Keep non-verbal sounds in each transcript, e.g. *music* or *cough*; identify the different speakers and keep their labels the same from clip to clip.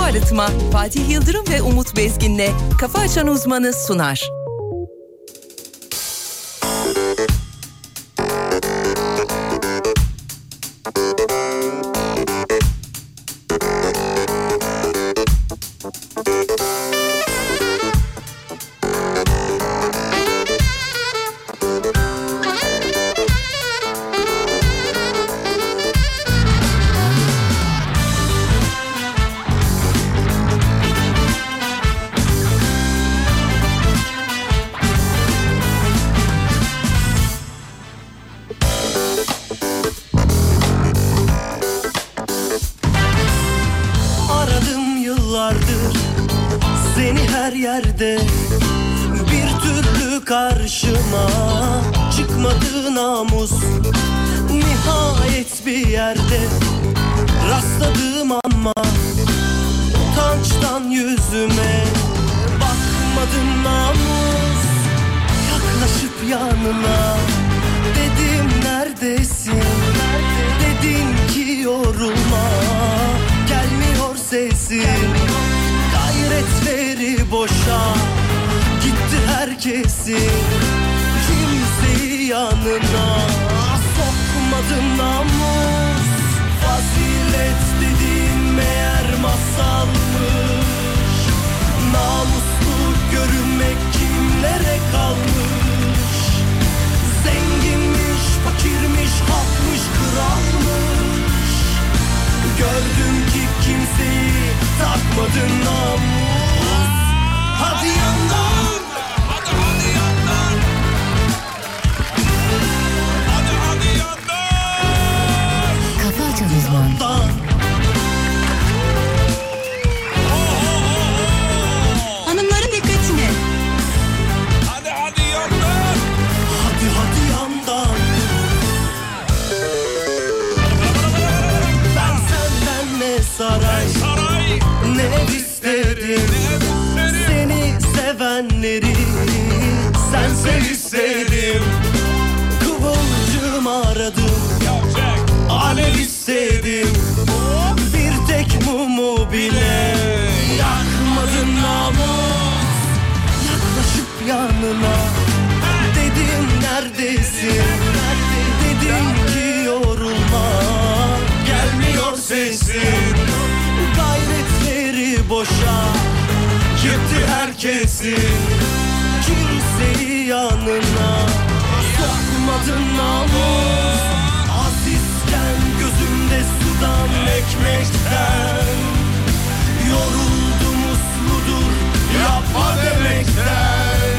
Speaker 1: Arıtma Fatih Yıldırım ve Umut Bezgin'le Kafa Açan Uzmanı sunar.
Speaker 2: Aradım yıllardır seni her yerde Bir türlü karşıma çıkmadı namus Nihayet bir yerde rastladım ama Utançtan yüzüme bakmadım namus Yaklaşıp yanına dedim neredesin Dedin ki yorulma gelmiyor sesin Gayretleri boşa gitti herkesin Kimseyi yanına sokmadım namus Fazilet dediğin meğer masalmış Namuslu görünmek kimlere kalmış Zenginmiş, fakirmiş, halkmış, kralmış Gördüm ki kimseyi takmadın namus Hadi yandan
Speaker 3: Kafa Açan Uzman.
Speaker 2: Dan.
Speaker 4: Hanımların dikkatine.
Speaker 2: Hadi hadi yandan Ben senden ne saray Ne ev isterim Seni sevenleri Sense isterim Kıvılcım aradım Alev istedim Bir tek mumu bile Yakmadın namus Yaklaşıp yanına Dedim neredesin Dedim ki yorulma Gelmiyor sesin Gayretleri boşa Gitti herkesin Kimseyi yanına Sokmadın namus Azizken gözümde sudan ekmekten Yoruldum usludur yapma demekten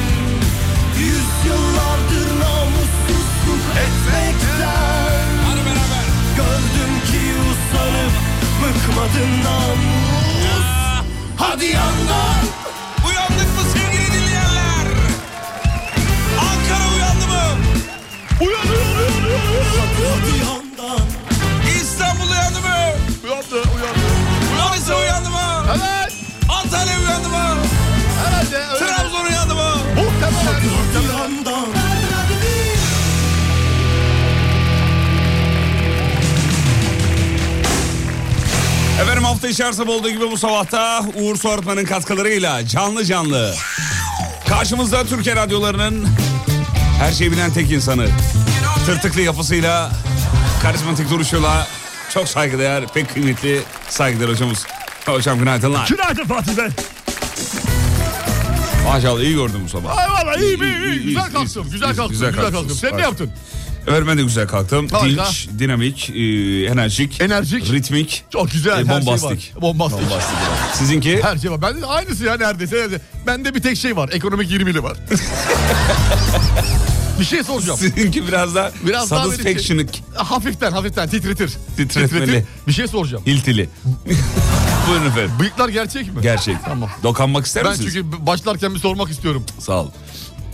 Speaker 2: Yüzyıllardır namussuzluk etmekten Gördüm ki usanıp bıkmadın namus Hadi yandan
Speaker 5: Uyandık mı sevgili dinleyenler? Ankara uyandı mı?
Speaker 2: Hadi yandan
Speaker 5: İstanbul uyandı mı?
Speaker 6: Uyandı, uyandı.
Speaker 5: Manisa uyandı mı?
Speaker 6: Evet,
Speaker 5: Antalya uyandı mı?
Speaker 6: herhalde öyle.
Speaker 5: Trabzon uyandı mı?
Speaker 6: Muhtemelen,
Speaker 2: Hadi
Speaker 6: muhtemelen.
Speaker 2: yandan
Speaker 5: Efendim hafta içi her sabah olduğu gibi bu sabahta Uğur Su Arıtma'nın katkılarıyla canlı canlı. Karşımızda Türkiye radyolarının her şeyi bilen tek insanı. Tırtıklı yapısıyla, karizmatik duruşuyla çok saygıdeğer, pek kıymetli saygıdeğer hocamız. Hocam günaydınlar.
Speaker 7: Günaydın Fatih Bey.
Speaker 5: Maşallah iyi gördüm bu sabah.
Speaker 6: Ay valla iyi, iyi, iyi,
Speaker 5: İyi, iyi,
Speaker 6: Güzel
Speaker 5: iyi,
Speaker 6: kalktım, güzel
Speaker 5: iyi,
Speaker 6: kalktım,
Speaker 5: güzel
Speaker 6: güzel, kalktım.
Speaker 5: kalktınız.
Speaker 6: Sen ne yaptın?
Speaker 5: Evet ben de güzel kalktım.
Speaker 6: Harika.
Speaker 5: Dinç, dinamik, e, enerjik,
Speaker 6: Enerjik.
Speaker 5: ritmik.
Speaker 6: Çok güzel,
Speaker 5: E,
Speaker 6: her
Speaker 5: bombastik.
Speaker 6: şey var. Bombastik.
Speaker 5: Sizinki?
Speaker 6: Her şey var. Bende de aynısı ya neredeyse. neredeyse. Bende bir tek şey var. Ekonomik 20'li var. *laughs* bir şey soracağım.
Speaker 5: Sizinki biraz daha
Speaker 6: Biraz daha böyle şey-
Speaker 5: satisfaction'lık,
Speaker 6: Hafiften hafiften titretir.
Speaker 5: Titretmeli.
Speaker 6: Titretir. Bir şey soracağım. *laughs*
Speaker 5: hiltili. Buyurun efendim.
Speaker 6: Bıyıklar gerçek mi?
Speaker 5: Gerçek.
Speaker 6: Tamam.
Speaker 5: Dokanmak ister
Speaker 6: Ben
Speaker 5: misiniz?
Speaker 6: çünkü başlarken bir sormak istiyorum.
Speaker 5: Sağ ol.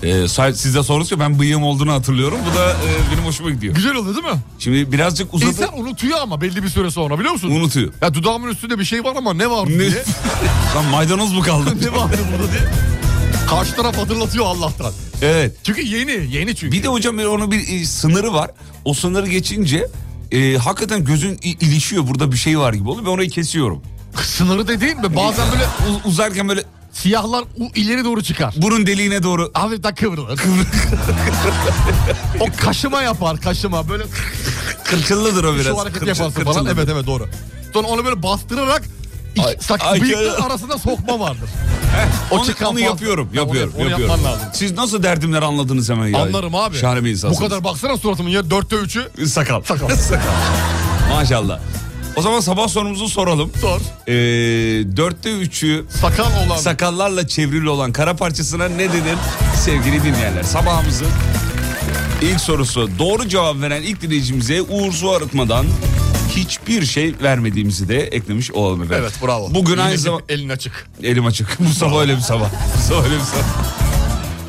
Speaker 5: Ee, say- siz de sordunuz ya ben bıyığım olduğunu hatırlıyorum. Bu da e, benim hoşuma gidiyor.
Speaker 6: Güzel oldu değil mi?
Speaker 5: Şimdi birazcık uzadı.
Speaker 6: İnsan unutuyor ama belli bir süre sonra biliyor musun?
Speaker 5: Unutuyor.
Speaker 6: Ya dudağımın üstünde bir şey var ama ne var
Speaker 5: Ne?
Speaker 6: diye.
Speaker 5: *laughs* Lan maydanoz mu kaldı?
Speaker 6: *laughs* ne vardı burada diye. Karşı taraf hatırlatıyor Allah'tan.
Speaker 5: evet.
Speaker 6: Çünkü yeni, yeni çünkü.
Speaker 5: Bir de hocam bir- onun bir e, sınırı var. O sınırı geçince e, hakikaten gözün i- ilişiyor. Burada bir şey var gibi oluyor. Ben orayı kesiyorum.
Speaker 6: Sınırı dediğin mi? Bazen böyle
Speaker 5: U- uzarken böyle
Speaker 6: siyahlar u- ileri doğru çıkar.
Speaker 5: burun deliğine doğru.
Speaker 6: Hafif
Speaker 5: *laughs*
Speaker 6: daha kıvrılır. o kaşıma yapar kaşıma. Böyle
Speaker 5: Kırçıllıdır o biraz.
Speaker 6: şu hareket
Speaker 5: Kırçı-
Speaker 6: yaparsın falan.
Speaker 5: kırçıllıdır.
Speaker 6: Evet evet doğru. Sonra onu böyle bastırarak iki,
Speaker 5: Ay-
Speaker 6: sak,
Speaker 5: ay-
Speaker 6: bıyıkların arasında sokma vardır.
Speaker 5: *laughs* Onu,
Speaker 6: çıkan
Speaker 5: onu
Speaker 6: fazla.
Speaker 5: yapıyorum,
Speaker 6: Ya onu-
Speaker 5: yapıyorum,
Speaker 6: onu
Speaker 5: yapıyorum.
Speaker 6: yapman lazım.
Speaker 5: Siz nasıl derdimleri anladınız hemen ya?
Speaker 6: Anlarım abi.
Speaker 5: Şahane bir insansınız.
Speaker 6: Bu kadar baksana suratımın ya dörtte üçü
Speaker 5: Sakal. *laughs*
Speaker 6: Sakal.
Speaker 5: Sakal. Maşallah. O zaman sabah sorumuzu soralım.
Speaker 6: sor.
Speaker 5: Ee, dörtte üçü
Speaker 6: Sakal olan.
Speaker 5: sakallarla çevrili olan kara parçasına ne denir sevgili dinleyenler? Sabahımızın ilk sorusu doğru cevap veren ilk dinleyicimize Uğur Su Arıtma'dan hiçbir şey vermediğimizi de eklemiş olalım efendim.
Speaker 6: Evet bravo.
Speaker 5: Bugün
Speaker 6: Yine
Speaker 5: aynı
Speaker 6: bir
Speaker 5: zamanda...
Speaker 6: Elin açık.
Speaker 5: Elim açık. *laughs* Bu sabah öyle bir sabah. Bu sabah öyle bir sabah.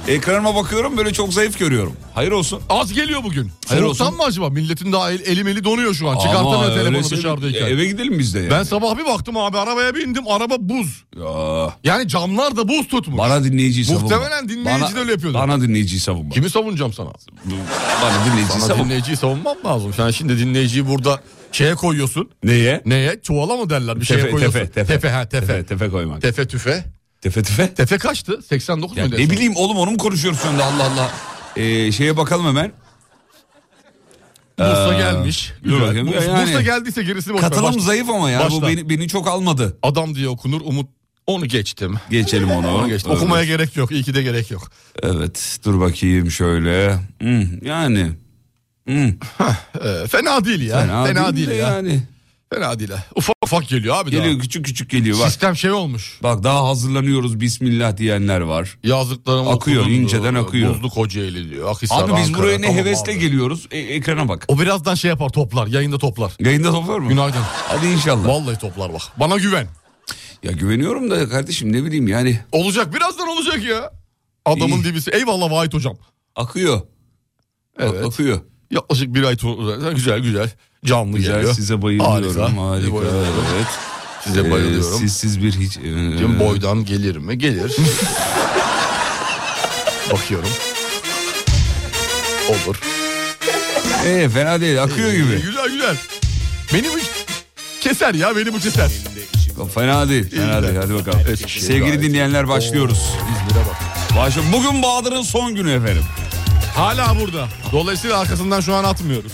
Speaker 5: Ekranıma bakıyorum böyle çok zayıf görüyorum. Hayır olsun.
Speaker 6: Az geliyor bugün.
Speaker 5: Hayır
Speaker 6: Soğuktan
Speaker 5: olsun.
Speaker 6: mı acaba? Milletin daha el, elim eli donuyor şu an.
Speaker 5: Ama
Speaker 6: Çıkartamıyor telefonu
Speaker 5: öyleyse
Speaker 6: dışarıdayken.
Speaker 5: Eve gidelim biz de ya.
Speaker 6: Ben sabah bir baktım abi arabaya bindim. Araba buz.
Speaker 5: Ya,
Speaker 6: Yani camlar da buz tutmuş.
Speaker 5: Bana dinleyiciyi savunma.
Speaker 6: Muhtemelen dinleyici
Speaker 5: Bana-
Speaker 6: de öyle yapıyordu.
Speaker 5: Bana dinleyiciyi savunma.
Speaker 6: Kimi savunacağım sana?
Speaker 5: Bana dinleyiciyi
Speaker 6: Sana
Speaker 5: savunma.
Speaker 6: dinleyiciyi savunmam lazım. Sen şimdi dinleyiciyi burada şeye koyuyorsun.
Speaker 5: Neye?
Speaker 6: Neye? Çuvala mı derler? Bir şeye
Speaker 5: Tefe,
Speaker 6: koyuyorsun.
Speaker 5: tefe, tefe.
Speaker 6: ha, tefe.
Speaker 5: Tefe,
Speaker 6: Tefe,
Speaker 5: tefe koymak.
Speaker 6: tüfe.
Speaker 5: Tefe tefe.
Speaker 6: Tefe kaçtı? 89
Speaker 5: Ya
Speaker 6: mu?
Speaker 5: ne bileyim oğlum onu mu konuşuyoruz şimdi Allah Allah. Ee, şeye bakalım hemen.
Speaker 6: Bursa gelmiş.
Speaker 5: Ee, dur
Speaker 6: Güzel.
Speaker 5: bakayım.
Speaker 6: Bursa,
Speaker 5: Yani-
Speaker 6: Bursa geldiyse gerisini boş ver.
Speaker 5: Katılım
Speaker 6: Başla.
Speaker 5: zayıf ama ya bu
Speaker 6: Başla.
Speaker 5: beni, beni çok almadı.
Speaker 6: Adam diye okunur. Umut onu geçtim.
Speaker 5: Geçelim onu.
Speaker 6: Onu geçtim.
Speaker 5: Evet.
Speaker 6: Okumaya gerek yok. İyi ki de gerek yok.
Speaker 5: Evet dur bakayım şöyle. Hmm, yani
Speaker 6: Ee, fena değil ya. Fena, değil,
Speaker 5: de
Speaker 6: ya.
Speaker 5: yani.
Speaker 6: Fena değil. ha. Ufak ufak geliyor abi
Speaker 5: Geliyor
Speaker 6: geliyor.
Speaker 5: küçük küçük geliyor
Speaker 6: daha.
Speaker 5: bak.
Speaker 6: Sistem şey olmuş.
Speaker 5: Bak daha hazırlanıyoruz bismillah diyenler var.
Speaker 6: Yazdıklarım
Speaker 5: Akıyor, inceden akıyor.
Speaker 6: Buzlu Kocaeli diyor. Akhisar,
Speaker 5: Abi biz
Speaker 6: Ankara,
Speaker 5: buraya ne
Speaker 6: tamam
Speaker 5: hevesle
Speaker 6: abi.
Speaker 5: geliyoruz. E- ekrana bak.
Speaker 6: O birazdan şey yapar toplar. Yayında toplar.
Speaker 5: Yayında toplar mı?
Speaker 6: Günaydın.
Speaker 5: Hadi inşallah.
Speaker 6: Vallahi toplar bak. Bana güven.
Speaker 5: Ya güveniyorum da kardeşim ne bileyim yani
Speaker 6: Olacak birazdan olacak ya. Adamın
Speaker 5: İyi.
Speaker 6: dibisi. Eyvallah Vahit hocam.
Speaker 5: akıyor.
Speaker 6: Evet.
Speaker 5: Akıyor.
Speaker 6: Yaklaşık bir ay tu- güzel güzel canlı
Speaker 5: Güzel
Speaker 6: geliyor.
Speaker 5: size bayılıyorum. Harika.
Speaker 6: Size bayılıyorum.
Speaker 5: Evet.
Speaker 6: Size bayılıyorum.
Speaker 5: Ee, siz siz bir hiç. ee,
Speaker 6: Şimdi boydan gelir
Speaker 5: *laughs*
Speaker 6: mi? Gelir. Bakıyorum. Olur.
Speaker 5: ee, fena değil akıyor gibi.
Speaker 6: Güzel güzel. Beni bu keser ya beni bu keser.
Speaker 5: Fena değil. Fena
Speaker 6: İyi de.
Speaker 5: değil. Hadi bakalım.
Speaker 6: Evet, şey
Speaker 5: Sevgili
Speaker 6: gayet.
Speaker 5: dinleyenler başlıyoruz.
Speaker 6: İzmir'e bak.
Speaker 5: Başlıyoruz. Bugün Bahadır'ın son günü efendim.
Speaker 6: Hala burada. Dolayısıyla arkasından şu an atmıyoruz.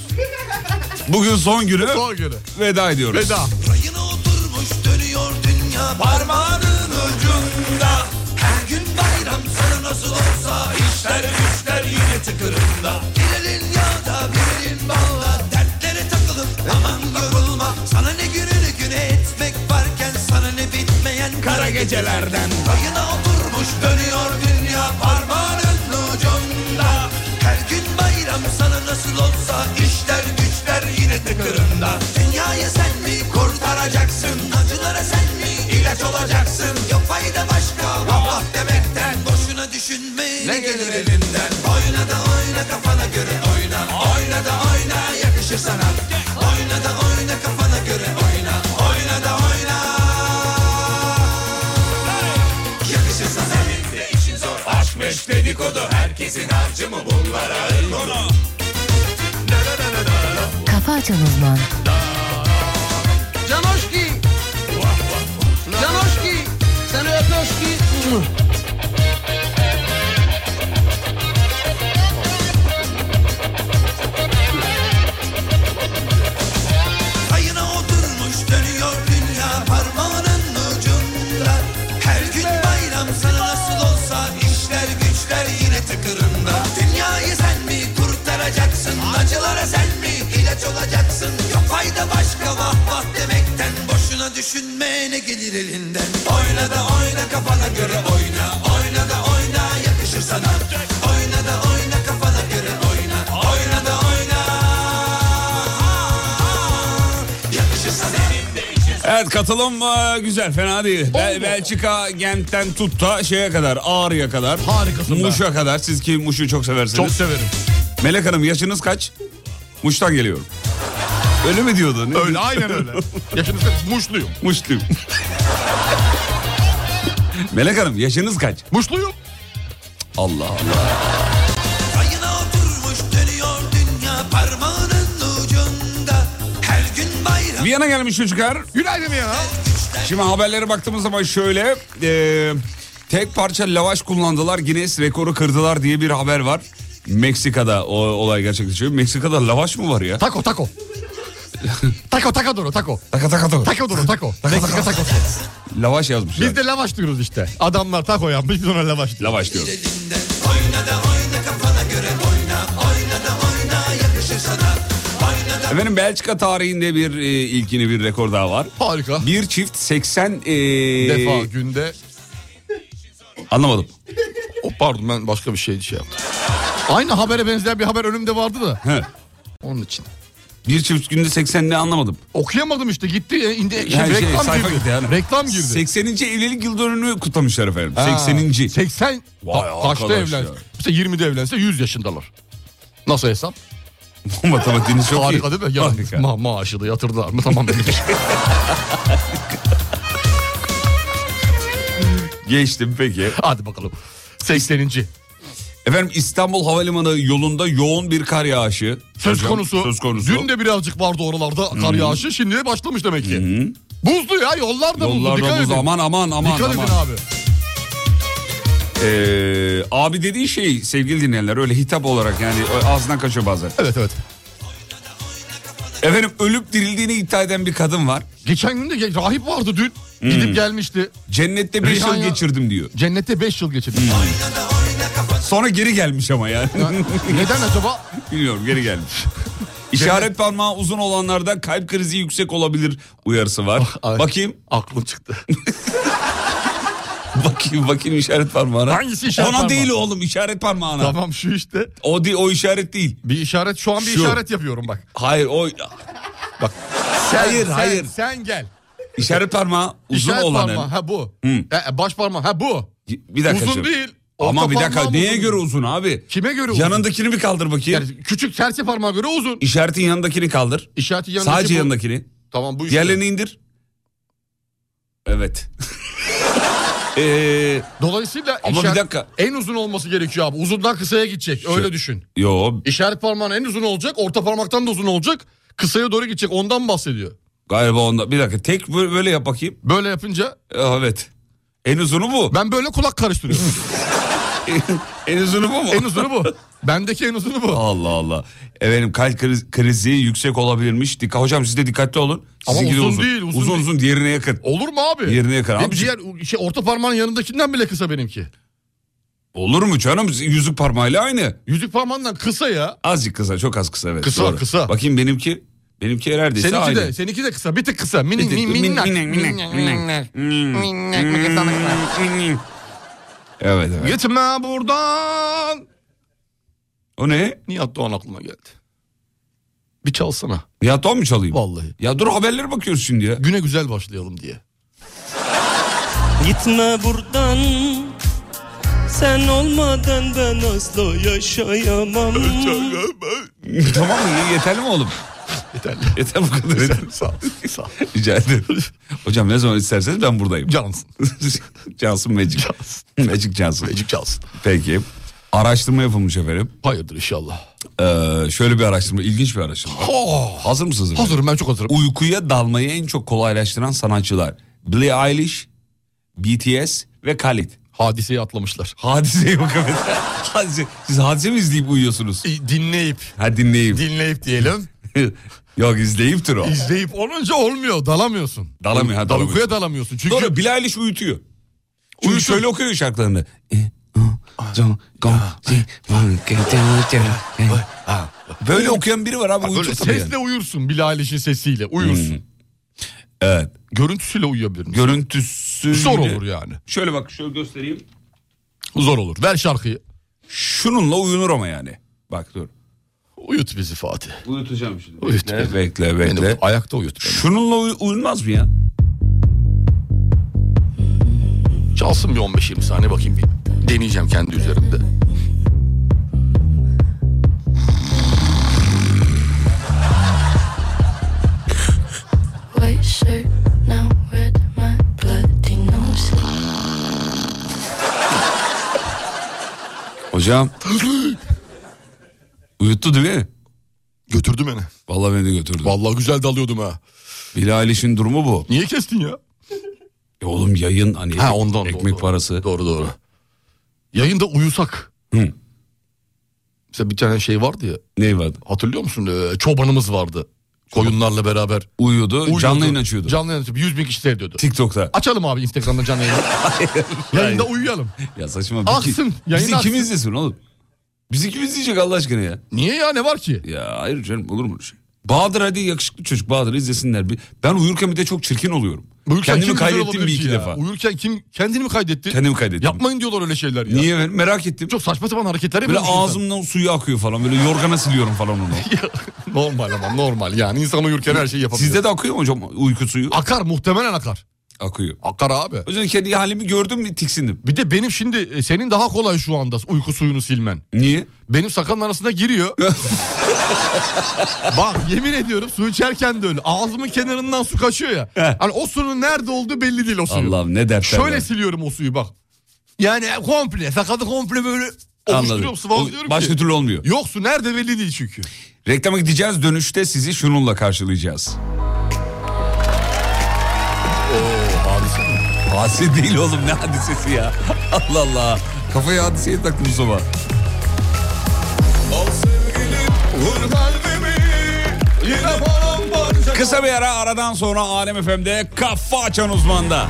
Speaker 5: Bugün son günü
Speaker 6: Son günü.
Speaker 5: veda ediyoruz.
Speaker 6: Veda.
Speaker 2: Rayına oturmuş dönüyor dünya parmağının ucunda Her gün bayram sana nasıl olsa işler güçler yine tıkırında Birinin yağda birinin balla dertlere takılıp aman yorulma Sana ne gününü güne etmek varken sana ne bitmeyen kara gecelerden Rayına oturmuş dönüyor dünya parmağının ucunda Her gün bayram sana nasıl olsa işler güçler yine tıkırında Dünyayı sen mi kurtaracaksın Acılara sen mi ilaç olacaksın Yok fayda başka Allah demekten Boşuna düşünme ne gelir elinden Oyna da oyna kafana göre oyna Oyna da oyna yakışır sana Oyna da oyna kafana göre oyna Oyna da oyna Yakışır sana Senin de işin zor Aşk meş dedikodu Herkesin harcı mı bunlara ayın konu
Speaker 3: Kafa Açan Uzman.
Speaker 7: Canoşki. Canoşki. Seni öpüyorski.
Speaker 2: Ayına oturmuş dönüyor dünya parmağının ucunda Her gün bayram sana nasıl olsa işler güçler yine tıkırında Dünyayı sen mi kurtaracaksın acılara sen mi ilaç olacaksın Yok fayda başka vah vah demekten boşuna düşünme ne gelir elinden Oyna da oyna kafana göre oyna oyna da oyna yakışır sana Oyna da oyna kafana göre oyna oyna da oyna
Speaker 5: Evet katılım e, güzel fena değil. Bel- Belçika Gent'ten tut da şeye kadar Ağrı'ya kadar.
Speaker 6: Harikasın be.
Speaker 5: Muş'a kadar siz ki Muş'u çok seversiniz.
Speaker 6: Çok severim.
Speaker 5: Melek Hanım yaşınız kaç? Muş'tan geliyorum. Öyle mi diyordun?
Speaker 6: Öyle
Speaker 5: *laughs*
Speaker 6: aynen öyle. Yaşınız kaç? Muşluyum.
Speaker 5: Muşluyum. *laughs* Melek Hanım yaşınız kaç?
Speaker 6: Muşluyum.
Speaker 5: Allah Allah.
Speaker 2: Ayına oturmuş dönüyor dünya parmağının ucunda Her gün bayram
Speaker 5: Viyana gelmiş çocuklar.
Speaker 6: Günaydın ya.
Speaker 5: Şimdi haberlere baktığımız zaman şöyle e, tek parça lavaş kullandılar Guinness rekoru kırdılar diye bir haber var. Meksika'da o olay gerçekleşiyor. Meksika'da lavaş mı var ya?
Speaker 6: Taco taco. taco taco duru taco.
Speaker 5: Taka taka taka.
Speaker 6: Taco
Speaker 5: *laughs*
Speaker 6: duru taco. Meksika tacosu.
Speaker 5: Lavaş yazmış.
Speaker 6: Biz de lavaş diyoruz işte. Adamlar taco yapmış biz ona lavaş diyoruz.
Speaker 5: Lavaş diyor. Efendim Belçika tarihinde bir e, ilkini bir rekor daha var.
Speaker 6: Harika.
Speaker 5: Bir çift 80 e,
Speaker 6: defa günde.
Speaker 5: anlamadım.
Speaker 6: Oh, pardon ben başka bir şey şey yaptım. Aynı habere benzer bir haber önümde vardı da.
Speaker 5: He.
Speaker 6: Onun için.
Speaker 5: Bir çift günde 80 ne anlamadım.
Speaker 6: Okuyamadım işte gitti. e, indi, şey,
Speaker 5: Yani şey,
Speaker 6: reklam,
Speaker 5: sayfa
Speaker 6: girdi.
Speaker 5: gitti yani.
Speaker 6: reklam girdi.
Speaker 5: 80. evlilik yıl dönümü kutlamışlar efendim. 80.
Speaker 6: 80.
Speaker 5: Vay
Speaker 6: Ta- kaçta
Speaker 5: arkadaş ya.
Speaker 6: evlense? İşte 20'de evlense 100 yaşındalar. Nasıl hesap?
Speaker 5: *laughs* Matematiğiniz çok iyi.
Speaker 6: Harika değil mi? Ya,
Speaker 5: Harika.
Speaker 6: Ma- maaşı da yatırdılar mı?
Speaker 5: *laughs*
Speaker 6: Tamam dedik.
Speaker 5: Geçtim peki.
Speaker 6: Hadi bakalım. 80.
Speaker 5: Efendim İstanbul Havalimanı yolunda yoğun bir kar yağışı.
Speaker 6: Söz
Speaker 5: Hocam,
Speaker 6: konusu.
Speaker 5: Söz konusu. Hmm.
Speaker 6: Dün de birazcık vardı oralarda kar yağışı. Şimdi de başlamış demek ki. Buzlu ya yollar da buzlu.
Speaker 5: Yollarda
Speaker 6: Dikkat
Speaker 5: buz
Speaker 6: edin.
Speaker 5: aman aman aman
Speaker 6: Dikkat edin
Speaker 5: aman.
Speaker 6: abi.
Speaker 5: Ee, abi dediği şey sevgili dinleyenler öyle hitap olarak yani ağzından kaçıyor bazen.
Speaker 6: Evet evet.
Speaker 5: Efendim ölüp dirildiğini iddia eden bir kadın var.
Speaker 6: Geçen gün de ge- rahip vardı dün. Gidip gelmişti.
Speaker 5: Cennette 5 yıl Hmm.
Speaker 6: Rihana-
Speaker 5: geçirdim diyor.
Speaker 6: Cennette 5 yıl geçirdi.
Speaker 5: Sonra geri gelmiş ama yani.
Speaker 6: Neden acaba?
Speaker 5: Bilmiyorum geri gelmiş. İşaret parmağı uzun olanlarda kalp krizi yüksek olabilir uyarısı var.
Speaker 6: Ah, Ay.
Speaker 5: Bakayım.
Speaker 6: Aklım çıktı.
Speaker 5: *laughs* Bakayım bakayım işaret parmağına.
Speaker 6: Hangisi işaret
Speaker 5: Ona
Speaker 6: parmağı?
Speaker 5: değil oğlum işaret parmağına.
Speaker 6: *laughs* tamam şu işte.
Speaker 5: O değil o işaret değil.
Speaker 6: Bir işaret şu an bir
Speaker 5: Şu.
Speaker 6: işaret yapıyorum bak.
Speaker 5: Hayır o bak. hayır
Speaker 6: Sen-
Speaker 5: hayır.
Speaker 6: Sen gel.
Speaker 5: İşaret parmağı uzun
Speaker 6: İşaret
Speaker 5: olanın.
Speaker 6: parmağı ha bu. E, e, baş parmağı ha bu.
Speaker 5: Bir dakika.
Speaker 6: Uzun
Speaker 5: şimdi.
Speaker 6: değil.
Speaker 5: Ama
Speaker 6: Orta
Speaker 5: bir dakika
Speaker 6: parmağım
Speaker 5: neye
Speaker 6: uzun.
Speaker 5: göre uzun abi?
Speaker 6: Kime göre uzun?
Speaker 5: Yanındakini bir kaldır bakayım.
Speaker 6: Yani küçük serçe parmağa göre uzun.
Speaker 5: İşaretin yanındakini kaldır.
Speaker 6: İşaretin yanındaki
Speaker 5: Sadece
Speaker 6: bu.
Speaker 5: yanındakini.
Speaker 6: Tamam bu işte.
Speaker 5: Diğerlerini indir.
Speaker 6: *laughs*
Speaker 5: Evet. Ee,
Speaker 6: Dolayısıyla
Speaker 5: Ama bir
Speaker 6: işaret-
Speaker 5: dakika.
Speaker 6: en uzun olması gerekiyor abi. Uzundan kısaya gidecek öyle düşün.
Speaker 5: yo
Speaker 6: İşaret parmağın en uzun olacak orta parmaktan da uzun olacak. Kısaya doğru gidecek ondan bahsediyor.
Speaker 5: galiba onda. Bir dakika tek böyle, böyle yap bakayım.
Speaker 6: Böyle yapınca
Speaker 5: Ee, Evet. En uzunu bu.
Speaker 6: ben böyle kulak karıştırıyorum.
Speaker 5: *laughs* en uzunu bu mu?
Speaker 6: en uzunu bu. Bendeki en uzunu bu.
Speaker 5: Allah Allah. Efendim kalp kriz- krizi yüksek olabilirmiş. Dikkat hocam siz de dikkatli olun.
Speaker 6: Ama
Speaker 5: Sizinki de
Speaker 6: uzun değil, uzun
Speaker 5: uzun,
Speaker 6: değil.
Speaker 5: uzun diğerine yakın.
Speaker 6: Olur mu abi?
Speaker 5: Yerine yakın
Speaker 6: Hep
Speaker 5: abi.
Speaker 6: ciğer, şey, orta parmağın yanındakinden bile kısa benimki.
Speaker 5: Olur mu canım? Yüzük parmağıyla aynı.
Speaker 6: Yüzük parmağından kısa ya.
Speaker 5: Azıcık kısa, çok az kısa evet.
Speaker 6: Kısa, kısa.
Speaker 5: Bakayım benimki. Benimki neredeyse
Speaker 6: Seninki
Speaker 5: aynı.
Speaker 6: de, seninki de kısa. Bir tık kısa. Mini,
Speaker 5: Bir tık-
Speaker 6: min,
Speaker 5: min-
Speaker 6: minnak.
Speaker 5: minnak, minnak, minnak.
Speaker 6: Hmm.
Speaker 7: Minnak mıkızlanıklar.
Speaker 5: Evet evet.
Speaker 6: Gitme buradan.
Speaker 5: O ne?
Speaker 6: Nihat Doğan aklıma geldi. Bir çalsana.
Speaker 5: Ya tam mı çalayım?
Speaker 6: Vallahi.
Speaker 5: Ya dur haberlere bakıyoruz şimdi ya.
Speaker 6: Güne güzel başlayalım diye.
Speaker 8: Gitme buradan Sen olmadan ben asla yaşayamam
Speaker 5: tamam mı? İyi, Yeterli mi oğlum?
Speaker 6: Yeterli.
Speaker 5: Yeter bu kadar. Yeter.
Speaker 6: *laughs* Sağ ol. Sağ ol.
Speaker 5: Rica ederim. Hocam ne zaman isterseniz ben buradayım.
Speaker 6: Cansın.
Speaker 5: *laughs* Cansın Magic. Magic Cansın.
Speaker 6: Ecik çalsın.
Speaker 5: Peki. Araştırma yapılmış efendim.
Speaker 6: Hayırdır inşallah.
Speaker 5: Ee, şöyle bir araştırma, ilginç bir araştırma.
Speaker 6: Oh,
Speaker 5: Hazır mısınız? efendim?
Speaker 6: hazırım ben çok hazırım.
Speaker 5: Uykuya dalmayı en çok kolaylaştıran sanatçılar. Billie Eilish, BTS ve Khalid.
Speaker 6: Hadiseyi atlamışlar.
Speaker 5: Hadiseye *laughs* bak evet. Hadise. Siz hadise mi izleyip uyuyorsunuz?
Speaker 6: E, Dinleyip.
Speaker 5: Ha dinleyip.
Speaker 6: Dinleyip diyelim.
Speaker 5: *laughs* Yok izleyiptir o.
Speaker 6: İzleyip olunca olmuyor. Dalamıyorsun.
Speaker 5: Dalamıyor, ha, dalamıyorsun.
Speaker 6: Uykuya dalamıyorsun. Çünkü
Speaker 5: Doğru Billie Eilish uyutuyor. Çünkü
Speaker 6: Uyutur.
Speaker 5: şöyle okuyor şarkılarını. Böyle okuyan biri var abi
Speaker 6: Böyle
Speaker 5: uyutur tabii. yani.
Speaker 6: sesle uyursun Billie Eilish'in sesiyle uyursun.
Speaker 5: Evet.
Speaker 6: Görüntüsüyle uyuyabilir misin?
Speaker 5: Görüntüsü
Speaker 6: Zor olur yani.
Speaker 5: Şöyle bak şöyle göstereyim.
Speaker 6: Zor olur. Ver şarkıyı.
Speaker 5: Şununla uyunur ama yani. Bak dur.
Speaker 6: Uyut bizi Fatih.
Speaker 5: Uyutacağım şimdi.
Speaker 6: Uyut
Speaker 5: Bekle
Speaker 6: beni.
Speaker 5: bekle.
Speaker 6: Beni
Speaker 5: bekle.
Speaker 6: bu- ayakta uyut beni.
Speaker 5: Şununla uy- uyunmaz mı ya?
Speaker 6: Çalsın bir 15-20 saniye bakayım bir. Deneyeceğim kendi üzerimde.
Speaker 9: White shirt, now red, my bloody nose.
Speaker 5: Hocam. Uyuttu değil mi?
Speaker 6: Götürdü beni.
Speaker 5: Vallahi beni de götürdü.
Speaker 6: Vallahi güzel dalıyordum ha.
Speaker 5: Bilal işin durumu bu.
Speaker 6: Niye kestin ya?
Speaker 5: E Oğlum yayın hani
Speaker 6: Ha ondan
Speaker 5: ekmek
Speaker 6: doğru.
Speaker 5: parası.
Speaker 6: Doğru doğru. Yayında uyusak.
Speaker 5: Hı.
Speaker 6: Mesela bir tane şey vardı ya.
Speaker 5: Ne var?
Speaker 6: Hatırlıyor musun? Ee, çobanımız vardı. Koyunlarla beraber.
Speaker 5: Uyuyordu, canlı yayın açıyordu.
Speaker 6: Canlı yayın açıyordu. 100 bin kişi seyrediyordu.
Speaker 5: TikTok'ta.
Speaker 6: Açalım abi Instagram'da
Speaker 5: *laughs*
Speaker 6: canlı yayını. Yayında uyuyalım.
Speaker 5: Ya saçma.
Speaker 6: Aksın,
Speaker 5: Biz
Speaker 6: yayın aksın.
Speaker 5: ikimiz izlesin oğlum. Biz ikimiz izleyecek Allah aşkına ya.
Speaker 6: Niye ya ne var ki?
Speaker 5: Ya hayır canım olur mu öyle şey? Bahadır hadi yakışıklı çocuk Bahadır izlesinler. Bir- Ben uyurken bir de çok çirkin oluyorum.
Speaker 6: Uyurken kim
Speaker 5: Kendimi
Speaker 6: güzel
Speaker 5: kaybettim
Speaker 6: olabilir
Speaker 5: bir
Speaker 6: ki
Speaker 5: iki
Speaker 6: ya?
Speaker 5: defa.
Speaker 6: Uyurken kim kendini mi kaydetti?
Speaker 5: Kendimi kaybettim.
Speaker 6: Yapmayın diyorlar öyle şeyler ya.
Speaker 5: Niye ben merak ettim.
Speaker 6: Çok saçma sapan hareketler
Speaker 5: Böyle
Speaker 6: yapıyormuş insan.
Speaker 5: ağzımdan suyu akıyor falan. Böyle yorgana siliyorum falan
Speaker 6: *laughs*
Speaker 5: onu.
Speaker 6: normal ama normal yani insan uyurken her şeyi yapabilir.
Speaker 5: Sizde de akıyor mu hocam uyku suyu?
Speaker 6: akar muhtemelen akar.
Speaker 5: Akıyor.
Speaker 6: Akar abi.
Speaker 5: O yüzden kendi halimi gördüm mü tiksindim.
Speaker 6: Bir de benim şimdi e, senin daha kolay şu anda uyku suyunu silmen.
Speaker 5: Niye?
Speaker 6: Benim sakalın
Speaker 5: *laughs*
Speaker 6: arasına giriyor. Bak yemin ediyorum su içerken de öyle. Ağzımın kenarından su kaçıyor ya.
Speaker 5: Heh.
Speaker 6: Hani o suyun nerede olduğu belli değil o suyun.
Speaker 5: Allah'ım ne dertler
Speaker 6: Şöyle
Speaker 5: var.
Speaker 6: siliyorum o suyu bak. Yani komple sakalı komple böyle
Speaker 5: Anladım.
Speaker 6: oluşturuyorum sıvazlıyorum
Speaker 5: O- Başka
Speaker 6: ki.
Speaker 5: türlü olmuyor.
Speaker 6: Yok su nerede belli değil çünkü.
Speaker 5: Reklama gideceğiz dönüşte sizi şununla karşılayacağız. Oo hadise. Hadise değil oğlum ne hadisesi ya. *laughs* Allah Allah. Kafaya hadiseye taktım sabah. Kısa bir ara aradan sonra Alem FM'de kafa açan uzmanda.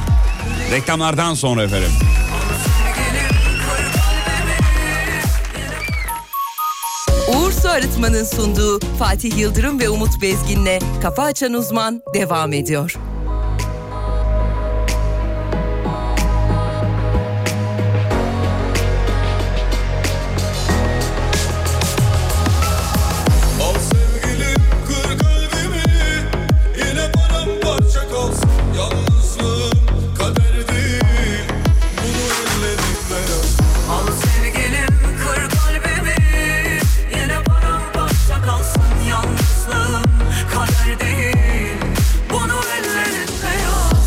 Speaker 5: Reklamlardan sonra efendim.
Speaker 1: Uğur Su Arıtma'nın sunduğu Fatih Yıldırım ve Umut Bezgin'le Kafa Açan Uzman devam ediyor.
Speaker 2: Al sevgilim kır kalbimi Yine paramparça kalsın Yalnızlığım kader değil Bunu elledim beyaz
Speaker 10: Al sevgilim kır kalbimi Yine paramparça kalsın yalnızlığım Kader değil bunu ellerinde yaz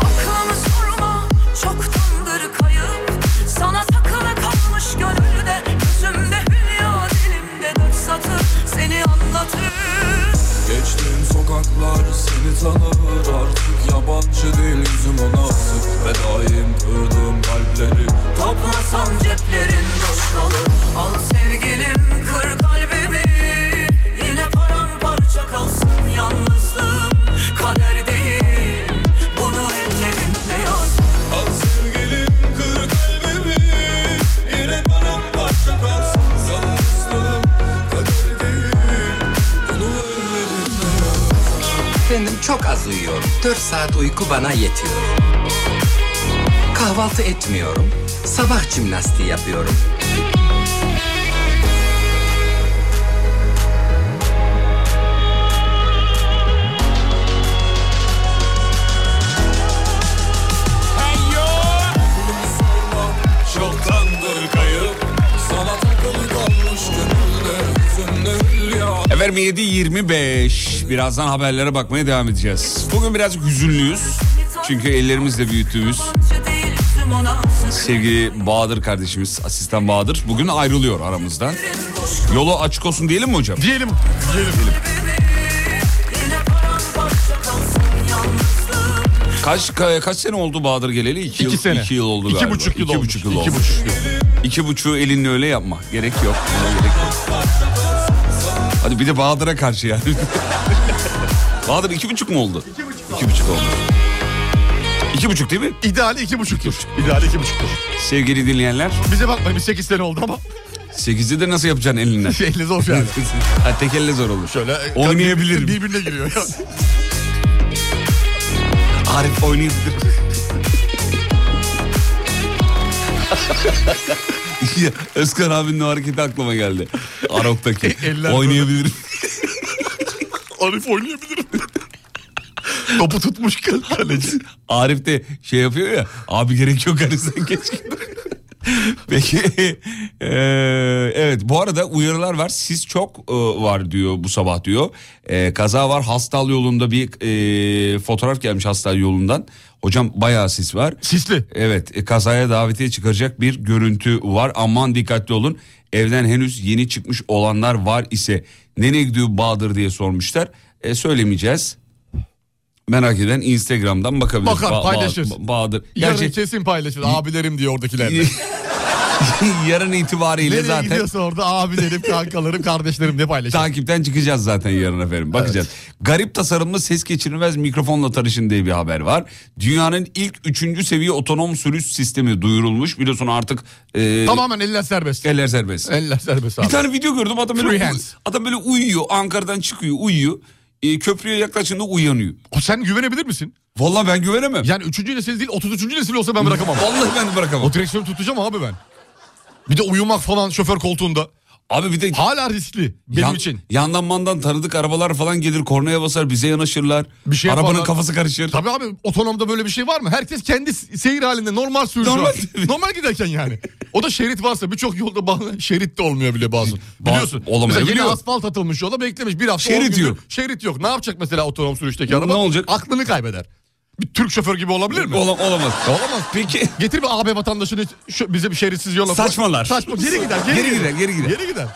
Speaker 10: Aklımı sorma çoktandır kayıp Sana takılı kalmış gönülde Gözümde hülya dilimde dört satır Seni anlatır
Speaker 2: Geçtiğim sokaklar seni tanır Artık yabancı değil yüzüm ona asık Ve daim kırdığım kalpleri
Speaker 10: Toplasan ceplerin boş kalır Al sevgilim kır kalbimi Yine paramparça kalsın yalnızlığım Kader değil bunu ellerimle yaz
Speaker 2: Al sevgilim kır kalbimi Yine paramparça kalsın Yalnızlığım kader değil Bunu elledim beyaz
Speaker 7: Efendim çok az uyuyorum. 4 saat uyku bana yetiyor. Kahvaltı etmiyorum. Sabah jimnastiği yapıyorum.
Speaker 2: Çoktandır kayıp Sana takılı kalmış gönülde Yüzünde hülya
Speaker 5: Efendim 7.25 birazdan haberlere bakmaya devam edeceğiz. Bugün biraz hüzünlüyüz. Çünkü ellerimizle büyüttüğümüz
Speaker 10: Yabancı değil üzüm ona
Speaker 5: sevgili Bahadır kardeşimiz, asistan Bahadır bugün ayrılıyor aramızdan. Yolu açık olsun diyelim mi hocam?
Speaker 6: Diyelim. Diyelim.
Speaker 10: Yine paramparça kalsın yalnızlığım
Speaker 5: Kaç ka- kaç sene oldu Bahadır geleli? İki,
Speaker 6: İki
Speaker 5: yıl,
Speaker 6: sene.
Speaker 5: iki yıl oldu
Speaker 6: İki
Speaker 5: galiba.
Speaker 6: buçuk yıl
Speaker 5: iki
Speaker 6: olmuş.
Speaker 5: buçuk yıl
Speaker 6: İki
Speaker 5: olmuş.
Speaker 6: buçuk yıl.
Speaker 5: İki buçuğu elinle öyle yapma. Gerek yok. Buna gerek yok. Hadi bir de Bahadır'a karşı yani. *laughs* Bahadır iki buçuk mu oldu? İki buçuk, oldu. İki buçuk değil mi?
Speaker 6: İdeali iki buçuktur. İdeali iki buçuktur.
Speaker 5: Sevgili dinleyenler.
Speaker 6: Bize bakmayın biz 8 sene oldu ama
Speaker 5: Sekizde de nasıl yapacaksın
Speaker 6: *laughs*
Speaker 5: elinden?
Speaker 6: *laughs* şeyle zor
Speaker 5: *laughs*
Speaker 6: yani.
Speaker 5: ha, tek elle zor olur.
Speaker 6: Şöyle e,
Speaker 5: Oynayabilirim.
Speaker 6: Birbirine
Speaker 5: *laughs*
Speaker 6: giriyor.
Speaker 5: Arif oynayabilir. *laughs* Ya, Özkan abinin o hareketi aklıma geldi. Arok'taki.
Speaker 6: E, Eller
Speaker 5: Oynayabilirim.
Speaker 6: Arif oynayabilirim. Topu tutmuş kal- kaleci.
Speaker 5: Arif de şey yapıyor ya. Abi gerek yok hani sen geç git." *laughs* Peki eee, evet bu arada uyarılar var sis çok e, var diyor bu sabah diyor. E, kaza var hastal yolunda bir e, fotoğraf gelmiş hastal yolundan. Hocam bayağı sis var.
Speaker 6: Sisli.
Speaker 5: Evet e, kazaya davetiye çıkaracak bir görüntü var. Aman dikkatli olun. Evden henüz yeni çıkmış olanlar var ise nereye gidiyor Bahadır diye sormuşlar. E, söylemeyeceğiz. Merak eden Instagram'dan bakabilir.
Speaker 6: Bakar, paylaşır.
Speaker 5: Ba- Bahadır.
Speaker 6: Yarın
Speaker 5: Gerçi
Speaker 6: kesin paylaşır abilerim
Speaker 5: *laughs*
Speaker 6: diyor oradakilerle.
Speaker 5: yarın itibariyle
Speaker 6: Nereye
Speaker 5: zaten
Speaker 6: gidiyorsa orada abilerim, kankalarım, kardeşlerim diye paylaşır.
Speaker 5: Takipten çıkacağız zaten yarın efendim. Bakacağız. Garip tasarımlı ses geçirilmez mikrofonla tanışın diye bir haber var. Dünyanın ilk üçüncü seviye otonom sürüş sistemi duyurulmuş. Biliyorsun artık... e,
Speaker 6: Tamamen eller serbest.
Speaker 5: Eller serbest.
Speaker 6: Eller serbest abi.
Speaker 5: Bir tane video gördüm adam
Speaker 6: Free
Speaker 5: böyle,
Speaker 6: hands.
Speaker 5: adam böyle uyuyor. Ankara'dan çıkıyor uyuyor. E, köprüye yaklaşınca uyanıyor.
Speaker 6: O Sen güvenebilir misin?
Speaker 5: Vallahi ben güvenemem.
Speaker 6: Yani 3. nesil değil 33. nesil olsa ben bırakamam.
Speaker 5: Vallahi ben bırakamam.
Speaker 6: O direksiyonu tutacağım abi ben. Bir de uyumak falan şoför koltuğunda.
Speaker 5: Abi bir de
Speaker 6: Hala riskli benim
Speaker 5: yan-
Speaker 6: için.
Speaker 5: yandan mandan tanıdık arabalar falan gelir kornaya basar bize yanaşırlar.
Speaker 6: Bir şey
Speaker 5: Arabanın
Speaker 6: yaparlar.
Speaker 5: kafası karışır.
Speaker 6: Tabii abi otonomda böyle bir şey var mı? Herkes kendi s- seyir halinde normal sürüyor.
Speaker 5: Normal.
Speaker 6: Normal, giderken yani. O da şerit varsa birçok yolda bazı şerit de olmuyor bile bazen.
Speaker 5: *laughs* Ba-
Speaker 6: Biliyorsun.
Speaker 5: olamayabiliyor.
Speaker 6: Mesela yeni asfalt atılmış yola beklemiş bir hafta. on
Speaker 5: Şerit
Speaker 6: gündür
Speaker 5: yok.
Speaker 6: Şerit yok. Ne yapacak mesela otonom sürüşteki araba?
Speaker 5: Ne olacak?
Speaker 6: Aklını kaybeder. Bir Türk şoför gibi olabilir mi?
Speaker 5: Olam- olamaz.
Speaker 6: Olamaz.
Speaker 5: Peki
Speaker 6: Getir bir AB vatandaşını şu, bize bir şeritsiz yola. koy.
Speaker 5: Saçmalar.
Speaker 6: Saçma. Geri gider. Geri,
Speaker 5: Geri gider, geri gider.
Speaker 6: Geri gider.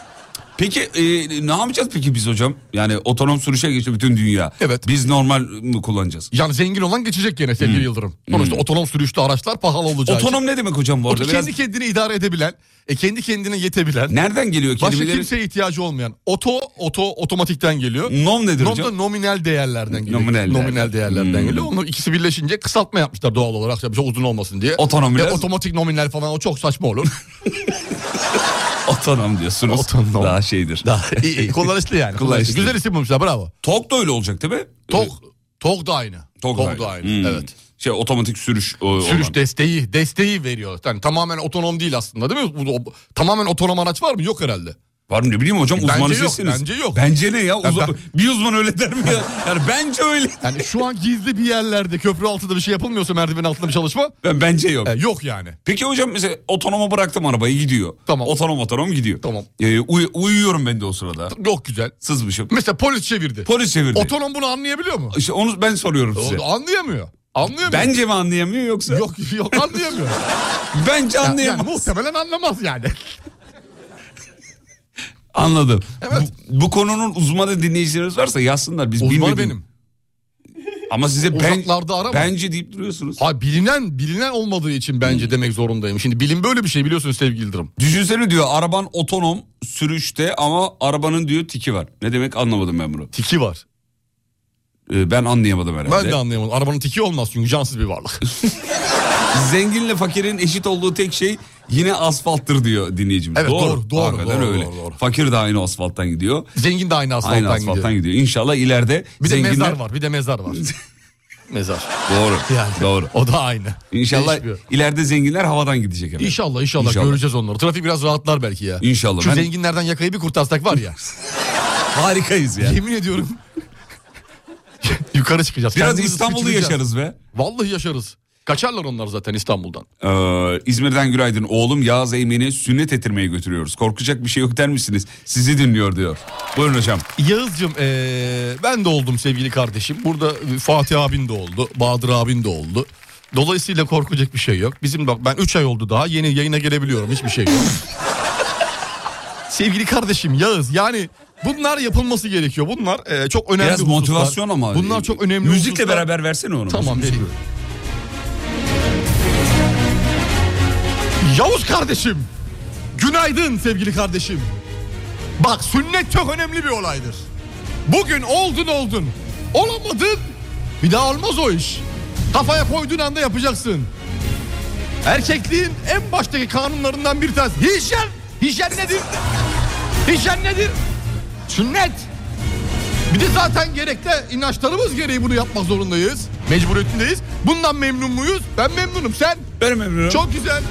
Speaker 5: Peki e, ne yapacağız peki biz hocam? Yani otonom sürüşe geçti bütün dünya.
Speaker 6: Evet.
Speaker 5: Biz normal mi kullanacağız?
Speaker 6: Yani zengin olan geçecek gene sevgili Yıldırım. Sonuçta otonom sürüşlü araçlar pahalı olacağı için.
Speaker 5: Otonom ne demek hocam bu
Speaker 6: O
Speaker 5: arada?
Speaker 6: da
Speaker 5: Biraz-
Speaker 6: kendi kendini idare edebilen, e, kendi kendine yetebilen,
Speaker 5: Nereden geliyor
Speaker 6: başka
Speaker 5: kelimeleri?
Speaker 6: kimseye ihtiyacı olmayan. Oto, oto otomatikten geliyor.
Speaker 5: Nom nedir
Speaker 6: Nom da
Speaker 5: hocam?
Speaker 6: nominal değerlerden geliyor.
Speaker 5: Nominal değerler.
Speaker 6: değerlerden geliyor. Onun ikisi birleşince kısaltma yapmışlar doğal olarak. Tabii çok uzun olmasın diye.
Speaker 5: Otonom
Speaker 6: E,
Speaker 5: biraz-
Speaker 6: otomatik nominal falan o çok
Speaker 5: *laughs*
Speaker 6: saçma olur.
Speaker 5: Otonom diyorsunuz.
Speaker 6: Otonom.
Speaker 5: Daha şeydir.
Speaker 6: İyi, iyi,
Speaker 5: *laughs*
Speaker 6: kullanışlı yani.
Speaker 5: Kullanışlı.
Speaker 6: Güzel isim bulmuşlar bravo.
Speaker 5: Tok da öyle olacak değil mi?
Speaker 6: Tok, tok da aynı.
Speaker 5: Tok,
Speaker 6: da aynı.
Speaker 5: Hmm.
Speaker 6: Evet.
Speaker 5: Şey otomatik sürüş. o-
Speaker 6: Sürüş
Speaker 5: olan.
Speaker 6: desteği desteği veriyor. Yani tamamen otonom değil aslında değil mi? Bu- o- tamamen otonom araç var mı? Yok herhalde.
Speaker 5: Var mı ne bileyim hocam
Speaker 6: Bence
Speaker 5: uzmanı
Speaker 6: yok,
Speaker 5: sizsiniz.
Speaker 6: bence yok.
Speaker 5: Bence ne ya? Uzman-
Speaker 6: ben-
Speaker 5: Bir uzman öyle der mi ya? Yani bence öyle.
Speaker 6: *laughs* Yani şu an gizli bir yerlerde köprü altında bir şey yapılmıyorsa merdiven altında bir çalışma
Speaker 5: Ben, bence yok.
Speaker 6: e, yok yani.
Speaker 5: Peki hocam mesela otonoma bıraktım arabayı gidiyor.
Speaker 6: Tamam.
Speaker 5: Otonom otonom gidiyor.
Speaker 6: Tamam.
Speaker 5: Ee, uy- uyuyorum ben de o sırada.
Speaker 6: Yok güzel.
Speaker 5: Sızmışım.
Speaker 6: Mesela polis çevirdi.
Speaker 5: Polis çevirdi.
Speaker 6: Otonom bunu anlayabiliyor mu?
Speaker 5: İşte onu ben soruyorum size.
Speaker 6: O- Anlayamıyor. Anlayamıyor.
Speaker 5: Bence mi anlayamıyor yoksa?
Speaker 6: Yok yok anlayamıyor.
Speaker 5: *laughs* Bence
Speaker 6: yani,
Speaker 5: anlayamaz.
Speaker 6: muhtemelen anlamaz yani.
Speaker 5: Anladım.
Speaker 6: Evet.
Speaker 5: Bu, bu konunun uzmanı dinleyicileriniz varsa yazsınlar. Biz
Speaker 6: Uzmanı
Speaker 5: bilmediğim-
Speaker 6: benim.
Speaker 5: Ama size ben,
Speaker 6: Uzaklarda arama.
Speaker 5: bence deyip duruyorsunuz. Hmm.
Speaker 6: Ha bilinen bilinen olmadığı için bence demek zorundayım. Şimdi bilim böyle bir şey biliyorsunuz sevgili Yıldırım.
Speaker 5: Düşünsene diyor araban otonom sürüşte ama arabanın diyor tiki var. Ne demek anlamadım ben bunu.
Speaker 6: Tiki var.
Speaker 5: Ee, ben anlayamadım herhalde.
Speaker 6: Ben de anlayamadım. Arabanın tiki olmaz çünkü cansız bir varlık.
Speaker 5: Zenginle fakirin eşit olduğu tek şey yine asfalttır diyor dinleyicimiz.
Speaker 6: Evet, doğru, doğru,
Speaker 5: Hakikaten
Speaker 6: doğru,
Speaker 5: öyle.
Speaker 6: doğru, doğru.
Speaker 5: Fakir de aynı asfalttan gidiyor.
Speaker 6: Zengin de aynı asfalttan,
Speaker 5: aynı asfalttan
Speaker 6: gidiyor.
Speaker 5: gidiyor. İnşallah ileride
Speaker 6: Bir de
Speaker 5: zenginler...
Speaker 6: mezar var. Bir de
Speaker 5: *laughs*
Speaker 6: mezar var. mezar.
Speaker 5: Doğru.
Speaker 6: Yani
Speaker 5: Doğru.
Speaker 6: O da aynı.
Speaker 5: İnşallah
Speaker 6: Değişmiyor.
Speaker 5: ileride zenginler havadan gidecek efendim.
Speaker 6: İnşallah, *laughs* inşallah
Speaker 5: İnşallah.
Speaker 6: göreceğiz onları. Trafik biraz rahatlar belki ya.
Speaker 5: İnşallah.
Speaker 6: Şu
Speaker 5: Ben-
Speaker 6: zenginlerden yakayı bir kurtarsak var
Speaker 5: *laughs*
Speaker 6: ya.
Speaker 5: Harikayız yani.
Speaker 6: yemin ediyorum. Yukarı çıkacağız.
Speaker 5: Biraz
Speaker 6: kendimizi
Speaker 5: İstanbul'u
Speaker 6: sıçrayacağız.
Speaker 5: yaşarız be.
Speaker 6: Vallahi yaşarız. Kaçarlar onlar zaten İstanbul'dan.
Speaker 5: Ee, İzmir'den günaydın. Oğlum Yağız Eymen'i sünnet ettirmeye götürüyoruz. Korkacak bir şey yok der misiniz? Sizi dinliyor diyor. Buyurun hocam.
Speaker 6: Yağız'cığım ee, ben de oldum sevgili kardeşim. Burada e, Fatih abin de oldu. Bahadır abin de oldu. Dolayısıyla korkacak bir şey yok. Bizim bak ben 3 ay oldu daha yeni yayına gelebiliyorum. Hiçbir şey yok. *laughs* sevgili kardeşim Yağız yani bunlar yapılması gerekiyor. Bunlar e, çok önemli
Speaker 5: Biraz
Speaker 6: hususlar.
Speaker 5: motivasyon ama.
Speaker 6: Bunlar çok önemli
Speaker 5: Müzikle
Speaker 6: hususlar.
Speaker 5: beraber versene onu.
Speaker 6: Tamam veriyorum. Yavuz kardeşim. Günaydın sevgili kardeşim. Bak sünnet çok önemli bir olaydır. Bugün oldun oldun. Olamadın bir daha olmaz o iş. Kafaya koyduğun anda yapacaksın. Erkekliğin en baştaki kanunlarından bir tanesi. Hijyen. Hijyen nedir? Hijyen nedir? Sünnet. Bir de zaten gerekli inançlarımız gereği bunu yapmak zorundayız. Mecburiyetindeyiz. Bundan memnun muyuz? Ben memnunum. Sen?
Speaker 5: Benim emrim.
Speaker 6: Çok güzel.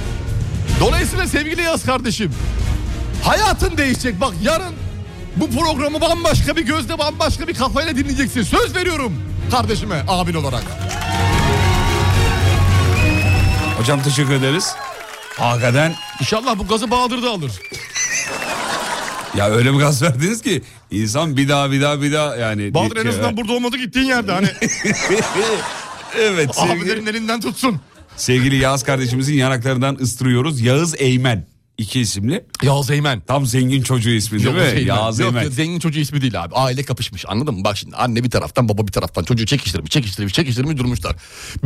Speaker 6: Dolayısıyla sevgili Yaz kardeşim. Hayatın değişecek. Bak yarın bu programı bambaşka bir gözle bambaşka bir kafayla dinleyeceksin. Söz veriyorum kardeşime abin olarak.
Speaker 5: Hocam teşekkür ederiz. Hakikaten
Speaker 6: İnşallah bu gazı Bahadır da alır.
Speaker 5: ya öyle bir gaz verdiniz ki insan bir daha bir daha bir daha yani.
Speaker 6: Bahadır en azından burada olmadı gittiğin yerde hani.
Speaker 5: Evet.
Speaker 6: Abilerin elinden tutsun.
Speaker 5: Sevgili Yağız kardeşimizin yanaklarından ıstırıyoruz. Yağız Eymen. iki isimli.
Speaker 6: Yağız Eymen.
Speaker 5: Tam zengin çocuğu ismi değil mi? Yağız
Speaker 6: Yok,
Speaker 5: Eymen.
Speaker 6: yok, zengin çocuğu ismi değil abi. Aile kapışmış anladın mı? Bak şimdi anne bir taraftan baba bir taraftan çocuğu çekiştirmiş çekiştirmiş çekiştirmiş durmuşlar.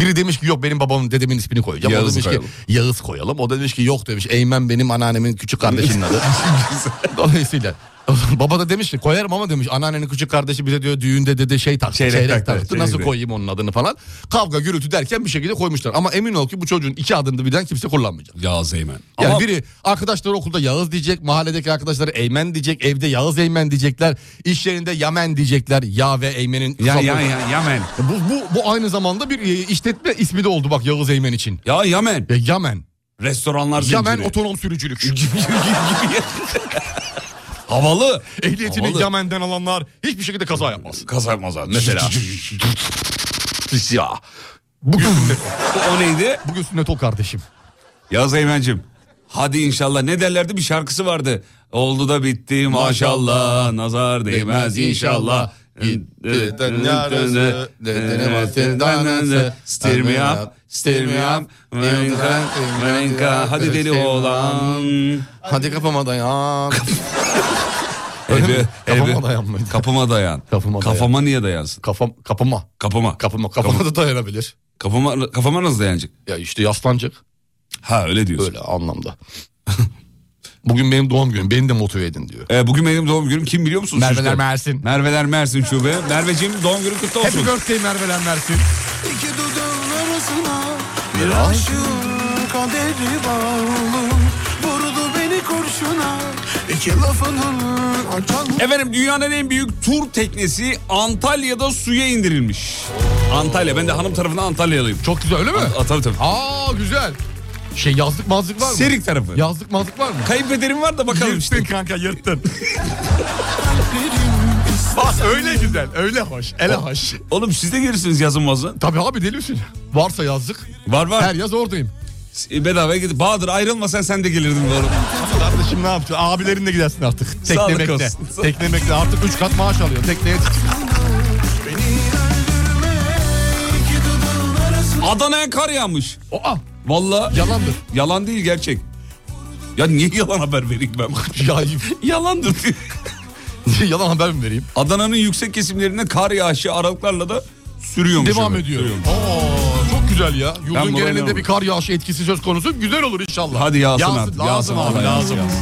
Speaker 6: Biri demiş ki yok benim babamın dedemin ismini koyacağım.
Speaker 5: Yağız
Speaker 6: o demiş
Speaker 5: koyalım.
Speaker 6: ki Yağız koyalım. O da demiş ki yok demiş Eymen benim anneannemin küçük kardeşinin adı.
Speaker 5: *laughs*
Speaker 6: Dolayısıyla *laughs* baba da demiş ki koyarım ama demiş anneannenin küçük kardeşi bize diyor düğünde dede şey taktı
Speaker 5: Çeyrek
Speaker 6: çeyrek,
Speaker 5: taktı,
Speaker 6: taktı
Speaker 5: çeyrek
Speaker 6: nasıl
Speaker 5: de.
Speaker 6: koyayım onun adını falan. Kavga gürültü derken bir şekilde koymuşlar ama emin ol ki bu çocuğun iki adını da birden kimse kullanmayacak.
Speaker 5: Yağız Eymen.
Speaker 6: Yani
Speaker 5: Ama
Speaker 6: biri arkadaşları okulda Yağız diyecek, mahalledeki arkadaşları Eymen diyecek, evde Yağız Eymen diyecekler, iş yerinde Yamen diyecekler, Ya ve Eymen'in. E,
Speaker 5: Ya, ya, ya, Yamen.
Speaker 6: Bu, bu, bu aynı zamanda bir e, işletme ismi de oldu bak Yağız Eymen için.
Speaker 5: Ya Yamen.
Speaker 6: E, Yamen.
Speaker 5: Restoranlar zinciri.
Speaker 6: Yamen
Speaker 5: *laughs*
Speaker 6: otonom sürücülük.
Speaker 5: Havalı.
Speaker 6: Ehliyetini
Speaker 5: Havalı.
Speaker 6: Yamen'den alanlar hiçbir şekilde kaza yapmaz.
Speaker 5: Kaza maza mesela.
Speaker 6: *laughs* ya.
Speaker 5: *laughs*
Speaker 6: Bugün, sünnet-
Speaker 5: o neydi?
Speaker 6: bugün sünnet ol kardeşim.
Speaker 5: Yağız Eymen'cim. Hadi inşallah. Ne derlerdi? Bir şarkısı vardı. Oldu da bitti maşallah. Nazar değmez inşallah. Stir me up, stir me up. Menka, menka. Hadi deli oğlan.
Speaker 6: Hadi kafama dayan. Öyle mi?
Speaker 5: Elbe,
Speaker 6: Kafama
Speaker 5: elbe-
Speaker 6: dayan mıydı?
Speaker 5: Kapıma dayan.
Speaker 6: Kafama dayan.
Speaker 5: Kafama niye dayansın?
Speaker 6: Kafam, kapıma.
Speaker 5: Kapıma.
Speaker 6: Kapıma, kafama da dayanabilir.
Speaker 5: Kafama, kafama nasıl dayanacak?
Speaker 6: Ya işte yaslanacak.
Speaker 5: Ha öyle diyorsun.
Speaker 6: Öyle anlamda. Bugün benim doğum günüm. Beni de motive edin diyor.
Speaker 5: Ee, bugün benim doğum günüm kim biliyor musunuz?
Speaker 6: Merveler
Speaker 5: çocuklar?
Speaker 6: Mersin.
Speaker 5: Merveler Mersin şube. Merveciğim doğum günün kutlu
Speaker 6: Happy
Speaker 5: olsun.
Speaker 6: birthday Merve'len Mersin.
Speaker 2: İki dudağın arasına bir aşığın kaderi bağlı Vurdu beni kurşuna iki lafının açan
Speaker 5: Efendim dünyanın en büyük tur teknesi Antalya'da suya indirilmiş. Antalya. Ben de hanım tarafından Antalyalıyım.
Speaker 6: Çok güzel öyle mi?
Speaker 5: Aa, tabii tabii.
Speaker 6: Aa güzel. Şey yazlık mazlık var mı?
Speaker 5: Serik tarafı.
Speaker 6: Yazlık mazlık var mı?
Speaker 5: Kayıp ederim var da bakalım işte. *laughs*
Speaker 6: kanka yırttın. Bak öyle güzel öyle hoş ele hoş.
Speaker 5: Oğlum siz de gelirsiniz yazın mazın.
Speaker 6: Tabii abi deli misin? Varsa yazlık.
Speaker 5: Var var.
Speaker 6: Her yaz oradayım.
Speaker 5: E, Bedavaya gidip. Bahadır ayrılmasan sen de gelirdin oğlum.
Speaker 6: Kardeşim ne yapacak? Abilerinle gidersin artık.
Speaker 5: Sağlık
Speaker 6: Teknemekle.
Speaker 5: olsun. *laughs*
Speaker 6: Teknemekle artık 3 kat maaş alıyor. Tekneye
Speaker 5: Adana'ya kar yağmış.
Speaker 6: Aa,
Speaker 5: Vallahi
Speaker 6: yalandır.
Speaker 5: Yalan değil gerçek. Ya niye yalan haber vereyim ben?
Speaker 6: *laughs* Ya,
Speaker 5: Yalandır diyor.
Speaker 6: *laughs* yalan haber mi vereyim?
Speaker 5: Adana'nın yüksek kesimlerinde kar yağışı aralıklarla da sürüyormuş.
Speaker 6: Devam
Speaker 5: evet,
Speaker 6: ediyor.
Speaker 5: sürüyormuş.
Speaker 6: Aa, çok güzel ya.
Speaker 5: Ben
Speaker 6: Yurdun
Speaker 5: buna
Speaker 6: genelinde
Speaker 5: inanıyorum.
Speaker 6: bir kar yağışı etkisi söz konusu. Güzel olur inşallah.
Speaker 5: Hadi yağsın artık,
Speaker 6: Lazım
Speaker 5: yağsın
Speaker 6: abi
Speaker 5: abi,
Speaker 6: lazım.
Speaker 5: yağsın.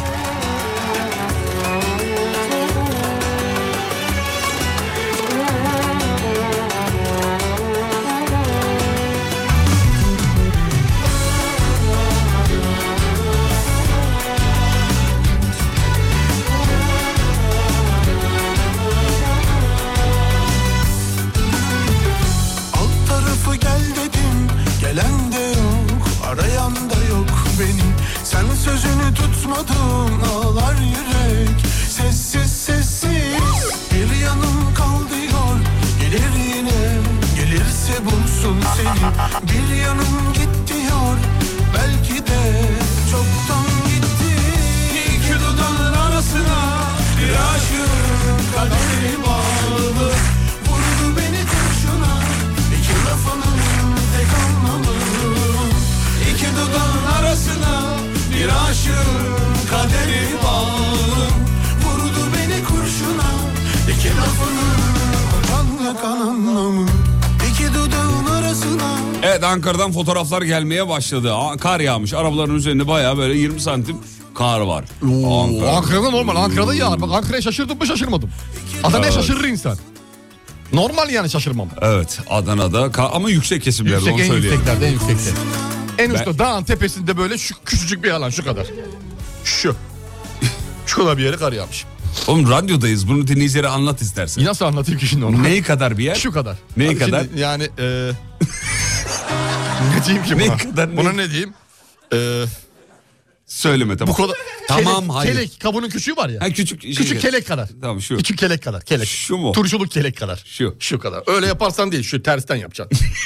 Speaker 2: Alt tarafı gel dedim Gelen de yok Arayan da yok benim Sen sözünü tutmadın Ağlar yürek Sessiz sessiz Bir yanım kal diyor Gelir yine Gelirse bulsun seni Bir yanım git diyor Belki de Çoktan gitti İki dudağın arasına Bir aşığın kaderi bağlı Vurdu beni kurşuna İki lafının tek anlamı İki dudağın arasına Bir aşığın kaderi bağlı Vurdu beni kurşuna İki lafının Kan yakan anlamı İki dudağın arasına
Speaker 5: Evet Ankara'dan fotoğraflar gelmeye başladı. Aa, Kar yağmış. Arabaların üzerinde bayağı böyle 20 santim kar var.
Speaker 6: Oo,
Speaker 5: Ankara.
Speaker 6: Ankara'da normal. Ankara'da yağar. Bak Ankara'ya şaşırdım mı şaşırmadım. Adana'ya
Speaker 5: Evet.
Speaker 6: şaşırır insan. Normal yani şaşırmam.
Speaker 5: Evet Adana'da ka- ama yüksek kesimlerde
Speaker 6: Yüksek
Speaker 5: onu
Speaker 6: en
Speaker 5: söyleyelim.
Speaker 6: yükseklerde en yüksekte. En
Speaker 5: Ben-
Speaker 6: uçta dağın tepesinde böyle şu küçücük bir alan şu kadar. Şu. *laughs* Şu kadar bir yere kar yağmış.
Speaker 5: Oğlum radyodayız bunu dinleyicilere anlat istersen.
Speaker 6: E Nasıl anlatayım ki şimdi onu?
Speaker 5: Neyi kadar bir yer?
Speaker 6: Şu kadar.
Speaker 5: Neyi
Speaker 6: Abi şimdi
Speaker 5: kadar?
Speaker 6: yani e, *laughs* ne diyeyim ki buna?
Speaker 5: Neyi kadar,
Speaker 6: Buna
Speaker 5: neyi-
Speaker 6: ne diyeyim? E,
Speaker 5: Söyleme
Speaker 6: bu
Speaker 5: tamam.
Speaker 6: kadar.
Speaker 5: Tamam,
Speaker 6: kelek,
Speaker 5: hayır.
Speaker 6: Kelek kabının küçüğü var ya.
Speaker 5: Ha, küçük şey-
Speaker 6: küçük kelek kadar.
Speaker 5: Tamam, şu.
Speaker 6: Küçük kelek kadar. Kelek.
Speaker 5: Şu mu?
Speaker 6: Turşuluk kelek kadar.
Speaker 5: Şu.
Speaker 6: *laughs* Şu kadar. Öyle yaparsan değil. Şu tersten yapacaksın.
Speaker 5: *laughs*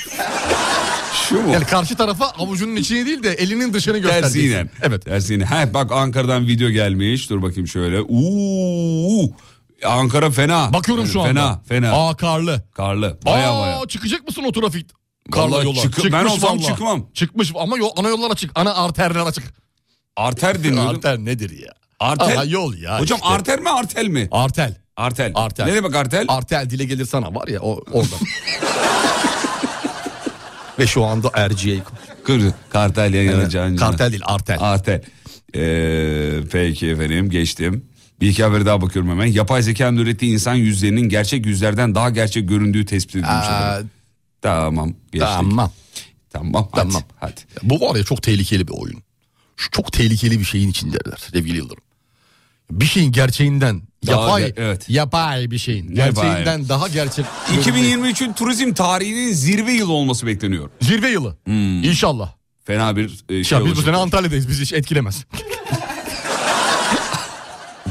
Speaker 5: Şu mu?
Speaker 6: yani karşı tarafa avucunun içini değil de elinin dışını göstereceksin.
Speaker 5: Tersiyle.
Speaker 6: Evet.
Speaker 5: Tersiyle. Ha bak Ankara'dan video gelmiş. Dur bakayım şöyle. Uuu. Ankara fena.
Speaker 6: Bakıyorum şu anda.
Speaker 5: Fena fena.
Speaker 6: Aa karlı.
Speaker 5: Karlı. Baya
Speaker 6: Aa,
Speaker 5: baya.
Speaker 6: çıkacak mısın o trafik?
Speaker 5: Karla
Speaker 6: Vallahi
Speaker 5: yola.
Speaker 6: çıkı-
Speaker 5: Çıkmış
Speaker 6: ben olsam
Speaker 5: vallahi.
Speaker 6: çıkmam. Çıkmış ama yol, ana yollara çık. Ana arterlere çık.
Speaker 5: Arter deniyordu.
Speaker 6: Arter nedir ya?
Speaker 5: Arter.
Speaker 6: Aha, yol ya
Speaker 5: Hocam
Speaker 6: işte.
Speaker 5: arter mi artel mi?
Speaker 6: Artel.
Speaker 5: Artel.
Speaker 6: Artel.
Speaker 5: Ne demek artel?
Speaker 6: Artel dile gelir sana var ya
Speaker 5: *laughs*
Speaker 6: o, orada. Ve şu anda Erciye
Speaker 5: Kır, kartel yanacağın.
Speaker 6: Kartel değil artel.
Speaker 5: Artel. Ee, peki efendim geçtim. Bir iki haber daha bakıyorum hemen. Yapay zekanın ürettiği insan yüzlerinin gerçek yüzlerden daha gerçek göründüğü tespit edilmiş. efendim. Tamam. Geçtik.
Speaker 6: Tamam.
Speaker 5: Tamam. Hadi,
Speaker 6: Tamam.
Speaker 5: Hadi.
Speaker 6: Bu var ya çok tehlikeli bir oyun. Şu çok tehlikeli bir şeyin içindeler sevgili Yıldırım. Bir şeyin gerçeğinden
Speaker 5: Daha
Speaker 6: yapay
Speaker 5: ge- evet.
Speaker 6: yapay bir şeyin
Speaker 5: Yapay.
Speaker 6: gerçeğinden daha gerçek.
Speaker 5: 2023'ün turizm tarihinin zirve yılı olması bekleniyor. Hmm.
Speaker 6: Zirve yılı. İnşallah.
Speaker 5: Fena bir e, şey
Speaker 6: Ya biz bu
Speaker 5: olacak.
Speaker 6: sene Antalya'dayız. Bizi hiç etkilemez.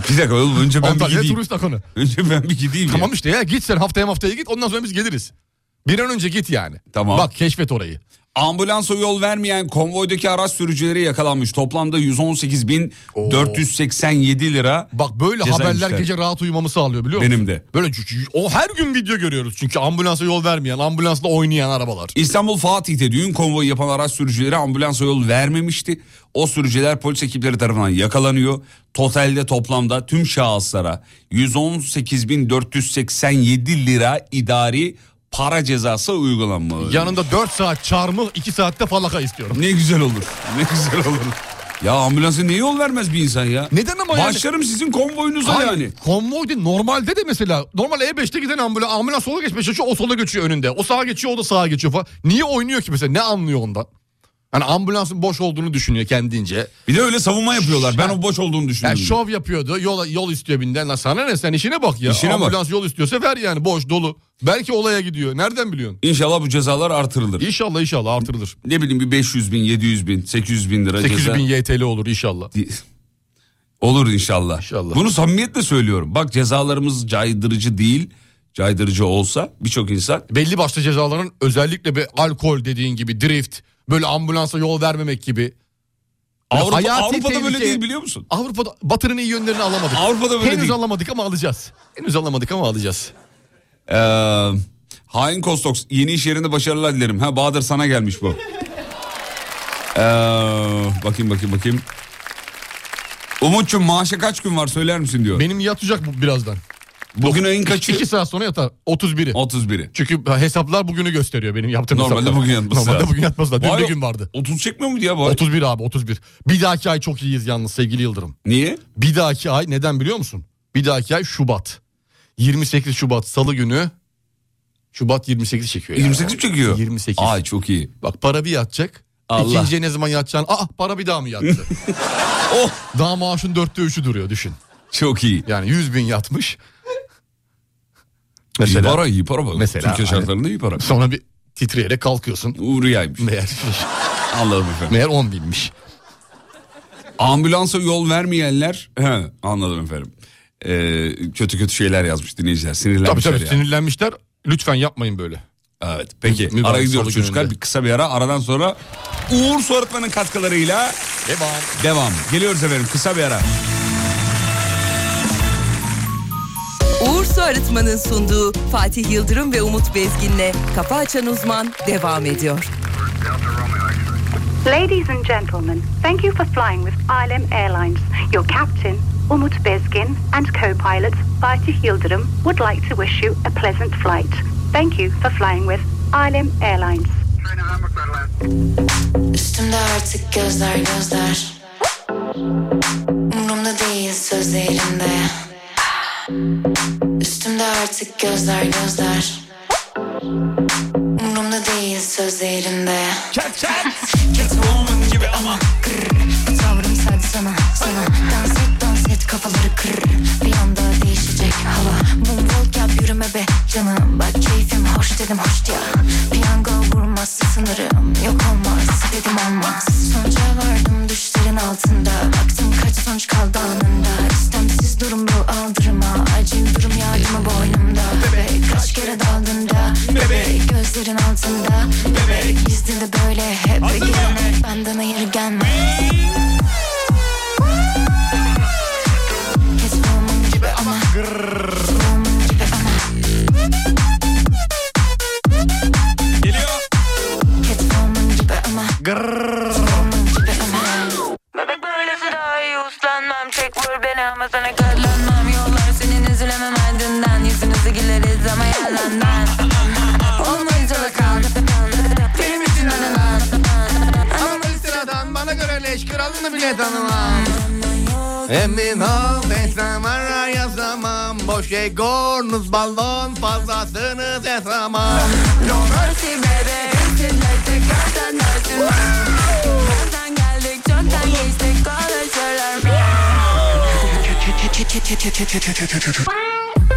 Speaker 5: Bir dakika oğlum önce ben bir
Speaker 6: Antalya
Speaker 5: gideyim.
Speaker 6: turist akını.
Speaker 5: *laughs* Önce ben bir gideyim ya.
Speaker 6: Tamam işte ya git sen haftaya haftaya git ondan sonra biz geliriz. Bir an önce git yani.
Speaker 5: Tamam.
Speaker 6: Bak keşfet orayı.
Speaker 5: Ambulansa yol vermeyen konvoydaki araç sürücüleri yakalanmış. Toplamda 118.487 lira.
Speaker 6: Bak böyle
Speaker 5: Ceza
Speaker 6: haberler
Speaker 5: yemişler.
Speaker 6: gece rahat uyumamı sağlıyor biliyor musun?
Speaker 5: Benim de.
Speaker 6: Böyle c- c- o her gün video görüyoruz çünkü ambulansa yol vermeyen, ambulansla oynayan arabalar.
Speaker 5: İstanbul Fatih'te düğün konvoyu yapan araç sürücüleri ambulansa yol vermemişti. O sürücüler polis ekipleri tarafından yakalanıyor. Totalde toplamda tüm şahıslara 118.487 lira idari para cezası uygulanmalı.
Speaker 6: Yanında 4 saat çarmıh, 2 saatte falaka istiyorum.
Speaker 5: Ne güzel olur. Ne güzel olur. Ya ambulansa niye yol vermez bir insan ya?
Speaker 6: Neden ama yani?
Speaker 5: Başlarım sizin konvoyunuza
Speaker 6: Hayır,
Speaker 5: yani.
Speaker 6: Konvoy değil normalde de mesela normal E5'te giden ambulans, ambulans sola geçmeye çalışıyor o sola geçiyor önünde. O sağa geçiyor o da sağa geçiyor falan. Niye oynuyor ki mesela ne anlıyor ondan? Hani ambulansın boş olduğunu düşünüyor kendince.
Speaker 5: Bir de öyle savunma yapıyorlar. Ben o boş olduğunu
Speaker 6: Yani
Speaker 5: düşünüyorum.
Speaker 6: şov yapıyordu. Yol, yol istiyor binden. Lan sana ne sen işine bak ya.
Speaker 5: İşine bak.
Speaker 6: Ambulans yol istiyorsa ver yani boş dolu. Belki olaya gidiyor. Nereden biliyorsun?
Speaker 5: İnşallah bu cezalar artırılır.
Speaker 6: İnşallah inşallah artırılır.
Speaker 5: ne bileyim bir 500 bin, 700 bin, 800 bin lira
Speaker 6: 800
Speaker 5: ceza.
Speaker 6: bin YTL olur inşallah.
Speaker 5: Di- Olur inşallah.
Speaker 6: İnşallah.
Speaker 5: Bunu samimiyetle söylüyorum. Bak cezalarımız caydırıcı değil. Caydırıcı olsa birçok insan
Speaker 6: Belli başlı cezaların özellikle bir alkol dediğin gibi drift, böyle ambulansa yol vermemek gibi.
Speaker 5: Avrupa,
Speaker 6: hayati
Speaker 5: Avrupa'da böyle
Speaker 6: tehlike-
Speaker 5: değil biliyor musun?
Speaker 6: Avrupa'da Batı'nın iyi yönlerini alamadık.
Speaker 5: Avrupa'da böyle
Speaker 6: Henüz
Speaker 5: değil.
Speaker 6: alamadık ama alacağız. Henüz alamadık ama alacağız.
Speaker 5: Ee, hain Kostoks yeni iş yerinde başarılar dilerim. Ha Bahadır sana gelmiş bu. Ee, bakayım bakayım bakayım. Umut'cum maaşa kaç gün var söyler misin diyor.
Speaker 6: Benim yatacak bu birazdan.
Speaker 5: Bugün ayın kaçı?
Speaker 6: 2 saat sonra yatar. 31'i.
Speaker 5: 31'i.
Speaker 6: Çünkü hesaplar bugünü gösteriyor benim yaptığım
Speaker 5: Normalde
Speaker 6: hesaplar.
Speaker 5: bugün yatması
Speaker 6: Normalde
Speaker 5: lazım.
Speaker 6: bugün yatması lazım. Dün
Speaker 5: Vay,
Speaker 6: bir gün vardı.
Speaker 5: 30 çekmiyor mu ya bu ay?
Speaker 6: 31 abi 31. Bir dahaki ay çok iyiyiz yalnız sevgili Yıldırım.
Speaker 5: Niye?
Speaker 6: Bir dahaki ay neden biliyor musun? Bir dahaki ay Şubat. 28 Şubat Salı günü Şubat 28 çekiyor. yani.
Speaker 5: 28 mi çekiyor?
Speaker 6: 28.
Speaker 5: Ay çok iyi.
Speaker 6: Bak para bir yatacak.
Speaker 5: Allah.
Speaker 6: İkinciye ne zaman yatacağını... Aa para bir daha mı yattı?
Speaker 5: *laughs* Oh
Speaker 6: daha maaşın dörtte üçü duruyor düşün.
Speaker 5: çok iyi.
Speaker 6: Yani 100 bin yatmış.
Speaker 5: iyi
Speaker 6: Mesela
Speaker 5: para iyi para. bak.
Speaker 6: Mesela
Speaker 5: Türkiye
Speaker 6: hani-
Speaker 5: şartlarında iyi para.
Speaker 6: sonra bir titreyerek kalkıyorsun.
Speaker 5: Uğruyaymış.
Speaker 6: Meğer,
Speaker 5: Anladım efendim.
Speaker 6: meğer 10 binmiş.
Speaker 5: Ambulansa yol vermeyenler. He, anladım efendim. Ee, kötü kötü şeyler yazmış dinleyiciler.
Speaker 6: Tabii
Speaker 5: Sinirlenmişler
Speaker 6: tabii
Speaker 5: yani.
Speaker 6: sinirlenmişler. Lütfen yapmayın böyle.
Speaker 5: Evet peki
Speaker 6: Mübarek
Speaker 5: ara gidiyoruz
Speaker 6: salı
Speaker 5: çocuklar
Speaker 6: gününde.
Speaker 5: bir kısa bir ara aradan sonra Uğur Soğutman'ın katkılarıyla
Speaker 6: Devam.
Speaker 5: devam. Geliyoruz efendim kısa bir ara.
Speaker 1: Uğur Su Arıtma'nın sunduğu Fatih Yıldırım ve Umut Bezgin'le Kafa Açan Uzman devam ediyor.
Speaker 11: Ladies and gentlemen, thank you for flying with ILM Airlines. Your captain, Umut Bezgin, and co-pilot Fatih Yıldırım would like to wish you a pleasant flight. Thank you for flying with ILM Airlines.
Speaker 3: Üstümde artık gözler gözler Umurumda değil sözlerinde Üstümde artık gözler gözler Umurumda değil sözlerinde
Speaker 5: Çat çat.
Speaker 3: Catwoman gibi ama kır Tavrım sadece sana sana Dans et dans et kafaları kır Bir anda değişecek hava Moonwalk yap yürüme be canım Bak keyfim hoş dedim hoş ya Piyango vurmaz sınırım Yok olmaz dedim olmaz Sonuca vardım düşlerin altında Baktım kaç sonuç kaldı anında İstemsiz durum bu aldırma Acil durum yardımı boynumda Bebek kaç kere daldın da Bebek gözlerin altında Bebek gizli de böyle hep Gelme benden hayır gelme Catwoman gibi ama Catwoman gibi ama
Speaker 5: Geliyor.
Speaker 12: Ramazan'a katlanmam Yollar senin üzülemem ardından Yüzünüzü güleriz ama yalandan Olmayız yola kaldı Benim için anılan Ama sıradan bana göre leş kralını bile tanımam
Speaker 13: Emin ol beslemara yazamam Boş egorunuz balon fazlasını sesamam
Speaker 12: No mercy baby Sizler tekrar dönersiniz Nereden geldik çoktan geçtik Konuşurlar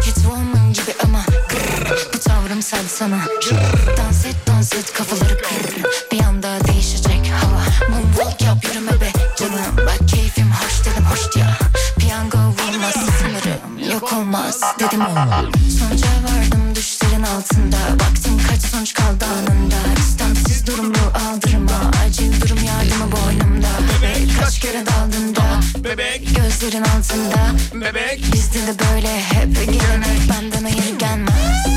Speaker 3: Hiç woman gibi ama kırr. Bu tavrım sadece sana Kırr. Dans et dans et kafaları kır Bir anda değişecek hava Moonwalk yap yürüme be canım Bak keyfim hoş dedim hoş ya Piyango vurmaz sınırım Yok olmaz dedim olmaz Sonuca vardım düşlerin altında Baktım kaç sonuç kaldı anında İstemsiz durum bu aldırma Acil durum yardımı boynumda Bebek kaç kere daldın da Bebek Gözlerin altında Bebek Bizde de böyle hep gelenek Benden hayır gelmez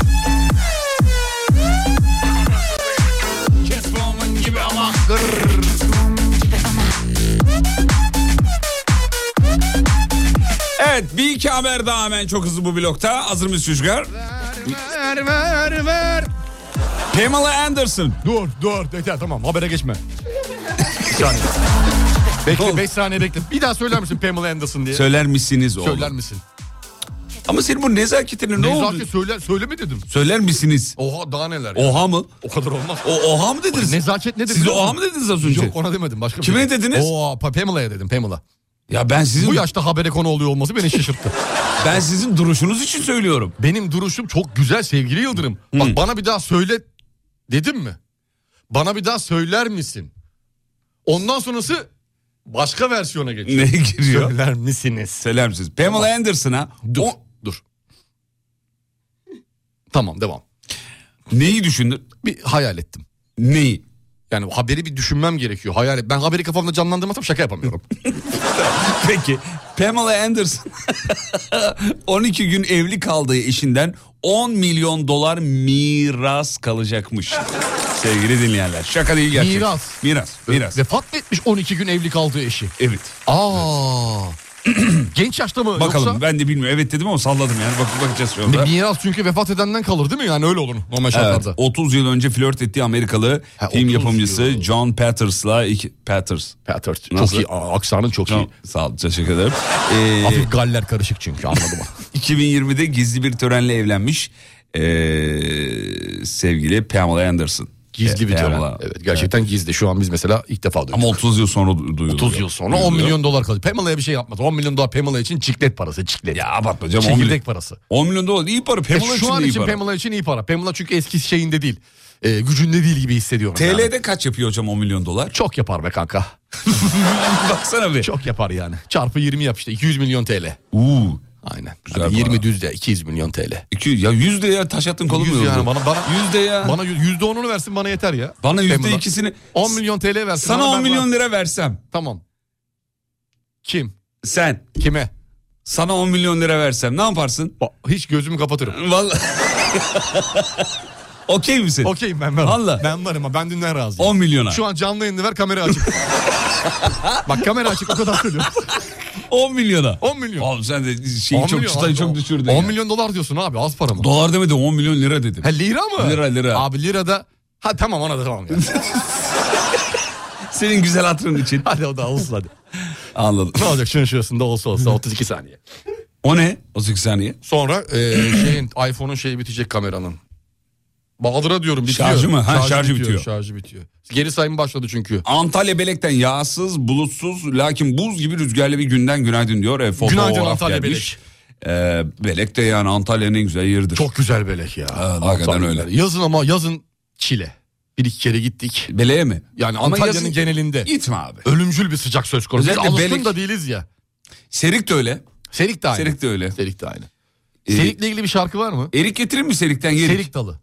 Speaker 13: Catwoman gibi ama
Speaker 5: Evet bir iki haber daha hemen çok hızlı bu blokta. Hazır mıyız çocuklar?
Speaker 6: Ver ver ver.
Speaker 5: Pamela Anderson.
Speaker 6: Dur dur yeter tamam habere geçme. Bir saniye. Bekle 5 saniye bekle. Bir daha söyler misin Pamela Anderson diye?
Speaker 5: Söyler misiniz oğlum?
Speaker 6: Söyler misin?
Speaker 5: Ama senin bu nezaketine ne oldu?
Speaker 6: Nezaket söyle, söyleme dedim.
Speaker 5: Söyler misiniz?
Speaker 6: Oha daha neler ya.
Speaker 5: Oha mı?
Speaker 6: O kadar olmaz.
Speaker 5: O, oha mı dediniz?
Speaker 6: Nezaket nedir?
Speaker 5: Siz
Speaker 6: biliyor
Speaker 5: oha mı
Speaker 6: musun?
Speaker 5: dediniz az önce?
Speaker 6: Yok ona demedim başka bir
Speaker 5: Kime
Speaker 6: şey.
Speaker 5: dediniz?
Speaker 6: Oo, Pa- Pamela'ya dedim Pamela.
Speaker 5: Ya ben sizin...
Speaker 6: Bu yaşta habere konu oluyor olması beni şaşırttı.
Speaker 5: *laughs* ben sizin duruşunuz için söylüyorum.
Speaker 6: Benim duruşum çok güzel sevgili Yıldırım. Bak bana bir daha söyle dedim mi? Bana bir daha söyler misin? Ondan sonrası başka versiyona geçiyor.
Speaker 5: Ne giriyor?
Speaker 6: Söyler misiniz?
Speaker 5: Söyler misiniz? Pamela Anderson'a... Dur,
Speaker 6: dur. Tamam devam.
Speaker 5: Neyi düşündün?
Speaker 6: Bir hayal ettim.
Speaker 5: Neyi?
Speaker 6: Yani haberi bir düşünmem gerekiyor. Hayal et. Ben haberi kafamda canlandırmazsam şaka yapamıyorum.
Speaker 5: *laughs* Peki Pamela Anderson *laughs* 12 gün evli kaldığı eşinden 10 milyon dolar miras kalacakmış. Sevgili dinleyenler şaka değil gerçek.
Speaker 6: Miras.
Speaker 5: Miras. Miras.
Speaker 6: Vefat mı etmiş 12 gün evli kaldığı eşi?
Speaker 5: Evet.
Speaker 6: Aa. Genç yaşta mı
Speaker 5: Bakalım
Speaker 6: yoksa?
Speaker 5: ben de bilmiyorum. Evet dedim ama salladım yani. Bak, bakacağız şu anda.
Speaker 6: Miras çünkü vefat edenden kalır değil mi? Yani öyle olur normal
Speaker 5: Evet,
Speaker 6: şartlarda.
Speaker 5: 30 yıl önce flört ettiği Amerikalı film yapımcısı John Patters'la iki, Patters.
Speaker 6: Patters. Çok iyi. Aa, aksanın çok iyi.
Speaker 5: Sağ ol. Teşekkür ederim. Ee,
Speaker 6: Hafif galler karışık
Speaker 5: *laughs*
Speaker 6: çünkü anladım.
Speaker 5: 2020'de gizli bir törenle evlenmiş ee, sevgili Pamela Anderson.
Speaker 6: Gizli bir tören.
Speaker 5: Pamela.
Speaker 6: Evet gerçekten gizli. Şu an biz mesela ilk defa duyduk.
Speaker 5: Ama 30 yıl sonra du- duyuluyor.
Speaker 6: 30 yıl sonra 10
Speaker 5: Duyuluyor.
Speaker 6: milyon dolar kalacak. Pamela'ya bir şey yapmaz. 10 milyon dolar Pamela için çiklet parası. Çiklet.
Speaker 5: Ya abartma canım, 10 milyon-
Speaker 6: Çekirdek parası.
Speaker 5: 10 milyon dolar iyi para. Pamela
Speaker 6: E,
Speaker 5: için
Speaker 6: şu an
Speaker 5: de iyi
Speaker 6: için
Speaker 5: para.
Speaker 6: Pamela için iyi para. Pamela çünkü eski şeyinde değil. E, gücünde değil gibi hissediyorum.
Speaker 5: TL'de
Speaker 6: yani.
Speaker 5: kaç yapıyor hocam 10 milyon dolar?
Speaker 6: Çok yapar be kanka.
Speaker 5: *laughs* Baksana bir.
Speaker 6: Çok yapar yani. Çarpı 20 yap işte 200 milyon TL.
Speaker 5: Uuu.
Speaker 6: Aynen.
Speaker 5: Güzel
Speaker 6: Hadi
Speaker 5: para.
Speaker 6: 20 düzde 200 milyon TL.
Speaker 5: 200, ya yüzde ya taş attın kolum
Speaker 6: Yüz
Speaker 5: yoruldu.
Speaker 6: yani bana, bana,
Speaker 5: yüzde ya.
Speaker 6: Bana yü- yüzde onunu versin bana yeter ya.
Speaker 5: Bana yüzde
Speaker 6: Pamela.
Speaker 5: ikisini-
Speaker 6: 10 milyon TL versin.
Speaker 5: Sana
Speaker 6: bana,
Speaker 5: 10
Speaker 6: ben-
Speaker 5: milyon lira versem.
Speaker 6: Tamam. Kim?
Speaker 5: Sen.
Speaker 6: Kime?
Speaker 5: Sana 10 milyon lira versem ne yaparsın?
Speaker 6: Hiç gözümü kapatırım. *laughs*
Speaker 5: Vallahi. Okey misin?
Speaker 6: Okeyim ben varım.
Speaker 5: Vallahi.
Speaker 6: Ben varım ama ben dünden razıyım.
Speaker 5: 10 milyona.
Speaker 6: Şu an canlı yayında ver
Speaker 5: *laughs*
Speaker 6: kamera açık. Bak kamera açık o kadar söylüyorum.
Speaker 5: 10 milyona.
Speaker 6: 10 milyon.
Speaker 5: Oğlum sen de şeyi
Speaker 6: 10
Speaker 5: çok
Speaker 6: milyon
Speaker 5: çıtayı
Speaker 6: abi,
Speaker 5: çok
Speaker 6: o-
Speaker 5: düşürdün.
Speaker 6: 10
Speaker 5: ya.
Speaker 6: milyon dolar diyorsun abi az para mı?
Speaker 5: Dolar demedim 10 milyon lira dedim.
Speaker 6: Ha, lira mı?
Speaker 5: Lira, lira.
Speaker 6: Abi lira da ha tamam ona da tamam. Yani.
Speaker 5: *laughs* Senin güzel hatırın için.
Speaker 6: hadi o da olsun hadi.
Speaker 5: Anladım.
Speaker 6: Ne olacak şunun şurasında olsa olsa 32 saniye.
Speaker 5: O ne? 38 saniye.
Speaker 6: Sonra e, şeyin iPhone'un şeyi bitecek kameranın. Bahadır'a diyorum bitiyor.
Speaker 5: Şarjı mı? Ha, şarjı bitiyor.
Speaker 6: Şarjı bitiyor. Geri sayım başladı çünkü.
Speaker 5: Antalya Belek'ten yağsız, bulutsuz lakin buz gibi rüzgarlı bir günden günaydın diyor. E, fotoğraf
Speaker 6: Günaydın Antalya
Speaker 5: gelmiş. E, Belek de yani Antalya'nın en güzel yeridir.
Speaker 6: Çok güzel belek ya.
Speaker 5: hakikaten öyle.
Speaker 6: Yazın ama yazın Çile. Bir iki kere gittik.
Speaker 5: Beleğe mi?
Speaker 6: Yani
Speaker 5: Ama
Speaker 6: Antalya'nın
Speaker 5: yazın-
Speaker 6: genelinde.
Speaker 5: Gitme abi.
Speaker 6: Ölümcül bir sıcak söz konusu. Biz
Speaker 5: Özellikle
Speaker 6: alışkın
Speaker 5: Belek-
Speaker 6: da değiliz ya.
Speaker 5: Serik de öyle.
Speaker 6: Serik de aynı.
Speaker 5: Serik de öyle.
Speaker 6: Serik de aynı.
Speaker 5: Ee,
Speaker 6: Serik'le ilgili bir şarkı var mı?
Speaker 5: Erik getirir mi Serik'ten yerik?
Speaker 6: Serik dalı.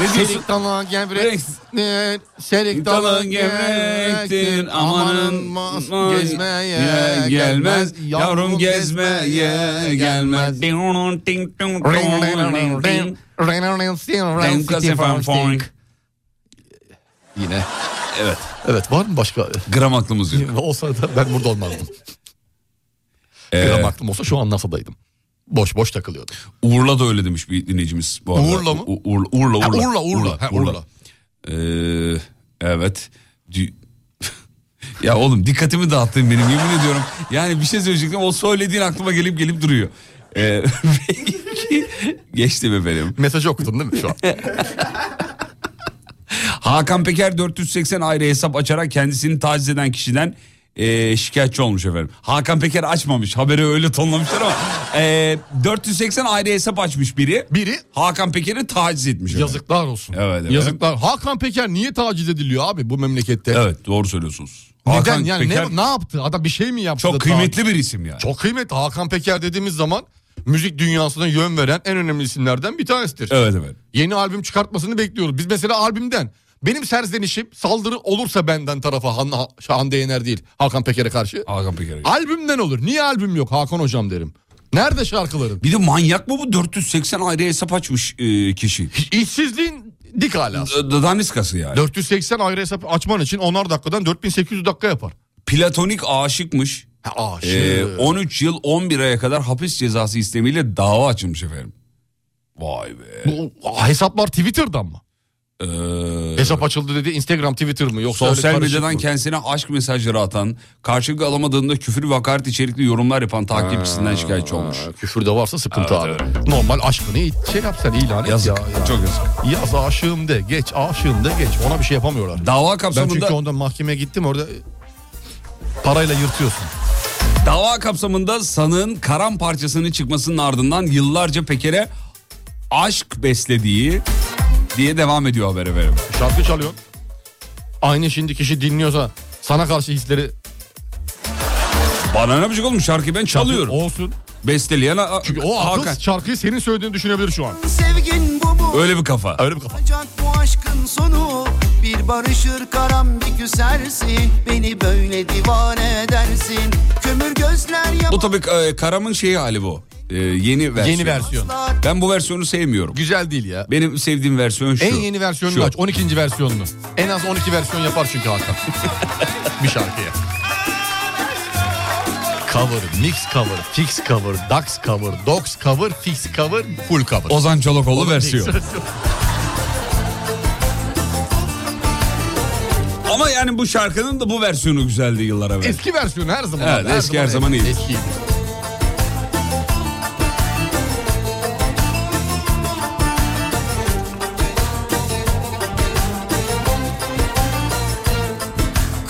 Speaker 5: Ne diyorsun?
Speaker 6: Serik dalı gevrek.
Speaker 5: Renk-
Speaker 6: Serik dalı
Speaker 5: Dalı gevrektir,
Speaker 6: gevrektir. Amanın mas- gezmeye
Speaker 5: Ye- gelmez. Yavrum gezmeye gelmez.
Speaker 6: Yine.
Speaker 5: Evet.
Speaker 6: Evet var mı başka? *laughs*
Speaker 5: Gram aklımız yok.
Speaker 6: Olsa da ben burada olmazdım. Bir
Speaker 5: Ee,
Speaker 6: an aklım olsa şu an NASA'daydım. Boş boş takılıyordum.
Speaker 5: Uğur'la da öyle demiş bir dinleyicimiz. Bu arada.
Speaker 6: Uğur'la mı?
Speaker 5: U- Uğur'la, Uğur'la,
Speaker 6: Ha,
Speaker 5: Uğur'la.
Speaker 6: Uğur'la, Uğur'la. Ha, Uğur'la.
Speaker 5: Ee, evet. Dü- *laughs* ya oğlum dikkatimi dağıttın benim yemin ediyorum. Yani bir şey söyleyecektim o söylediğin aklıma gelip gelip duruyor. Ee, *laughs* peki, geçtim efendim.
Speaker 6: Mesajı okudun değil mi şu an?
Speaker 5: *laughs* Hakan Peker 480 ayrı hesap açarak kendisini taciz eden kişiden e, şikayetçi olmuş efendim. Hakan Peker açmamış haberi öyle tonlamışlar ama e, 480 ayrı hesap açmış biri. Biri? Hakan Peker'i taciz etmiş. efendim.
Speaker 6: Yazıklar olsun.
Speaker 5: Evet, evet.
Speaker 6: Yazıklar. Hakan Peker niye taciz ediliyor abi bu memlekette?
Speaker 5: Evet doğru söylüyorsunuz.
Speaker 6: Neden
Speaker 5: Hakan
Speaker 6: yani
Speaker 5: Peker-
Speaker 6: ne, ne yaptı? Adam bir şey mi yaptı?
Speaker 5: Çok
Speaker 6: da
Speaker 5: kıymetli
Speaker 6: taciz-
Speaker 5: bir isim yani.
Speaker 6: Çok kıymetli. Hakan Peker dediğimiz zaman müzik dünyasına yön veren en önemli isimlerden bir tanesidir.
Speaker 5: Evet evet.
Speaker 6: Yeni albüm çıkartmasını bekliyoruz. Biz mesela albümden benim serzenişim saldırı olursa benden tarafa Han, Ha- Hande Yener değil Hakan Peker'e karşı.
Speaker 5: Hakan Peker'e.
Speaker 6: Albümden olur. Niye albüm yok Hakan hocam derim. Nerede şarkıların?
Speaker 5: Bir de manyak mı bu 480 ayrı hesap açmış e, kişi?
Speaker 6: İşsizliğin dik alası.
Speaker 5: D- daniskası yani.
Speaker 6: 480 ayrı hesap açman için 10'ar dakikadan 4800 dakika yapar.
Speaker 5: Platonik aşıkmış.
Speaker 6: aşık.
Speaker 5: E, 13 yıl 11 aya kadar hapis cezası istemiyle dava açılmış efendim. Vay be. Ee,
Speaker 6: Bu hesaplar Twitter'dan mı? Hesap açıldı dedi Instagram Twitter mı yoksa öyle
Speaker 5: Sosyal
Speaker 6: karışık
Speaker 5: medyadan
Speaker 6: mı?
Speaker 5: kendisine aşk mesajları atan, karşılık alamadığında küfür ve hakaret içerikli yorumlar yapan takipçisinden
Speaker 6: Ha,
Speaker 5: şikayetçi olmuş.
Speaker 6: Küfür de varsa sıkıntı
Speaker 5: Evet,
Speaker 6: abi. Normal aşkını şey yap sen ilan et
Speaker 5: Yazık,
Speaker 6: ya, ya.
Speaker 5: çok yazık.
Speaker 6: Yaz aşığım de geç aşığım de geç ona bir şey yapamıyorlar.
Speaker 5: Dava kapsamında-
Speaker 6: Ben çünkü ondan mahkemeye gittim orada parayla yırtıyorsun.
Speaker 5: Dava kapsamında sanığın karan parçasının çıkmasının ardından yıllarca Peker'e aşk beslediği diye devam ediyor haber efendim.
Speaker 6: Şarkı çalıyorsun. Aynı şimdi kişi dinliyorsa sana karşı hisleri
Speaker 5: Bana ne yapacak oğlum şarkıyı ben çalıyorum.
Speaker 6: Olsun.
Speaker 5: Besteleyen A-
Speaker 6: Çünkü o akıl
Speaker 5: Hakan.
Speaker 6: şarkıyı senin söylediğini düşünebilir şu an.
Speaker 14: Sevgin bu mu?
Speaker 5: Öyle bir kafa.
Speaker 6: Öyle bir kafa.
Speaker 14: Olacak bu aşkın sonu Bir barışır karam bir küsersin Beni böyle divane edersin Kömür gözler
Speaker 5: Bu tabii e, Karam'ın şeyi hali bu. E, yeni versiyon.
Speaker 6: Yeni versiyon.
Speaker 5: Ben bu versiyonu sevmiyorum.
Speaker 6: Güzel değil ya.
Speaker 5: Benim sevdiğim versiyon şu.
Speaker 6: En yeni versiyonunu
Speaker 5: Şu.
Speaker 6: aç. 12. versiyonunu. En az 12 versiyon yapar
Speaker 5: *laughs*
Speaker 6: çünkü Hakan. bir şarkıya. Cover, mix cover, fix cover, dax cover, dox cover, fix cover, full cover.
Speaker 5: Ozan Çolakoğlu
Speaker 6: Onun
Speaker 5: versiyon.
Speaker 6: mix-
Speaker 5: Ama yani bu şarkının da bu versiyonu güzeldi yıllar evvel.
Speaker 6: eski versiyonu her zaman.
Speaker 5: Evet,
Speaker 6: abi, her
Speaker 5: eski her zaman iyi.
Speaker 6: Eskiydi.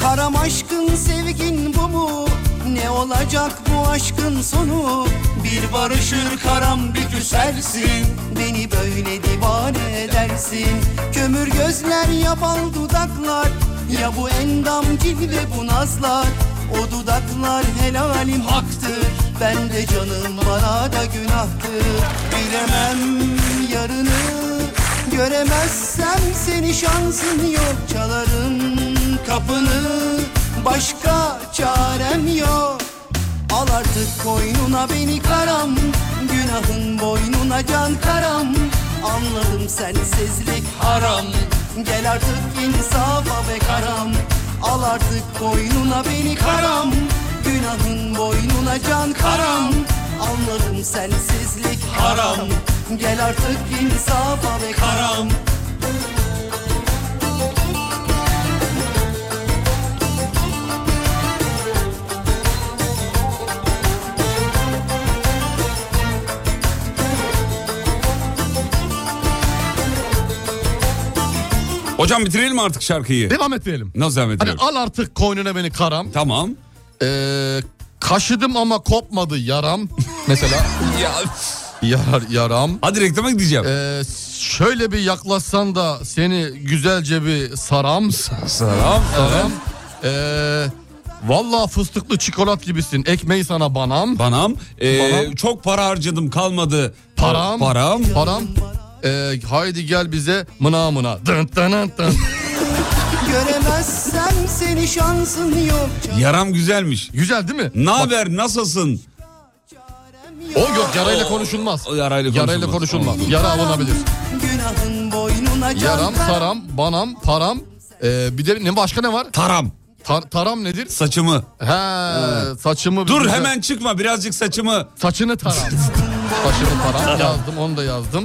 Speaker 14: Karam aşkın sevgin bu mu? Ne olacak bu aşkın sonu? Bir barışır karam bir küsersin Beni böyle divane edersin Kömür gözler ya bal dudaklar Ya bu endam cilve bu nazlar O dudaklar helalim haktır Ben de canım bana da günahtır Bilemem yarını Göremezsem seni şansın yok Çalarım kapını Başka çarem yok Al artık koynuna beni karam Günahın boynuna can karam Anladım sensizlik haram Gel artık insafa be karam Al artık koynuna beni karam Günahın boynuna can karam Anladım sensizlik haram Gel artık insafa be karam
Speaker 5: Hocam bitirelim artık şarkıyı.
Speaker 6: Devam ettirelim.
Speaker 5: Nasıl devam
Speaker 6: Hani
Speaker 5: edelim?
Speaker 6: al artık koynuna beni karam.
Speaker 5: Tamam.
Speaker 6: Ee, kaşıdım ama
Speaker 5: *laughs*
Speaker 6: kopmadı yaram. Mesela.
Speaker 5: ya.
Speaker 6: Yarar yaram.
Speaker 5: Hadi reklama gideceğim.
Speaker 6: Ee, şöyle bir yaklaşsan da seni güzelce bir saram.
Speaker 5: Saram,
Speaker 6: Saram. Ee, Valla fıstıklı çikolat gibisin. Ekmeği sana banam.
Speaker 5: Banam. Ee,
Speaker 6: Banam.
Speaker 5: Çok para harcadım kalmadı.
Speaker 6: Param.
Speaker 5: Param.
Speaker 6: Param. Ee, haydi gel bize mına mına. Dın dın dın dın.
Speaker 14: Göremezsem seni şansın yok
Speaker 5: Yaram güzelmiş.
Speaker 6: Güzel değil mi?
Speaker 5: Ne haber? Nasılsın?
Speaker 6: O yok yarayla konuşulmaz.
Speaker 5: O yarayla konuşulmaz.
Speaker 6: Yarayla konuşulmaz.
Speaker 5: Olmaz.
Speaker 6: Yara alınabilir.
Speaker 14: Günahın boynuna can
Speaker 6: Yaram,
Speaker 14: karam.
Speaker 6: saram, banam, param. Ee, bir de ne başka ne var?
Speaker 5: Taram.
Speaker 6: Tar- taram nedir?
Speaker 5: Saçımı.
Speaker 6: He, saçımı.
Speaker 5: Dur
Speaker 6: bir-
Speaker 5: hemen çıkma birazcık saçımı.
Speaker 6: Saçını
Speaker 5: *laughs*
Speaker 6: taram. Saçını taram yazdım onu da yazdım.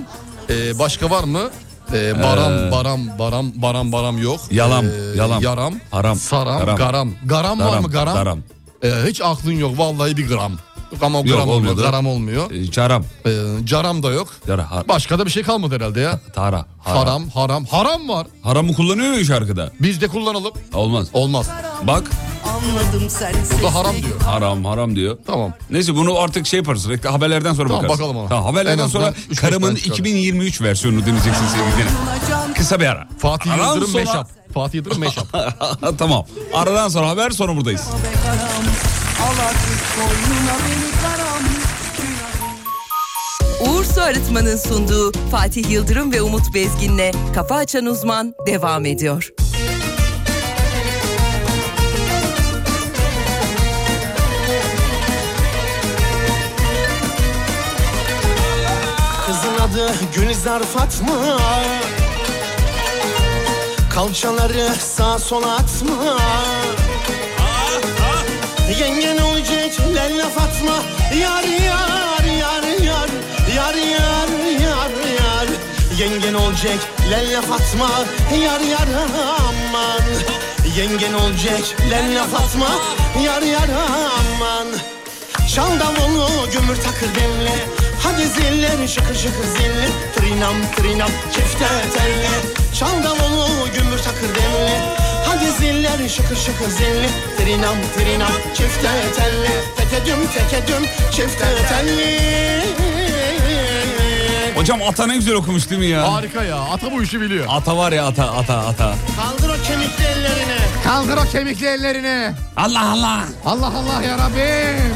Speaker 6: Ee, başka var mı? Ee, baram,
Speaker 5: Ee.
Speaker 6: baram, baram, baram, baram yok.
Speaker 5: Yalam,
Speaker 6: Ee,
Speaker 5: yalam.
Speaker 6: Yaram.
Speaker 5: Haram.
Speaker 6: Saram,
Speaker 5: Garam.
Speaker 6: garam. Garam var
Speaker 5: Daram,
Speaker 6: mı garam?
Speaker 5: daram.
Speaker 6: Ee, hiç aklın yok vallahi bir gram. Yok Ama o
Speaker 5: Yok,
Speaker 6: gram olmuyor,
Speaker 5: olmadı.
Speaker 6: garam olmuyor.
Speaker 5: Ee, Çaram.
Speaker 6: Ee, caram da yok.
Speaker 5: Yara, har-
Speaker 6: Başka da bir şey kalmadı herhalde ya.
Speaker 5: Tara. Haram.
Speaker 6: Haram, haram, haram var.
Speaker 5: Haramı kullanıyor mu şarkıda?
Speaker 6: Biz de kullanalım.
Speaker 5: Olmaz.
Speaker 6: Olmaz.
Speaker 5: Bak
Speaker 14: Anladım sen
Speaker 6: Burada haram diyor.
Speaker 5: haram haram diyor.
Speaker 6: Tamam.
Speaker 5: Neyse bunu artık şey yaparız. rekl- Haberlerden sonra
Speaker 6: Tamam,
Speaker 5: bakarız.
Speaker 6: bakalım ona.
Speaker 5: Tamam,
Speaker 6: En
Speaker 5: haberlerden
Speaker 6: azından
Speaker 5: sonra
Speaker 6: üç beş
Speaker 5: karımın
Speaker 6: tane çıkar.
Speaker 5: 2023 versiyonunu dinleyeceksin sevgili dinleyiciler. Kısa bir ara.
Speaker 6: Fatih
Speaker 5: Aradan
Speaker 6: Yıldırım
Speaker 5: sonra-
Speaker 6: meşap. Fatih Yıldırım meşap.
Speaker 5: *laughs* tamam. Aradan sonra haber sonra buradayız.
Speaker 14: Al artık koynuna beni karam
Speaker 1: Uğur Su Arıtma'nın sunduğu Fatih Yıldırım ve Umut Bezgin'le Kafa Açan Uzman devam ediyor.
Speaker 15: Kızın adı Gülizar Fatma Kalçaları sağa sola atma Yengen olacak Lella Fatma Yar yar yar yar Yar yar yar yar Yengen olacak Lella Fatma Yar yar aman Yengen olacak Lella Fatma Yar yar aman Çal davulu gömür takır belli Hadi zilleri şıkır şıkır zilli Trinam trinam çifte telli Çal davulu gömür takır belli Hadi zilleri şıkır şıkır zilli Trinam trinam çifte telli Teke düm teke düm çifte telli
Speaker 5: Hocam ata ne güzel okumuş değil mi ya?
Speaker 6: Harika ya. Ata bu işi biliyor.
Speaker 5: Ata var ya ata ata ata.
Speaker 15: Kaldır o kemikli ellerini.
Speaker 6: Kaldır o kemikli ellerini.
Speaker 5: Allah Allah.
Speaker 6: Allah Allah ya Rabbim.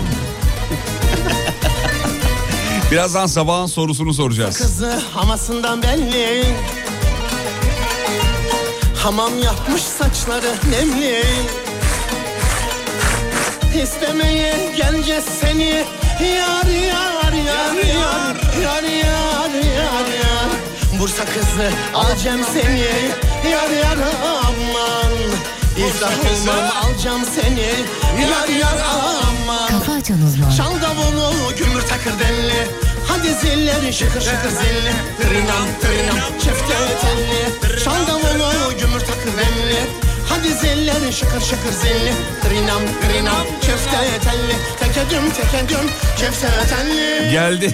Speaker 5: Birazdan sabahın sorusunu soracağız.
Speaker 15: Kızı hamasından belli Hamam yapmış saçları nemli İstemeye geleceğiz seni Yar yar yar yar Yar yar yar yar Bursa kızı alacağım seni Yar yar aman İzah olmam alacağım seni Yar yar aman
Speaker 12: Kafa açan uzman.
Speaker 15: Çal davulu gümür takır delli Hadi zilleri şıkır şıkır zilli Tırnam tırnam çifte telli Çal davulu gümür takır delli Hadi zilleri şıkır şıkır zilli Tırnam tırnam çifte telli Teke düm teke düm çifte telli
Speaker 5: Geldi.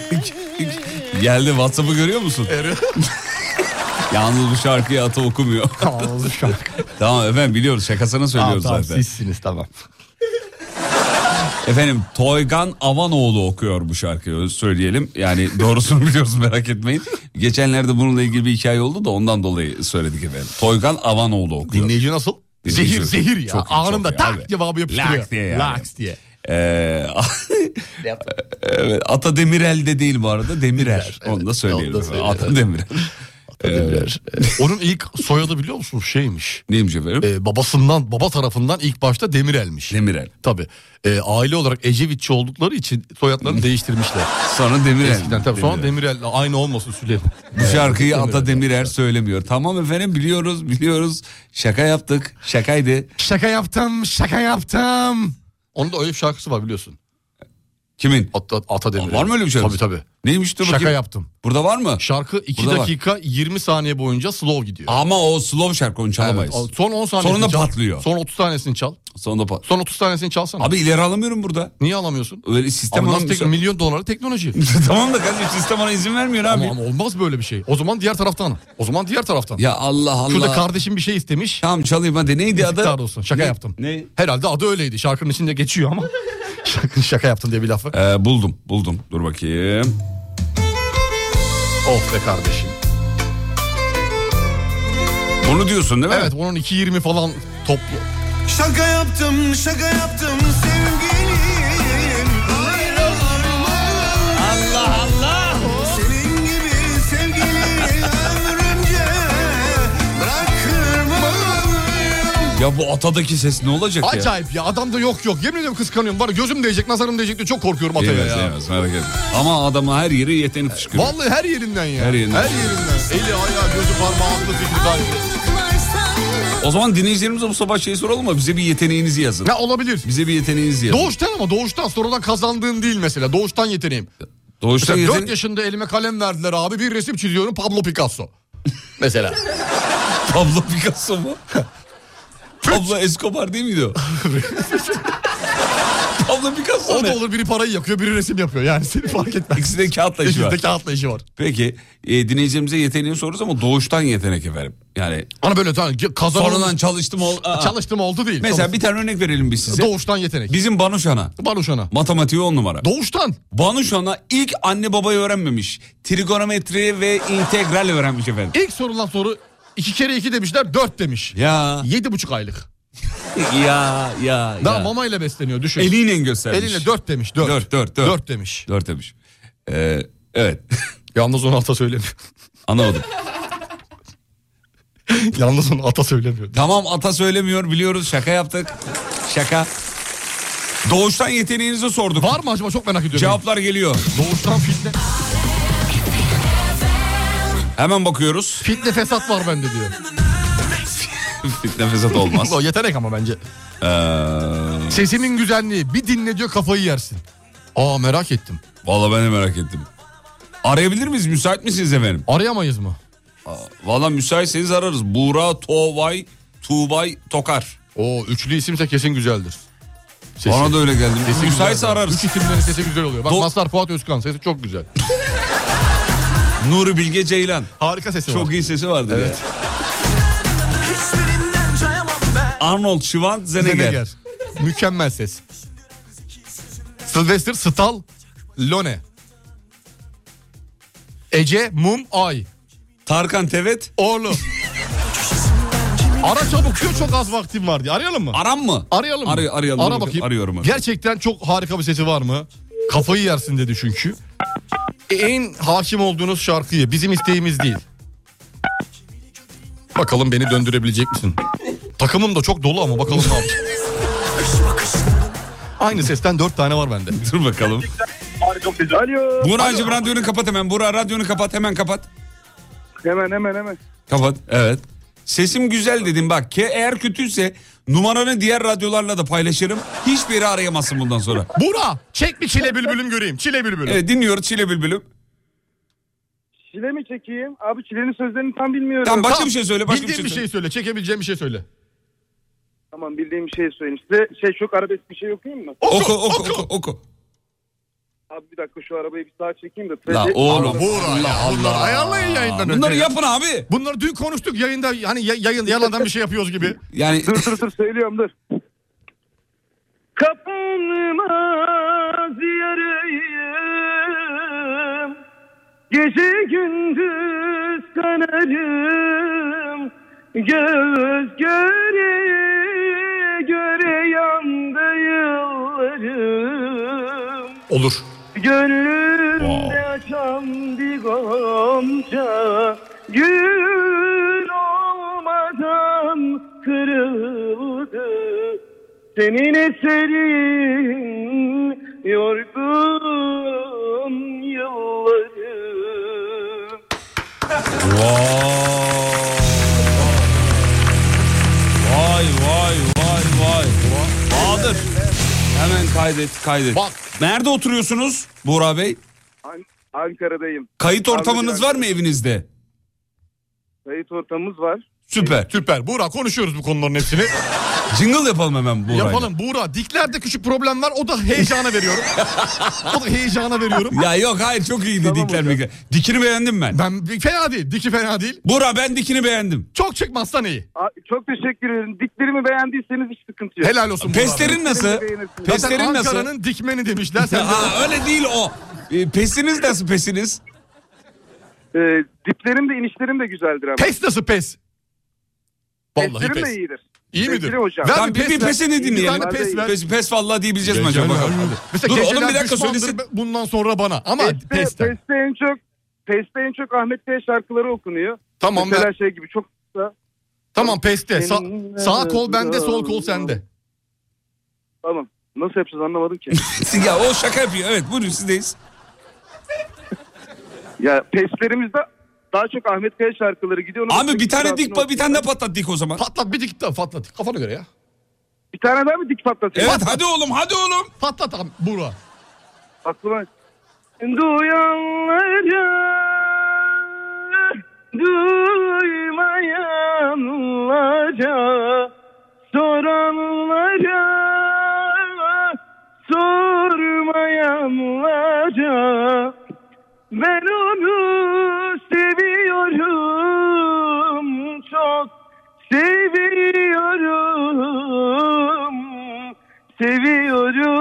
Speaker 5: *laughs* Geldi WhatsApp'ı görüyor musun? *laughs* Yalnız bu şarkıyı ata
Speaker 6: *laughs*
Speaker 5: okumuyor.
Speaker 6: Yalnız bu şarkı.
Speaker 5: tamam efendim biliyoruz şakasını söylüyoruz
Speaker 6: tamam,
Speaker 5: zaten.
Speaker 6: Sizsiniz tamam.
Speaker 5: Efendim Toygan Avanoğlu okuyor bu şarkıyı öyle söyleyelim. Yani doğrusunu *laughs* biliyoruz merak etmeyin. Geçenlerde bununla ilgili bir hikaye oldu da ondan dolayı söyledik efendim. Toygan Avanoğlu okuyor.
Speaker 6: Dinleyici nasıl?
Speaker 5: Dinleyici-
Speaker 6: Zehir zehir ya.
Speaker 5: Çok iyi,
Speaker 6: Anında
Speaker 5: çok iyi
Speaker 6: tak
Speaker 5: abi.
Speaker 6: cevabı yapıştırıyor.
Speaker 5: Laks diye yani.
Speaker 6: Laks diye.
Speaker 5: Ee, *laughs* evet, Ata Demirel de değil bu arada Demirer. Onu da söyleyelim. efendim. Ata Demirel.
Speaker 6: Ee, Onun ilk soyadı biliyor musunuz şeymiş.
Speaker 5: Neymiş efendim?
Speaker 6: Ee, babasından baba tarafından ilk başta Demirel'miş.
Speaker 5: Demirel.
Speaker 6: Tabii. Ee, aile olarak Ecevitçi oldukları için soyadlarını değiştirmişler.
Speaker 5: Sonra Demirel.
Speaker 6: Eskiden tabii sonra Demirel aynı olmasın Süleyman.
Speaker 5: Bu şarkıyı Ata Demirer söylemiyor. Tamam efendim biliyoruz biliyoruz. Şaka yaptık. Şakaydı.
Speaker 6: Şaka yaptım, şaka yaptım. Onun da öyle bir şarkısı var biliyorsun.
Speaker 5: Kimin?
Speaker 6: Ata, Ata Demirel.
Speaker 5: Var mı öyle bir şarkısı?
Speaker 6: Tabii tabii.
Speaker 5: Neymiş dur
Speaker 6: Şaka
Speaker 5: bakayım.
Speaker 6: yaptım.
Speaker 5: Burada var mı?
Speaker 6: Şarkı 2
Speaker 5: Burada var.
Speaker 6: dakika 20 saniye boyunca slow gidiyor.
Speaker 5: Ama o slow şarkı onu çalamayız.
Speaker 6: Evet, al- son 10 saniye.
Speaker 5: Sonunda patlıyor.
Speaker 6: Son 30 tanesini çal.
Speaker 5: Sonunda pat.
Speaker 6: Son 30 tanesini çalsana.
Speaker 5: Abi ileri alamıyorum burada.
Speaker 6: Niye alamıyorsun?
Speaker 5: Öyle sistem
Speaker 6: Ama
Speaker 5: ona
Speaker 6: nasıl tek- milyon dolarlık teknoloji.
Speaker 5: *laughs* tamam da kardeşim sistem ona izin vermiyor abi.
Speaker 6: Aman olmaz böyle bir şey. O zaman diğer taraftan. O zaman diğer taraftan.
Speaker 5: Ya Allah Allah.
Speaker 6: Şurada kardeşim bir şey istemiş.
Speaker 5: Tamam çalayım hadi neydi adı?
Speaker 6: Yazıklar olsun. Şaka
Speaker 5: Ne-
Speaker 6: yaptım.
Speaker 5: Ne?
Speaker 6: Herhalde adı öyleydi. Şarkının içinde geçiyor ama. *laughs* Şarkı, şaka yaptım diye bir lafı.
Speaker 5: Ee, buldum buldum dur bakayım.
Speaker 6: Oh be kardeşim.
Speaker 5: Bunu diyorsun değil mi?
Speaker 6: Evet onun 2.20 falan toplu.
Speaker 2: Şaka yaptım şaka yaptım sevgilim Ayrılırım
Speaker 5: Allah Allah
Speaker 2: Senin gibi sevgili ömrümce Bırakırım
Speaker 5: Ya bu atadaki ses ne olacak ya?
Speaker 6: Acayip ya adam da yok yok. Yemin ediyorum kıskanıyorum. Var ya, gözüm değecek nazarım değecek diye çok korkuyorum Atay'a
Speaker 5: Değmez
Speaker 6: ya.
Speaker 5: değmez merak etme. Ama adama her yeri yetenek fışkırıyor.
Speaker 6: Vallahi her yerinden ya.
Speaker 5: Her yerinden.
Speaker 6: Her yerinden. Eli ayağı gözü parmağı aklı fikri kalbi.
Speaker 10: Ayrılık var sandım
Speaker 5: O zaman dinleyicilerimize bu sabah şey soralım mı? Bize bir yeteneğinizi yazın.
Speaker 6: Ya olabilir.
Speaker 5: Bize bir yeteneğinizi yazın.
Speaker 6: Doğuştan ama doğuştan sonradan kazandığın değil mesela. Doğuştan yeteneğim.
Speaker 5: Doğuştan
Speaker 6: Mesela
Speaker 5: yeteneğin-
Speaker 6: 4 yaşında elime kalem verdiler abi bir resim çiziyorum Pablo Picasso. mesela.
Speaker 5: *laughs* Pablo Picasso
Speaker 6: *laughs*
Speaker 5: mu? Pablo Escobar değil miydi o? Pablo Picasso
Speaker 6: O
Speaker 5: ne?
Speaker 6: da olur biri parayı yakıyor biri resim yapıyor yani seni fark etmez.
Speaker 5: İkisi de
Speaker 6: *laughs*
Speaker 5: kağıtla işi
Speaker 6: İkisinde
Speaker 5: var.
Speaker 6: kağıtla işi var.
Speaker 5: Peki e, dinleyicilerimize yeteneğini soruyoruz ama doğuştan yetenek efendim. Yani
Speaker 6: Ana böyle tamam kazanım.
Speaker 5: Sonradan çalıştım ol- Aa.
Speaker 6: *laughs* Çalıştım oldu değil.
Speaker 5: mesela bir tane örnek verelim biz size.
Speaker 6: Doğuştan yetenek.
Speaker 5: Bizim Banuşan'a.
Speaker 6: Banuşan'a.
Speaker 5: Matematiği on numara.
Speaker 6: Doğuştan.
Speaker 5: Banuşan'a ilk anne babayı öğrenmemiş. Trigonometri ve integral öğrenmiş efendim.
Speaker 6: İlk sorulan soru iki kere iki demişler dört demiş.
Speaker 5: Ya.
Speaker 6: Yedi buçuk aylık.
Speaker 5: ya ya
Speaker 6: Daha
Speaker 5: ya.
Speaker 6: mamayla besleniyor düşün.
Speaker 5: Eliyle göstermiş.
Speaker 6: Eliyle dört demiş dört.
Speaker 5: Dört, dört, dört.
Speaker 6: Dört demiş.
Speaker 5: Dört demiş. Ee, evet.
Speaker 6: Yalnız onu ata söylemiyor.
Speaker 5: Anlamadım.
Speaker 6: *laughs* Yalnız onu ata söylemiyor.
Speaker 5: Tamam ata söylemiyor biliyoruz şaka yaptık. Şaka. Doğuştan yeteneğinizi sorduk.
Speaker 6: Var mı acaba çok merak ediyorum.
Speaker 5: Cevaplar geliyor.
Speaker 6: Doğuştan fitne.
Speaker 5: Hemen bakıyoruz.
Speaker 6: Fitne fesat var
Speaker 5: *laughs*
Speaker 6: bende diyor.
Speaker 5: Fitne fesat olmaz.
Speaker 6: *laughs* O yetenek ama bence.
Speaker 5: Ee,
Speaker 6: Sesimin güzelliği bir dinle diyor kafayı yersin. Aa merak ettim.
Speaker 5: Valla ben de merak ettim. Arayabilir miyiz? Müsait misiniz efendim?
Speaker 6: Arayamayız mı?
Speaker 5: Valla müsaitseniz ararız. Buğra, Tovay, Tuğbay, Tokar.
Speaker 6: O üçlü isimse kesin güzeldir. Sesi.
Speaker 5: Bana da öyle geldi.
Speaker 6: Sesi
Speaker 5: Müsaitse
Speaker 6: güzel.
Speaker 5: ararız. *laughs*
Speaker 6: Üç isimlerin sesi güzel oluyor. Bak
Speaker 5: Do-
Speaker 6: Mazhar Fuat Özkan sesi çok güzel.
Speaker 5: Nuri Bilge Ceylan.
Speaker 6: Harika sesi
Speaker 5: Çok
Speaker 6: var.
Speaker 5: iyi sesi vardı. Evet.
Speaker 10: Hiçbirinden cayamam ben
Speaker 5: Arnold Schwarzenegger.
Speaker 6: Zeneger. Mükemmel ses. Sylvester Stal Lone. Ece Mum Ay.
Speaker 5: Tarkan Tevet.
Speaker 6: Oğlu. Ara çabuk diyor çok az vaktim var diye. Arayalım mı?
Speaker 5: Aram mı?
Speaker 6: Arayalım mı?
Speaker 5: Aray- arayalım.
Speaker 6: Ara
Speaker 5: Dur,
Speaker 6: bakayım.
Speaker 5: arıyorum efendim.
Speaker 6: Gerçekten çok harika bir sesi var mı? Kafayı yersin dedi çünkü. En hakim olduğunuz şarkıyı bizim isteğimiz değil. Bakalım beni döndürebilecek misin? Takımım da çok dolu ama bakalım ne yapacak. Aynı sesten dört tane var bende.
Speaker 5: Dur bakalım.
Speaker 16: Alo.
Speaker 5: Buğra'cığım radyonu kapat hemen. Buğra radyonu kapat hemen kapat.
Speaker 16: Hemen hemen hemen.
Speaker 5: Kapat. Evet. Sesim güzel dedim bak. Ke eğer kötüyse numaranı diğer radyolarla da paylaşırım. Hiçbir yere arayamasın bundan sonra.
Speaker 6: Bura çek bir çile bülbülüm göreyim. Çile bülbülüm.
Speaker 5: Evet dinliyoruz Çile Bülbülüm.
Speaker 16: Çile mi çekeyim? Abi çilenin sözlerini tam bilmiyorum.
Speaker 5: Tamam başka bir şey söyle başka bir
Speaker 6: Bildiğin
Speaker 5: şey
Speaker 6: bir
Speaker 5: söyle.
Speaker 6: şey söyle. Çekebileceğim bir şey söyle.
Speaker 16: Tamam bildiğim bir şey söyleyeyim size. Şey çok arabesk bir şey okuyayım mı?
Speaker 5: Oku oku oku. oku.
Speaker 16: Abi bir dakika şu arabayı bir sağa çekeyim de.
Speaker 5: La oğlum.
Speaker 6: Buğra ya. Bunları ayarlayın yayından önce
Speaker 5: Bunları
Speaker 6: ya.
Speaker 5: yapın abi.
Speaker 6: Bunları dün konuştuk yayında hani ya- yayın yalandan bir şey yapıyoruz gibi.
Speaker 5: Yani
Speaker 16: Dur dur dur söylüyorum dur. Kapanmaz yarayım Gece gündüz kanarım Göz göre göre yandı yıllarım
Speaker 6: Olur.
Speaker 16: Gönlümde açan bir gonca Gün olmadan kırıldı Senin eserin yorgun yıllarım
Speaker 5: Vay vay vay vay. Bahadır. Hemen kaydet kaydet.
Speaker 6: Bak.
Speaker 5: Nerede oturuyorsunuz Buğra Bey?
Speaker 16: An- Ankara'dayım.
Speaker 5: Kayıt
Speaker 16: Abi
Speaker 5: ortamınız
Speaker 16: biraz-
Speaker 5: var mı evinizde?
Speaker 16: Kayıt ortamımız var.
Speaker 5: Süper.
Speaker 6: Süper. Buğra konuşuyoruz bu konuların hepsini.
Speaker 5: Jingle yapalım hemen Buğra'yla.
Speaker 6: Yapalım Buğra. Diklerde küçük problem var. O da
Speaker 5: *laughs*
Speaker 6: heyecana veriyorum. o da heyecana veriyorum.
Speaker 5: Ya yok hayır çok iyiydi dikler mikler. Dikini beğendim ben.
Speaker 6: Ben fena değil. Diki fena değil.
Speaker 5: Buğra ben dikini beğendim.
Speaker 6: Çok çıkmazsan iyi.
Speaker 16: Aa, Çok teşekkür ederim. Diklerimi beğendiyseniz hiç sıkıntı yok.
Speaker 6: Helal olsun Buğra.
Speaker 5: Pesterin nasıl?
Speaker 16: beğenirsiniz.
Speaker 6: Zaten
Speaker 5: Pesterin nasıl?
Speaker 6: Ankara'nın dikmeni demişler.
Speaker 5: *laughs*
Speaker 6: Sen de...
Speaker 5: Aa, öyle değil o. Ee, Pesiniz nasıl pesiniz?
Speaker 16: Ee, diplerim de inişlerim de güzeldir ama.
Speaker 6: Pes nasıl pes? Vallahi
Speaker 16: Peslerim
Speaker 6: pes.
Speaker 16: de iyidir.
Speaker 6: İyi midir?
Speaker 16: Sevgili hocam.
Speaker 6: Ver
Speaker 5: Tamam, bir, bir
Speaker 6: ver.
Speaker 5: pesini
Speaker 6: Bir
Speaker 5: dinleyelim.
Speaker 6: tane pes ver.
Speaker 5: Pes, pes vallahi diyebileceğiz mi acaba?
Speaker 6: Geceler-
Speaker 5: Bakalım.
Speaker 6: Mesela
Speaker 5: Dur
Speaker 6: geceler
Speaker 5: oğlum bir dakika
Speaker 6: düşmandır
Speaker 5: söylesin.
Speaker 6: Bundan sonra bana ama pes
Speaker 16: Peste,
Speaker 6: de.
Speaker 16: peste en çok Peste en çok Ahmet Bey şarkıları okunuyor.
Speaker 6: Tamam
Speaker 16: Mesela
Speaker 6: ben-
Speaker 16: şey gibi çok da
Speaker 6: Tamam peste. Sa- sağ kol bende sol kol sende.
Speaker 16: tamam. Nasıl yapacağız anlamadım ki.
Speaker 5: *laughs* ya o
Speaker 16: *laughs*
Speaker 5: şaka yapıyor. Evet buyurun sizdeyiz.
Speaker 16: ya peslerimizde Daha çok Ahmet Kaya şarkıları gidiyor. Onun
Speaker 5: Abi bir
Speaker 16: üstündeki
Speaker 5: tane dik
Speaker 16: şarkının
Speaker 5: pa- bir tane de patlat dik o zaman.
Speaker 6: Patlat bir dik daha patlat. Kafana göre ya.
Speaker 16: Bir tane daha mı dik patlatayım?
Speaker 5: Evet hadi oğlum hadi oğlum.
Speaker 6: Patlat abi Buğra.
Speaker 16: Aklıma... Duyanlara Duymayanlara Soranlara Sormayanlara Ben onu seviyorum Çok seviyorum Seviyorum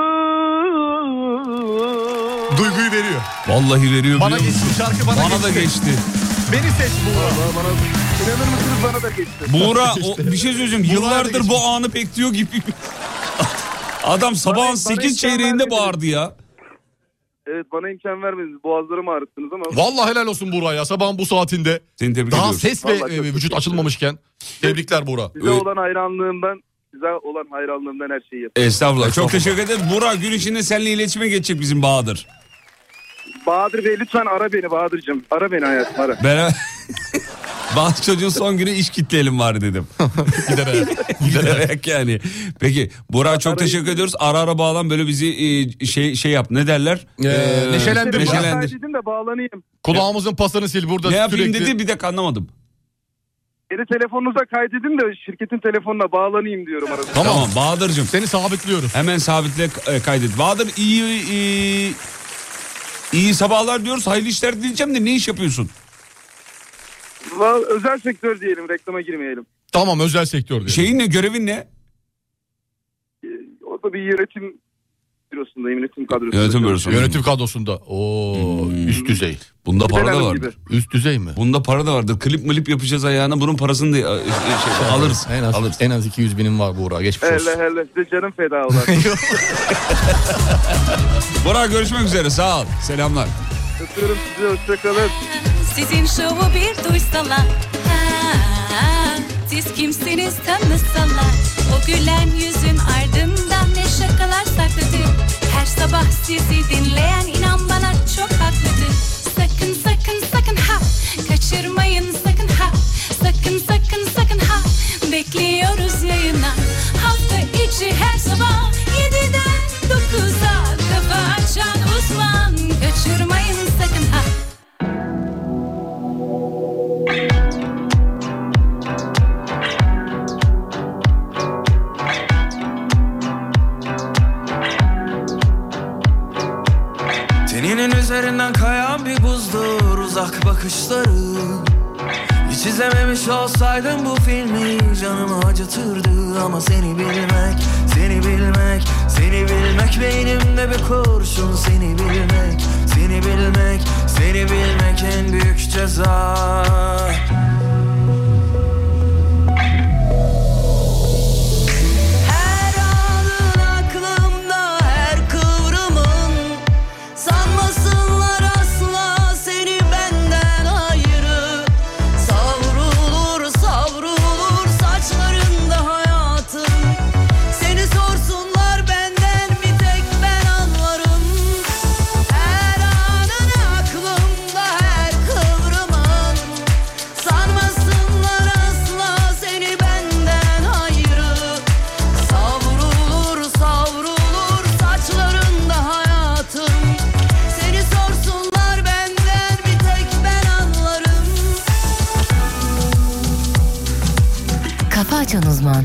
Speaker 6: Duyguyu veriyor.
Speaker 5: Vallahi veriyor
Speaker 6: Bana
Speaker 5: biliyor
Speaker 6: geçti
Speaker 5: musun?
Speaker 6: şarkı bana,
Speaker 5: Bana da geçti.
Speaker 6: Beni seç Buğra. Bana,
Speaker 16: İnanır mısınız bana da geçti.
Speaker 5: Buğra o, bir şey söyleyeceğim.
Speaker 6: Buğra'ya da
Speaker 5: Yıllardır bu anı bekliyor gibi. *laughs* Adam sabahın
Speaker 16: bana
Speaker 5: 8
Speaker 16: imkan
Speaker 5: çeyreğinde
Speaker 16: vermediniz.
Speaker 5: bağırdı ya.
Speaker 16: Evet bana imkan vermediniz. Boğazlarımı ağrıttınız ama.
Speaker 6: Vallahi helal olsun Buğra ya. Sabahın bu saatinde.
Speaker 5: Seni tebrik
Speaker 6: Daha
Speaker 5: ediyorum.
Speaker 6: ses ve
Speaker 16: Vallahi çok
Speaker 6: e, vücut açılmamışken. Tebrikler Buğra.
Speaker 5: Ee,
Speaker 16: Size olan hayranlığımdan, size olan hayranlığımdan her şeyi yapıyorum.
Speaker 5: Estağfurullah. E, Çok teşekkür ederiz. Buğra gün içinde seninle iletişime geçecek bizim Bahadır.
Speaker 16: Bahadır Bey lütfen ara beni Bahadır'cığım. Ara beni hayatım
Speaker 5: *laughs*
Speaker 16: ara.
Speaker 5: Beraber... Bazı çocuğun son günü iş kitleyelim var dedim.
Speaker 6: Giderek.
Speaker 5: Giderek yani. Peki Burak çok teşekkür ediyoruz. Ara ara bağlan böyle bizi e, şey şey yap ne derler? Ee,
Speaker 6: neşelendir.
Speaker 5: neşelendir.
Speaker 16: Dedim de bağlanayım.
Speaker 6: Kulağımızın pasını sil burada
Speaker 5: Ne yapayım
Speaker 6: sürekli.
Speaker 5: dedi bir dakika anlamadım.
Speaker 16: Beni telefonunuza kaydedin de şirketin telefonuna bağlanayım diyorum arada.
Speaker 5: Tamam, Bahadır'cığım.
Speaker 6: Seni sabitliyoruz.
Speaker 5: Hemen sabitle e, kaydet. Bahadır iyi, iyi iyi sabahlar diyoruz. Hayırlı işler dileyeceğim de ne iş yapıyorsun?
Speaker 16: Va- Özel sektör diyelim reklama girmeyelim.
Speaker 6: Tamam özel sektör diyor.
Speaker 5: Şeyin ne görevin ne?
Speaker 16: O da bir yönetim bürosundayım yönetim kadrosundayım.
Speaker 5: Yönetim bürosunda.
Speaker 6: Yönetim kadrosunda. Oo üst düzey.
Speaker 5: Hmm. Bunda para da
Speaker 16: Hanım
Speaker 5: vardır.
Speaker 6: Üst düzey mi?
Speaker 5: Bunda para da vardır. Klip milip yapacağız ayağına bunun parasını da e, e, şey, alırız.
Speaker 6: En az,
Speaker 5: alırız.
Speaker 6: en az 200 binim var Buğra. Geçmiş olsun.
Speaker 16: Hele hele size canım feda
Speaker 5: *laughs*
Speaker 16: olan.
Speaker 5: Burak görüşmek üzere sağ ol. Selamlar.
Speaker 16: Öpüyorum sizi hoşçakalın.
Speaker 4: Sizin şovu bir duysalar ha, Siz kimsiniz tanısalar O gülen yüzün ardından ne şakalar saklıdır Her sabah sizi dinleyen inan bana çok haklıdır Sakın sakın sakın ha Kaçırmayın sakın ha Sakın sakın sakın ha Bekliyoruz yayına Hafta içi her sabah 7'den 9'a Kafa açan uzman Kaçırmayın sakın ha
Speaker 17: Teninin üzerinden kayan bir buzdur uzak bakışları Hiç izlememiş olsaydım bu filmi canımı acıtırdı Ama seni bilmek, seni bilmek, seni bilmek Beynimde bir kurşun seni bilmek, seni bilmek, seni bilmek en büyük ceza
Speaker 2: Her anın aklımda her kıvrımın Sanmasınlar asla seni benden ayrı Savrulur savrulur saçlarında hayatım Seni sorsunlar benden bir tek ben anlarım Her anın aklımda her kıvrımın Sanmasınlar asla seni benden ayrı Savrulur savrulur saçlarında hayatım Seni sorsunlar benden bir tek ben anlarım
Speaker 18: Kafa açan uzman.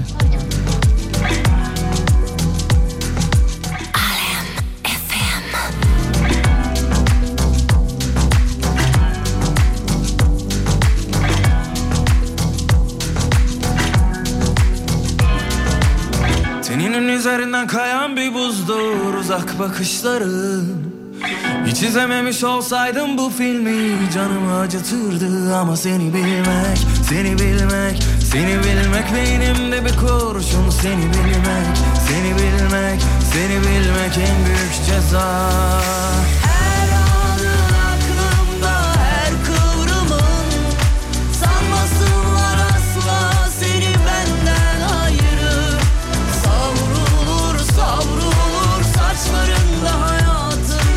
Speaker 17: Teninin üzerinden kayan bir buzdur uzak bakışları Hiç izlememiş olsaydım bu filmi canımı acıtırdı Ama seni bilmek, seni bilmek, seni bilmek Beynimde bir kurşun seni bilmek, seni bilmek, seni bilmek en büyük ceza
Speaker 2: Her anın aklımda her kıvrımın Sanmasınlar asla seni benden ayrı Savrulur savrulur saçlarında hayatım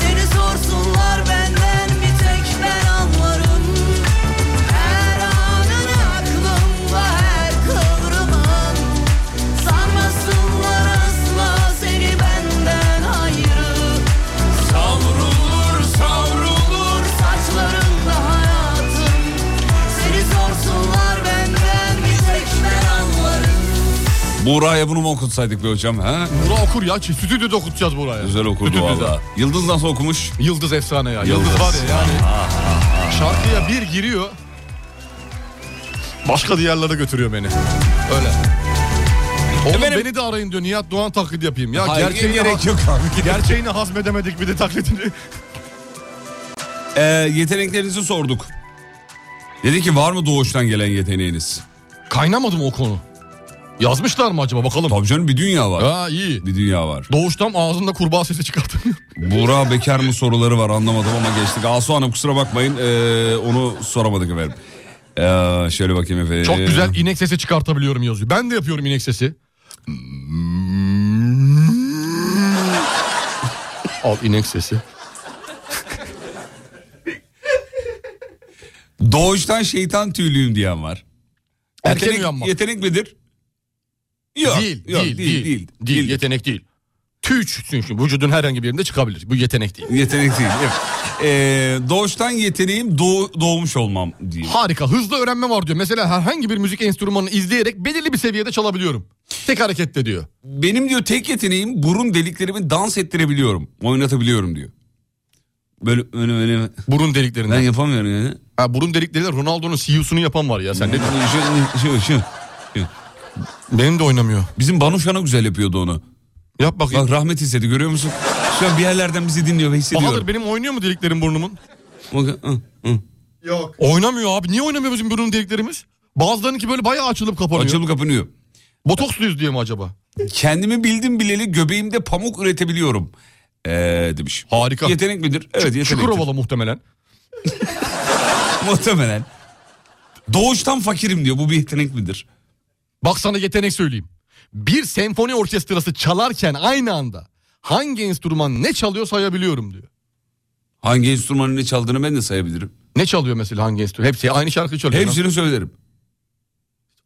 Speaker 2: Seni sorsunlar benden bir tek ben anlarım
Speaker 5: Buğra'ya bunu mu okutsaydık be hocam? Ha?
Speaker 6: Buğra okur ya. Çi- Stüdyoda okutacağız Buğra'ya.
Speaker 5: Güzel okurdu
Speaker 6: Stüdyoda.
Speaker 5: valla. Yıldız nasıl okumuş?
Speaker 6: Yıldız efsane ya. Yıldız, var ya yani. Şarkıya bir giriyor. Başka diyarlara götürüyor beni. Öyle. Oğlum beni de arayın diyor. Nihat Doğan taklit yapayım. Ya
Speaker 5: Hayır,
Speaker 6: gerçeğini
Speaker 5: gerek yok abi.
Speaker 6: Gerçeğini hazmedemedik bir de taklidini.
Speaker 5: Ee, yeteneklerinizi sorduk. Dedi ki var mı doğuştan gelen yeteneğiniz?
Speaker 6: Kaynamadı mı o konu? Yazmışlar mı acaba bakalım.
Speaker 5: Tabii canım bir dünya var.
Speaker 6: Ha iyi.
Speaker 5: Bir dünya var.
Speaker 6: Doğuştan ağzında kurbağa sesi çıkartıyor.
Speaker 5: Buğra bekar mı soruları var anlamadım ama geçtik. Asu Hanım kusura bakmayın ee, onu soramadık efendim. Ee, şöyle bakayım efendim.
Speaker 6: Çok güzel inek sesi çıkartabiliyorum yazıyor. Ben de yapıyorum inek sesi. Al inek sesi.
Speaker 5: Doğuştan şeytan tüylüyüm diyen var.
Speaker 6: Erken
Speaker 5: yetenek,
Speaker 6: uyanmak.
Speaker 5: Yetenek midir? Yok,
Speaker 6: değil,
Speaker 5: yok,
Speaker 6: değil,
Speaker 5: değil,
Speaker 6: değil, değil,
Speaker 5: değil.
Speaker 6: yetenek değil. Tüyçsün çünkü vücudun herhangi bir yerinde çıkabilir. Bu yetenek değil.
Speaker 5: Yetenek değil. Evet. Ee, doğuştan yeteneğim doğ- doğmuş olmam diyeyim.
Speaker 6: Harika hızlı öğrenme var diyor. Mesela herhangi bir müzik enstrümanını izleyerek belirli bir seviyede çalabiliyorum. Tek harekette diyor.
Speaker 5: Benim diyor tek yeteneğim burun deliklerimi dans ettirebiliyorum. Oynatabiliyorum diyor. Böyle öyle öyle.
Speaker 6: Burun deliklerinden.
Speaker 5: Ben yapamıyorum yani.
Speaker 6: Ha, burun delikleriyle Ronaldo'nun CEO'sunu yapan var ya sen ne diyorsun?
Speaker 5: Şu, şu, şu.
Speaker 6: Benim de oynamıyor.
Speaker 5: Bizim Banu Şan'a güzel yapıyordu onu.
Speaker 6: Yap bakayım.
Speaker 5: Bak rahmet istedi görüyor musun? Şu an bir yerlerden bizi dinliyor ve hissediyorum.
Speaker 6: Bahadır benim oynuyor mu deliklerim burnumun?
Speaker 5: Bak- hı, hı.
Speaker 6: Yok. Oynamıyor abi. Niye oynamıyor bizim burun deliklerimiz? Bazılarınınki böyle bayağı açılıp kapanıyor.
Speaker 5: Açılıp kapanıyor.
Speaker 6: Botoksluyuz diye mi acaba?
Speaker 5: Kendimi bildim bileli göbeğimde pamuk üretebiliyorum. Ee, demiş.
Speaker 6: Harika.
Speaker 5: Yetenek midir? Evet yetenektir.
Speaker 6: Çukurovalı muhtemelen.
Speaker 5: *laughs* Muhtemelen. Doğuştan fakirim diyor. Bu bir yetenek midir?
Speaker 6: Bak sana yetenek söyleyeyim. Bir senfoni orkestrası çalarken aynı anda hangi enstrüman ne çalıyor sayabiliyorum diyor.
Speaker 5: Hangi enstrümanın ne çaldığını ben de sayabilirim.
Speaker 6: Ne çalıyor mesela hangi enstrüman? Hepsi aynı şarkıyı çalıyor.
Speaker 5: Hepsini söylerim.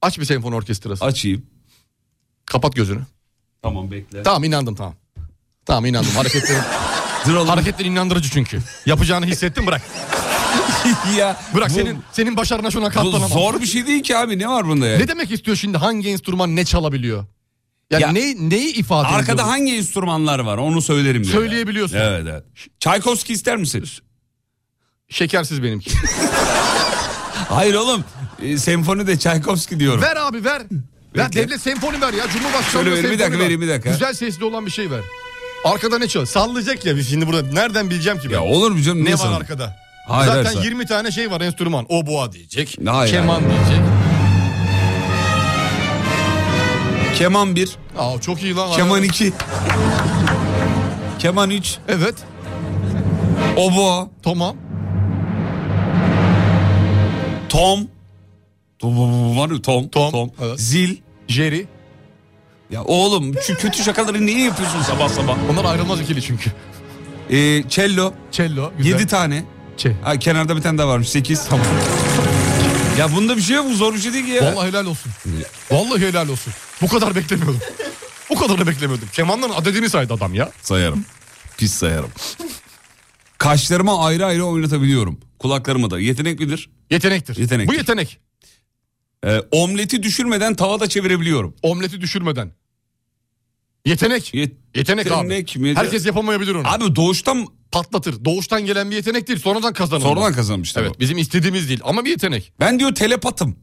Speaker 6: Aç bir senfoni orkestrası.
Speaker 5: Açayım.
Speaker 6: Kapat gözünü.
Speaker 5: Tamam bekle.
Speaker 6: Tamam inandım tamam. Tamam inandım. Hareketlerin,
Speaker 5: *laughs*
Speaker 6: hareketlerin inandırıcı çünkü. Yapacağını hissettim bırak.
Speaker 5: ya,
Speaker 6: bırak
Speaker 5: bu-
Speaker 6: senin senin başarına şuna katlanamam.
Speaker 5: Bu zor bir şey değil ki abi. Ne var bunda ya?
Speaker 6: Ne demek istiyor şimdi hangi enstrüman ne çalabiliyor? Yani
Speaker 5: Ya-
Speaker 6: ne, neyi ifade ediyor?
Speaker 5: Arkada
Speaker 6: bu?
Speaker 5: hangi enstrümanlar var onu söylerim diyor.
Speaker 6: Söyleyebiliyorsun.
Speaker 5: Evet evet. Çaykovski ister misin?
Speaker 6: Şekersiz benimki.
Speaker 5: Hayır oğlum. E, senfoni de Çaykovski diyorum.
Speaker 6: Ver abi ver. Ver devlet senfoni ver ya. Cumhurbaşkanlığı
Speaker 5: Şöyle vereyim, bir
Speaker 6: senfoni
Speaker 5: dakika,
Speaker 6: ver.
Speaker 5: vereyim, bir dakika.
Speaker 6: Güzel sesli olan bir şey ver. Arkada ne çalıyor? Sallayacak ya. Şimdi burada nereden bileceğim ki ben?
Speaker 5: Ya olur mu canım?
Speaker 6: Ne
Speaker 5: niye
Speaker 6: var
Speaker 5: sana-
Speaker 6: arkada?
Speaker 5: Hayır,
Speaker 6: Zaten
Speaker 5: hayır, sen-
Speaker 6: 20 tane şey var enstrüman. Oboa diyecek.
Speaker 5: Hayır,
Speaker 6: keman
Speaker 5: hayır.
Speaker 6: diyecek.
Speaker 5: Keman 1,
Speaker 6: Aa çok iyi lan.
Speaker 5: keman 2, keman 3,
Speaker 6: Evet.
Speaker 5: oboa,
Speaker 6: Tamam.
Speaker 5: tom, tom var ya tom, tom, zil,
Speaker 6: Jerry.
Speaker 5: Ya oğlum şu kötü şakaları niye yapıyorsun sabah sabah?
Speaker 6: Onlar ayrılmaz ikili çünkü.
Speaker 5: Ee, cello,
Speaker 6: Cello. Güzel.
Speaker 5: 7 tane.
Speaker 6: Çe.
Speaker 5: Ha, kenarda bir tane daha varmış 8. Tamam. Ya bunda bir şey yok mu? Zor bir şey değil ki ya.
Speaker 6: Vallahi helal olsun. Vallahi helal olsun. Bu kadar beklemiyordum. Bu kadarını beklemiyordum. Kemanların adedini saydı adam ya.
Speaker 5: Sayarım. Pis sayarım. Kaşlarımı ayrı ayrı oynatabiliyorum. Kulaklarımı da. Yetenek midir?
Speaker 6: Yetenektir.
Speaker 5: Yetenek.
Speaker 6: Bu yetenek.
Speaker 5: Ee, omleti düşürmeden tavada çevirebiliyorum.
Speaker 6: Omleti düşürmeden. Yetenek. yetenek abi.
Speaker 5: yetenek midir?
Speaker 6: Herkes yapamayabilir onu.
Speaker 5: Abi doğuştan
Speaker 6: Patlatır. Doğuştan gelen bir yetenek değil. Sonradan kazanılır.
Speaker 5: sonradan kazanmışlar.
Speaker 6: Evet bizim istediğimiz değil ama bir yetenek.
Speaker 5: Ben diyor telepatım.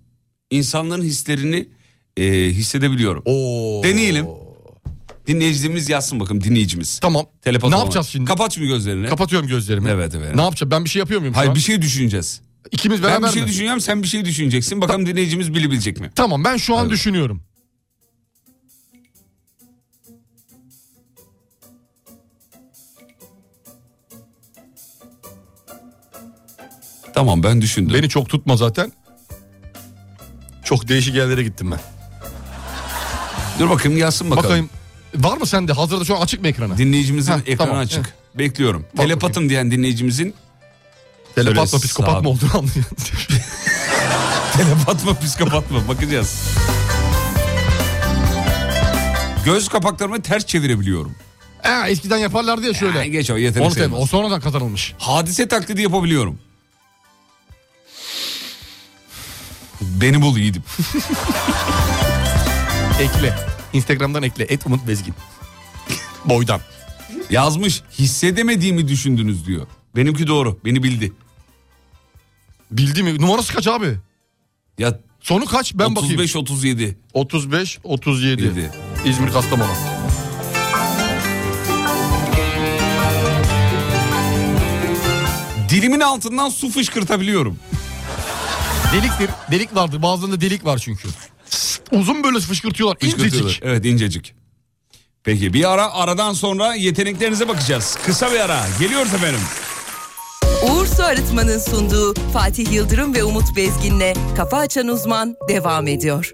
Speaker 5: İnsanların hislerini e, hissedebiliyorum. Deneyelim. Dinleyicimiz yazsın bakalım dinleyicimiz.
Speaker 6: Tamam.
Speaker 5: Telepat
Speaker 6: Ne
Speaker 5: olmak.
Speaker 6: yapacağız şimdi?
Speaker 5: Kapat şimdi gözlerini.
Speaker 6: Kapatıyorum gözlerimi.
Speaker 5: Evet evet.
Speaker 6: Ne yapacağım? Ben bir şey yapıyor muyum? şu
Speaker 5: Hayır
Speaker 6: an?
Speaker 5: bir şey düşüneceğiz.
Speaker 6: İkimiz
Speaker 5: Ben
Speaker 6: beraber
Speaker 5: bir şey
Speaker 6: mi?
Speaker 5: düşünüyorum sen bir şey düşüneceksin. Bakalım dinleyicimiz bilebilecek mi?
Speaker 6: Tamam ben şu an düşünüyorum.
Speaker 5: Tamam ben düşündüm.
Speaker 6: Beni çok tutma zaten. Çok değişik yerlere gittim ben.
Speaker 5: Dur bakayım yazsın bakalım.
Speaker 6: Bakayım. Var mı sende? Hazırda şu an açık mı ekrana?
Speaker 5: Dinleyicimizin
Speaker 6: Heh,
Speaker 5: ekranı
Speaker 6: tamam.
Speaker 5: açık. Bekliyorum. Telepatım diyen dinleyicimizin
Speaker 6: Telepat mı
Speaker 5: Söyle,
Speaker 6: psikopat
Speaker 5: sağ-
Speaker 6: mı olduğunu anlayın.
Speaker 5: Telepat mı psikopat mı bakacağız. Göz kapaklarımı ters çevirebiliyorum.
Speaker 6: Ha, eskiden yaparlardı ya şöyle.
Speaker 5: Ha, geç o yetenek
Speaker 6: Onu tabii,
Speaker 5: sayılmaz.
Speaker 6: o sonradan kazanılmış.
Speaker 5: Hadise taklidi yapabiliyorum. Beni bul yiğidim.
Speaker 6: Ekle.
Speaker 19: Instagram'dan ekle. Et Umut
Speaker 6: *laughs*
Speaker 19: Bezgin.
Speaker 5: Boydan. Yazmış hissedemediğimi düşündünüz diyor. Benimki doğru beni bildi.
Speaker 6: Bildi mi? E, Numarası kaç abi?
Speaker 5: Ya
Speaker 6: Sonu kaç ben bakayım.
Speaker 5: 35 37.
Speaker 6: 35 37. İzmir Kastamonu.
Speaker 5: Dilimin altından su fışkırtabiliyorum.
Speaker 6: Deliktir. Delik vardır. Bazılarında delik var çünkü. Uzun böyle fışkırtıyorlar.
Speaker 5: Fışkırtıyorlar.
Speaker 6: İncecik.
Speaker 5: Evet incecik. Peki bir ara aradan sonra yeteneklerinize bakacağız. Kısa bir ara geliyoruz efendim.
Speaker 1: Uğur Su Arıtma'nın sunduğu Fatih Yıldırım ve Umut Bezgin'le Kafa Açan Uzman devam ediyor.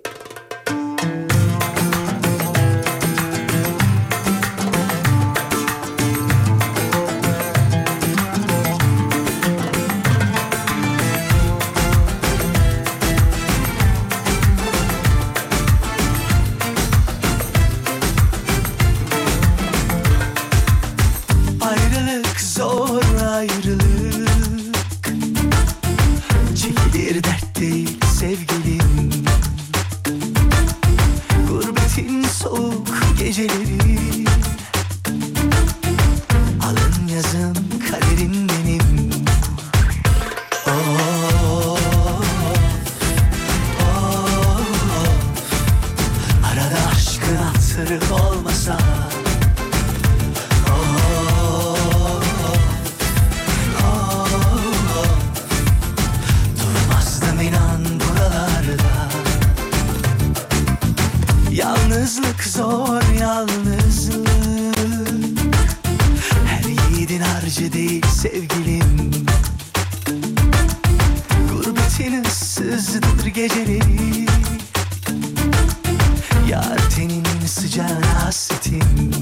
Speaker 2: Ayrılık zor ayrılık Çekilir dert değil sevgilim Gurbetin soğuk geceleri Alın yazın kaderim benim Of, of. Arada aşkın hatırı olmasa Durmazdım inan buralarda Yalnızlık zor yalnızlık Her yiğidin harcı değil sevgilim Gurbetin ıssızdır geceleri Yar teninin sıcağına hasretim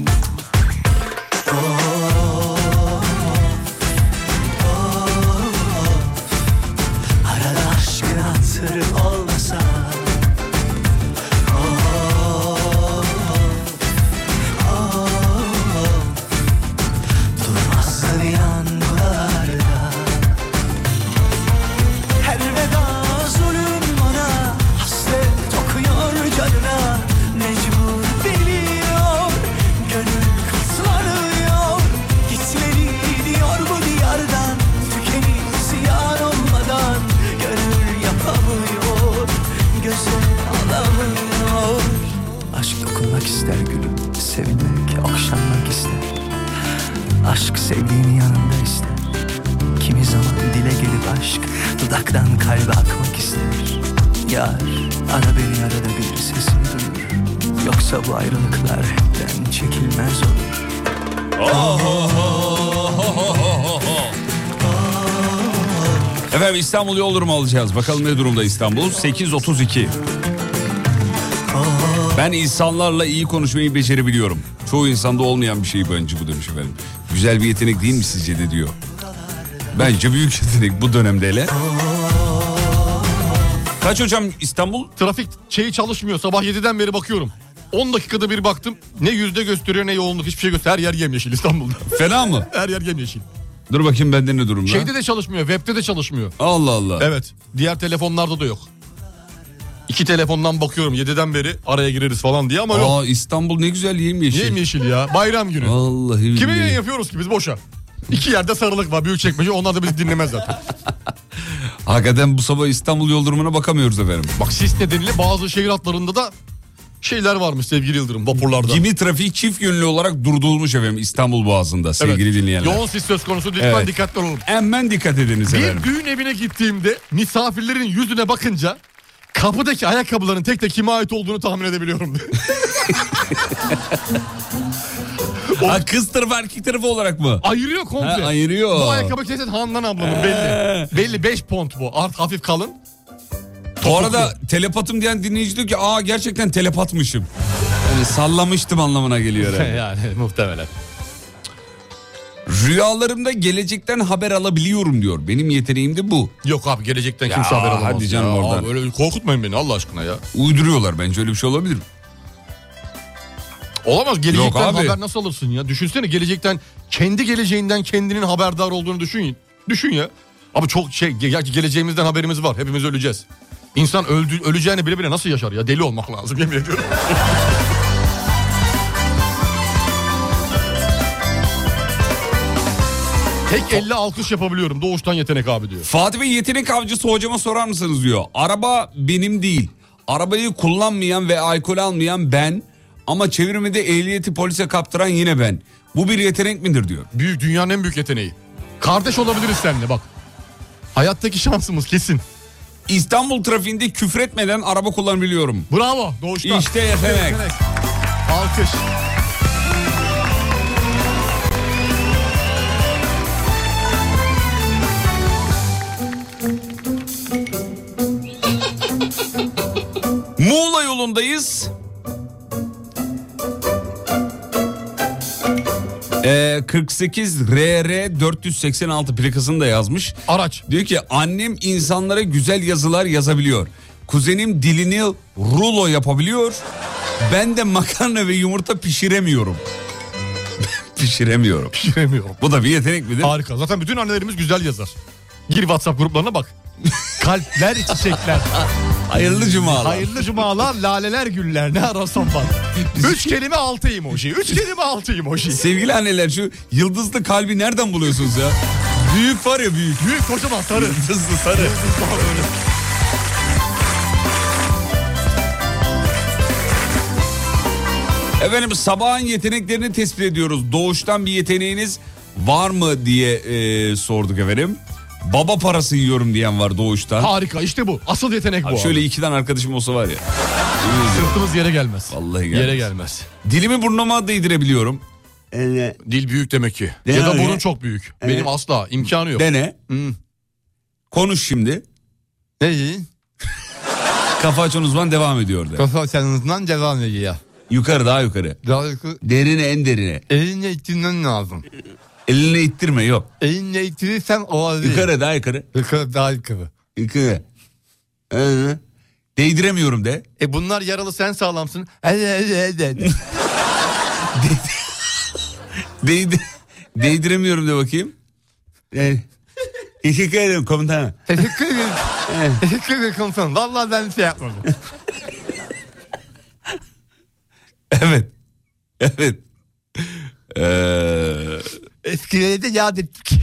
Speaker 2: Arada aşkın hatırı olmasa Oh, Of, of. Durmazdı bir an buralarda Her veda zulüm bana Hasret dokuyor canına Mecbur biliyor Gönül katlanıyor Gitmeli diyor bu diyardan Tükenir ziyan olmadan Gönül yapamıyor Gözü alamıyor Aşk dokunmak ister gülüm Sevinmek, okşanmak ister Aşk sevdiğini yanında ister Kimi zaman dile gelip aşk Dudaktan kalbe akmak ister Yar ara beni arada bir sesini duyur Yoksa bu ayrılıklar hepten çekilmez olur
Speaker 6: Oh,
Speaker 5: Efendim İstanbul yol durumu alacağız. Bakalım ne durumda İstanbul? 8.32. Ben insanlarla iyi konuşmayı becerebiliyorum. Çoğu insanda olmayan bir şey bence bu demiş efendim. Güzel bir yetenek değil mi sizce de diyor. Bence büyük yetenek bu dönemde hele. Kaç hocam İstanbul?
Speaker 6: Trafik şeyi çalışmıyor. Sabah 7'den beri bakıyorum. 10 dakikada bir baktım. Ne yüzde gösteriyor ne yoğunluk hiçbir şey gösteriyor. Her yer yemyeşil İstanbul'da.
Speaker 5: Fena mı?
Speaker 6: Her yer yemyeşil.
Speaker 5: Dur bakayım bende ne durumda?
Speaker 6: Şeyde de çalışmıyor. Web'de de çalışmıyor.
Speaker 5: Allah Allah.
Speaker 6: Evet. Diğer telefonlarda da yok. İki telefondan bakıyorum 7'den beri araya gireriz falan diye ama yok.
Speaker 5: Aa, İstanbul ne güzel yemyeşil.
Speaker 6: Yemyeşil ya. Bayram günü.
Speaker 5: Vallahi
Speaker 6: Kime
Speaker 5: billahi.
Speaker 6: yayın yapıyoruz ki biz boşa? İki yerde sarılık var. Büyük çekmece. Onlar da bizi dinlemez zaten.
Speaker 5: Hakikaten bu sabah İstanbul yol durumuna bakamıyoruz efendim.
Speaker 6: Bak sis nedeniyle bazı şehir hatlarında da şeyler varmış sevgili Yıldırım vapurlarda.
Speaker 5: Gemi trafiği çift yönlü olarak durdurulmuş efendim İstanbul Boğazı'nda sevgili dinleyenler.
Speaker 6: Yoğun sis söz konusu lütfen
Speaker 5: Evet.
Speaker 6: dikkatli olun.
Speaker 5: Hemen dikkat ediniz efendim.
Speaker 6: Bir düğün evine gittiğimde misafirlerin yüzüne bakınca kapıdaki ayakkabıların tek tek kime ait olduğunu tahmin edebiliyorum.
Speaker 5: Ha, kız tarafı erkek tarafı olarak mı?
Speaker 6: ayırıyor komple.
Speaker 5: Ha, ayırıyor.
Speaker 6: Bu ayakkabı kesin Handan ablamın
Speaker 5: Ee.
Speaker 6: belli. belli 5 pont bu. Art hafif kalın.
Speaker 5: Bu arada telepatım diyen dinleyici diyor ki aa gerçekten telepatmışım. Yani sallamıştım anlamına geliyor *laughs*
Speaker 6: *laughs*
Speaker 5: herhalde.
Speaker 6: yani muhtemelen.
Speaker 5: Rüyalarımda gelecekten haber alabiliyorum diyor. Benim yeteneğim de bu.
Speaker 6: Yok abi gelecekten
Speaker 5: Ya,
Speaker 6: kimse haber alamaz.
Speaker 5: hadi canım
Speaker 6: ya.
Speaker 5: oradan.
Speaker 6: Abi öyle korkutmayın beni Allah aşkına ya.
Speaker 5: Uyduruyorlar bence öyle bir şey olabilir mi?
Speaker 6: Olamaz
Speaker 5: Yok
Speaker 6: gelecekten
Speaker 5: abi.
Speaker 6: haber nasıl alırsın ya? Düşünsene gelecekten kendi geleceğinden kendinin haberdar olduğunu düşün. Düşün ya. Abi çok şey ge- geleceğimizden haberimiz var. Hepimiz öleceğiz. İnsan öldü, öleceğini bile bile nasıl yaşar ya? Deli olmak lazım yemin ediyorum. *laughs* Tek elle alkış yapabiliyorum. Doğuştan yetenek abi diyor.
Speaker 5: Fatih Bey yetenek avcısı hocama sorar mısınız diyor. Araba benim değil. Arabayı kullanmayan ve alkol almayan ben. Ama çevirmede ehliyeti polise kaptıran yine ben. Bu bir yetenek midir diyor.
Speaker 6: Büyük dünyanın en büyük yeteneği. Kardeş olabiliriz seninle bak. Hayattaki şansımız kesin.
Speaker 5: İstanbul trafiğinde küfretmeden araba kullanabiliyorum.
Speaker 6: Bravo doğuştan.
Speaker 5: İşte yetenek.
Speaker 6: Alkış.
Speaker 5: Muğla yolundayız. Ee, 48 RR 486 plakasını da yazmış.
Speaker 6: Araç.
Speaker 5: Diyor ki annem insanlara güzel yazılar yazabiliyor. Kuzenim dilini rulo yapabiliyor. Ben de makarna ve yumurta pişiremiyorum. *laughs* pişiremiyorum.
Speaker 6: Pişiremiyorum.
Speaker 5: Bu da bir yetenek midir?
Speaker 6: Harika. Zaten bütün annelerimiz güzel yazar. Gir WhatsApp gruplarına bak. Kalpler çiçekler.
Speaker 5: Hayırlı cumalar.
Speaker 6: Hayırlı cumalar, laleler güller. Ne arasam var. Üç kelime altı emoji. Üç kelime altı emoji.
Speaker 5: Sevgili anneler şu yıldızlı kalbi nereden buluyorsunuz ya? Büyük var ya büyük.
Speaker 6: Büyük kocaman sarı.
Speaker 5: Yıldızlı sarı. Efendim sabahın yeteneklerini tespit ediyoruz. Doğuştan bir yeteneğiniz var mı diye e, sorduk efendim. Baba parası yiyorum diyen var doğuştan.
Speaker 6: Harika işte bu. Asıl yetenek bu.
Speaker 5: Abi şöyle iki tane arkadaşım olsa var ya. Yemin ediyorum.
Speaker 6: Sırtımız yere gelmez.
Speaker 5: Vallahi gelmez.
Speaker 6: Yere gelmez.
Speaker 5: Dilimi burnuma değdirebiliyorum.
Speaker 6: Dil büyük demek ki.
Speaker 5: Dene
Speaker 6: ya da
Speaker 5: öyle.
Speaker 6: burun çok büyük.
Speaker 5: Evet.
Speaker 6: Benim asla imkanı yok.
Speaker 5: Dene. Konuş şimdi.
Speaker 6: Neyi?
Speaker 5: Kafa açan uzman devam ediyor de.
Speaker 6: Kafa açanızdan devam ediyor.
Speaker 5: Yukarı daha yukarı.
Speaker 6: Daha yukarı.
Speaker 5: Derine en derine.
Speaker 6: Elinle ittirmen lazım.
Speaker 5: Eline ittirme yok.
Speaker 6: Elinle ittirirsen olabilir.
Speaker 5: Yukarı daha yukarı.
Speaker 6: Yukarı daha yukarı.
Speaker 5: Yukarı. Ee, değdiremiyorum de.
Speaker 6: E bunlar yaralı sen sağlamsın. Hadi hadi hadi.
Speaker 5: Değdi- *laughs* değdiremiyorum de bakayım. Ee, teşekkür ederim komutanım.
Speaker 6: Teşekkür
Speaker 5: *laughs*
Speaker 6: ederim. Teşekkür ederim komutanım. Vallahi ben bir şey yapmadım.
Speaker 5: Evet. Evet. Ee,
Speaker 6: Eskileri de yad ettik. *laughs*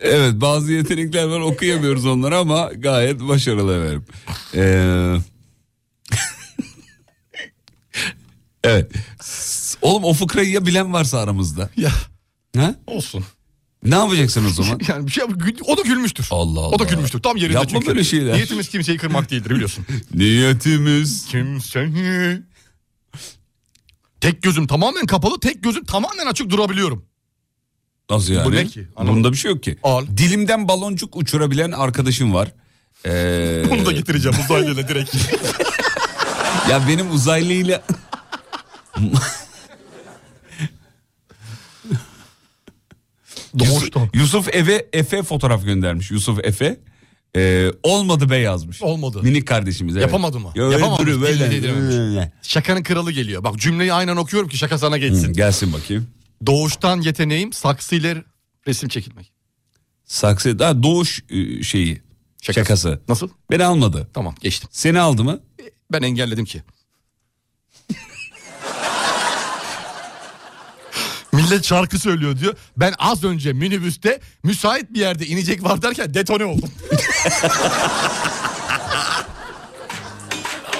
Speaker 5: evet bazı yetenekler var okuyamıyoruz onları ama gayet başarılı efendim. Ee, *laughs* evet. S- Oğlum o fıkrayı ya bilen varsa aramızda.
Speaker 6: ya
Speaker 5: Ha?
Speaker 6: olsun.
Speaker 5: Ne yapacaksın o zaman?
Speaker 6: *laughs* Yani bir şey o da gülmüştür.
Speaker 5: Allah Allah.
Speaker 6: O da gülmüştür. Tam yerinde
Speaker 5: Yapma
Speaker 6: çünkü.
Speaker 5: böyle şeyler.
Speaker 6: Niyetimiz kimseyi kırmak değildir biliyorsun.
Speaker 5: *laughs* Niyetimiz.
Speaker 6: Kimseyi. Tek gözüm tamamen kapalı, tek gözüm tamamen açık durabiliyorum.
Speaker 5: Nasıl yani?
Speaker 6: Bu ne ki? Anlamadım.
Speaker 5: Bunda bir şey yok ki. Dilimden baloncuk uçurabilen arkadaşım var. Ee,
Speaker 6: *laughs* Bunu da getireceğim uzaylıyla direkt.
Speaker 5: *laughs* ya benim
Speaker 6: *laughs*
Speaker 5: uzaylıyla... Yusuf,
Speaker 6: Doğuştan.
Speaker 5: Yusuf Efe, Efe fotoğraf göndermiş. Yusuf Efe. Ee, olmadı be yazmış.
Speaker 6: Olmadı.
Speaker 5: Minik kardeşimiz. Evet.
Speaker 6: Yapamadı mı?
Speaker 5: Ya öyle
Speaker 6: Yapamadı.
Speaker 5: duruyor,
Speaker 6: Belli
Speaker 5: böyle.
Speaker 6: edilememiş. Şakanın kralı geliyor. Bak cümleyi aynen okuyorum ki şaka sana geçsin.
Speaker 5: Hı, gelsin bakayım.
Speaker 6: Doğuştan yeteneğim saksıyla resim çekilmek.
Speaker 5: Saksı. Daha doğuş e, şeyi. Şakası.
Speaker 6: Nasıl?
Speaker 5: Beni almadı.
Speaker 6: Tamam geçtim.
Speaker 5: Seni aldı mı?
Speaker 6: Ben engelledim ki. Millet şarkı söylüyor diyor. Ben az önce minibüste müsait bir yerde inecek var derken detone oldum.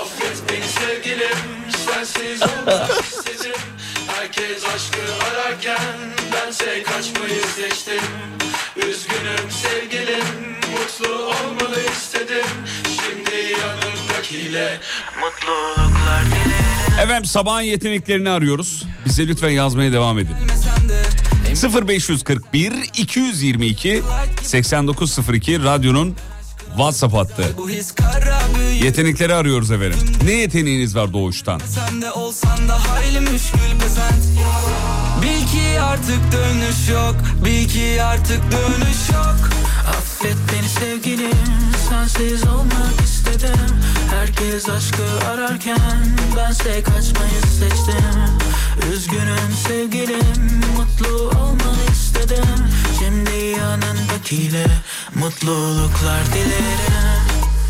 Speaker 2: Affet beni sevgilim sensiz olmak istedim Herkes aşkı ararken bense kaçmayı seçtim Üzgünüm sevgilim mutlu olmalı istedim Şimdi yanımdakiyle mutluluklar dilerim
Speaker 5: Efendim sabahın yeteneklerini arıyoruz. Bize lütfen yazmaya devam edin. 0541 222 8902 radyonun WhatsApp hattı.
Speaker 10: Bu his kara büyük
Speaker 5: Yetenekleri arıyoruz efendim. Ne yeteneğiniz var doğuştan?
Speaker 10: Sen de olsan da hayli müşkül pezent Bil ki artık dönüş yok Bil ki artık dönüş yok
Speaker 20: Affet beni sevgilim Sensiz olmak istedim Herkes aşkı ararken Bense kaçmayı seçtim Üzgünüm sevgilim Mutlu olmanı istedim Şimdi yanındakiyle Mutluluklar dilerim
Speaker 5: *laughs*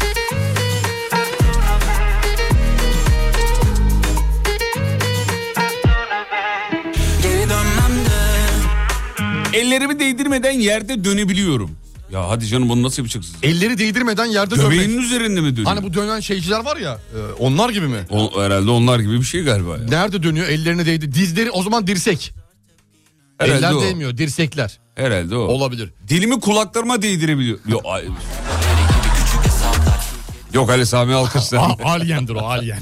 Speaker 5: Ellerimi değdirmeden yerde dönebiliyorum. Ya hadi canım bunu nasıl yapacaksınız?
Speaker 6: Elleri değdirmeden yerde dönmek.
Speaker 5: Göbeğinin üzerinde mi dönüyor?
Speaker 6: Hani bu dönen şeyciler var ya e, onlar gibi mi?
Speaker 5: O, herhalde onlar gibi bir şey galiba. Ya.
Speaker 6: nerede dönüyor ellerini değdi. Dizleri o zaman dirsek.
Speaker 5: Herhalde
Speaker 6: Eller
Speaker 5: o.
Speaker 6: değmiyor dirsekler.
Speaker 5: Herhalde o.
Speaker 6: Olabilir.
Speaker 5: Dilimi kulaklarıma değdirebiliyor. Yok, ay- Yok Ali Sami Alkışlar.
Speaker 6: *laughs* Aliendir o alien.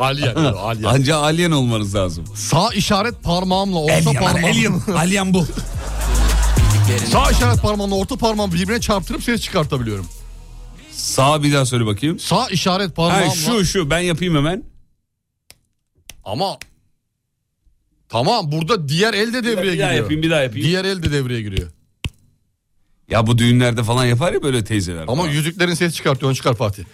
Speaker 6: aliendir o alien.
Speaker 5: Anca alien olmanız lazım.
Speaker 6: Sağ işaret parmağımla orta
Speaker 5: Alien,
Speaker 6: parmağım.
Speaker 5: alien, alien bu.
Speaker 6: *laughs* Sağ işaret parmağımla orta parmağımı birbirine çarptırıp ses çıkartabiliyorum.
Speaker 5: Sağ bir daha söyle bakayım.
Speaker 6: Sağ işaret parmağımla.
Speaker 5: Ha, şu şu ben yapayım hemen.
Speaker 6: Ama tamam burada diğer el de devreye
Speaker 5: Bir
Speaker 6: giriyor.
Speaker 5: daha yapayım bir daha yapayım.
Speaker 6: Diğer el de devreye giriyor.
Speaker 5: Ya bu düğünlerde falan yapar ya böyle teyzeler.
Speaker 6: Ama yüzüklerin ses çıkartıyor onu çıkar Fatih.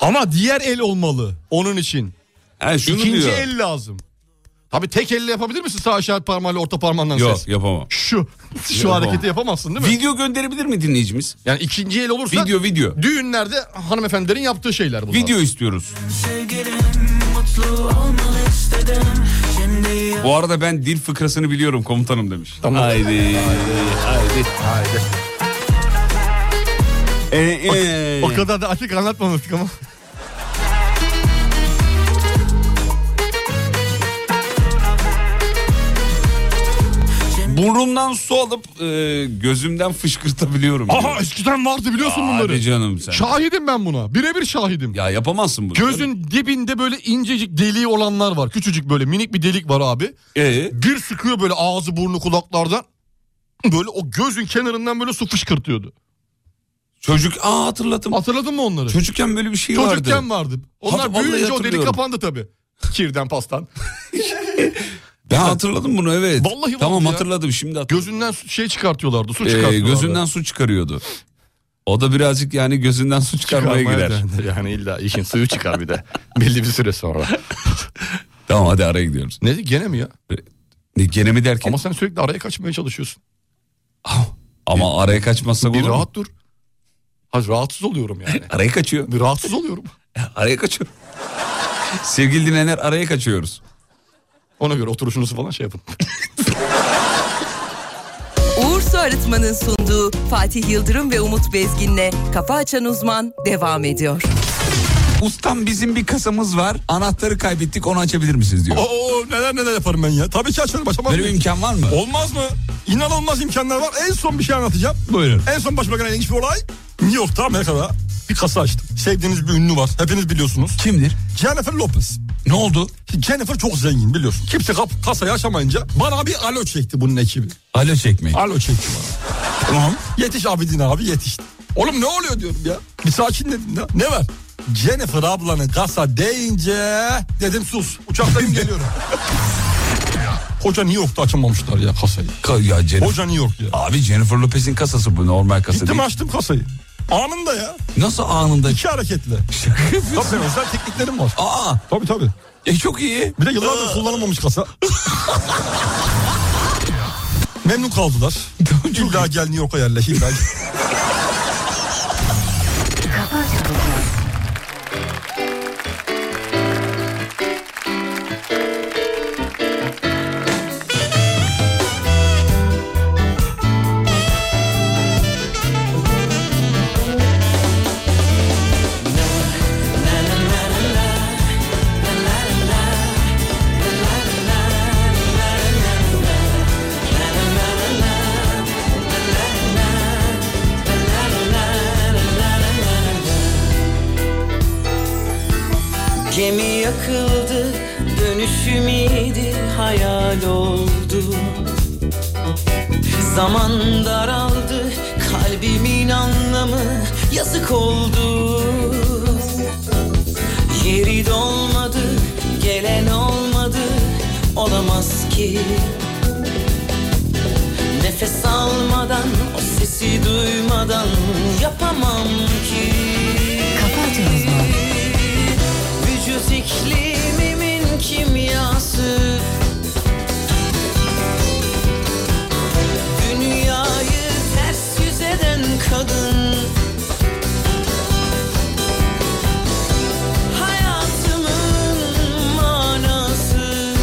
Speaker 6: Ama diğer el olmalı onun için.
Speaker 5: He, şunu
Speaker 6: İkinci
Speaker 5: diyor.
Speaker 6: el lazım. Tabii tek elle yapabilir misin sağ işaret parmağıyla orta parmağından
Speaker 5: Yok
Speaker 6: ses?
Speaker 5: yapamam.
Speaker 6: Şu *laughs* şu
Speaker 5: Yapamam.
Speaker 6: hareketi yapamazsın değil mi?
Speaker 5: Video gönderebilir mi dinleyicimiz?
Speaker 6: Yani ikinci el olursa
Speaker 5: Video video.
Speaker 6: düğünlerde hanımefendilerin yaptığı şeyler bunlar.
Speaker 5: Video istiyoruz.
Speaker 21: Sevgilim mutlu olmalı istedim Şimdi
Speaker 5: Bu arada ben dil fıkrasını biliyorum komutanım demiş.
Speaker 6: Şey- Tamam.
Speaker 5: Haydi. Haydi.
Speaker 6: Haydi.
Speaker 5: E, e.
Speaker 6: O kadar da açık anlatmamıştık ama.
Speaker 5: Burnumdan su alıp e, gözümden fışkırtabiliyorum.
Speaker 6: Aha eskiden vardı biliyorsun
Speaker 5: Hadi
Speaker 6: bunları.
Speaker 5: canım sen.
Speaker 6: Şahidim ben buna. Birebir şahidim.
Speaker 5: Ya yapamazsın bunu.
Speaker 6: Gözün dibinde böyle incecik deliği olanlar var. Küçücük böyle minik bir delik var abi.
Speaker 5: Ee?
Speaker 6: Bir sıkıyor böyle ağzı burnu kulaklardan. Böyle o gözün kenarından böyle su fışkırtıyordu.
Speaker 5: Çocuk aa hatırladım.
Speaker 6: Hatırladın mı onları?
Speaker 5: Çocukken böyle bir şey vardı.
Speaker 6: Çocukken vardı. Onlar
Speaker 5: Hat- vallahi
Speaker 6: büyüyünce o delik
Speaker 5: hatırlıyorum.
Speaker 6: kapandı tabii. Kirden pastan.
Speaker 5: Ben hatırladım bunu evet.
Speaker 6: Vallahi vardı
Speaker 5: Tamam
Speaker 6: ya.
Speaker 5: hatırladım şimdi hatırladım.
Speaker 6: Gözünden su- şey çıkartıyorlardı. Su
Speaker 5: Ee,
Speaker 6: çıkartıyorlardı.
Speaker 5: gözünden su çıkarıyordu. O da birazcık yani gözünden su çıkarmaya girer.
Speaker 6: Yani illa işin suyu çıkar
Speaker 5: *laughs*
Speaker 6: bir de. Belli bir süre sonra.
Speaker 5: Tamam hadi araya gidiyoruz. E,
Speaker 6: Ne gene mi ya?
Speaker 5: Ne, gene mi derken?
Speaker 6: Ama
Speaker 5: Ama,
Speaker 6: sen sürekli araya kaçmaya çalışıyorsun.
Speaker 5: araya kaçmazsak
Speaker 6: bir
Speaker 5: olur mu?
Speaker 6: rahat dur. Ha, rahatsız oluyorum yani.
Speaker 5: *laughs* Araya kaçıyor.
Speaker 6: Bir rahatsız oluyorum.
Speaker 5: Araya kaçıyor. *laughs* Sevgili dinleyenler araya kaçıyoruz.
Speaker 6: Ona göre oturuşunuzu falan şey yapın.
Speaker 1: Uğur Su Arıtma'nın sunduğu Fatih Yıldırım ve Umut Bezgin'le Kafa Açan Uzman devam ediyor.
Speaker 5: Ustam bizim bir kasamız var. Anahtarı kaybettik onu açabilir misiniz diyor.
Speaker 6: Oo neler neler yaparım ben ya. Tabii ki açarım açamam.
Speaker 5: Böyle bir
Speaker 6: mıyım?
Speaker 5: imkan var mı?
Speaker 6: Olmaz mı? İnanılmaz imkanlar var. En son bir şey anlatacağım. Buyurun. En son başbakan ilginç bir olay. New York'ta Amerika'da bir kasa açtım. Sevdiğiniz bir ünlü var. Hepiniz biliyorsunuz.
Speaker 5: Kimdir?
Speaker 6: Jennifer Lopez.
Speaker 5: Ne oldu?
Speaker 6: Jennifer çok zengin biliyorsun. Kimse kap- kasayı açamayınca bana bir alo çekti bunun ekibi.
Speaker 5: Alo çekmeyin.
Speaker 6: Alo çekti bana. Tamam. Yetiş Abidin abi yetiş. Oğlum ne oluyor diyorum ya. Bir sakin dedim ya. Ne var? Jennifer ablanın kasa deyince dedim sus.
Speaker 5: *laughs*
Speaker 6: Uçaktayım geliyorum. Hoca New York'ta açamamışlar ya kasayı.
Speaker 5: Ka- ya Jennifer-
Speaker 6: Hoca New York ya.
Speaker 5: Abi Jennifer Lopez'in kasası bu normal kasa
Speaker 6: Gittim
Speaker 5: değil.
Speaker 6: açtım kasayı. Anında ya.
Speaker 5: Nasıl anında?
Speaker 6: İki hareketle. tabii benim özel tekniklerim var.
Speaker 5: Aa
Speaker 6: Tabii tabii.
Speaker 5: e, çok iyi.
Speaker 6: Bir de yıllardır kullanılmamış *laughs* kasa. Memnun kaldılar. İlla gel New York'a yerleş. *laughs* İlla gel.
Speaker 2: Gemi yakıldı, dönüşüm iyiydi, hayal oldu. Zaman daraldı, kalbimin anlamı yazık oldu. Yeri dolmadı, gelen olmadı, olamaz ki. Nefes almadan, o sesi duymadan yapamam ki. Vücut iklimimin kimyası Dünyayı ters yüz eden kadın Hayatımın manası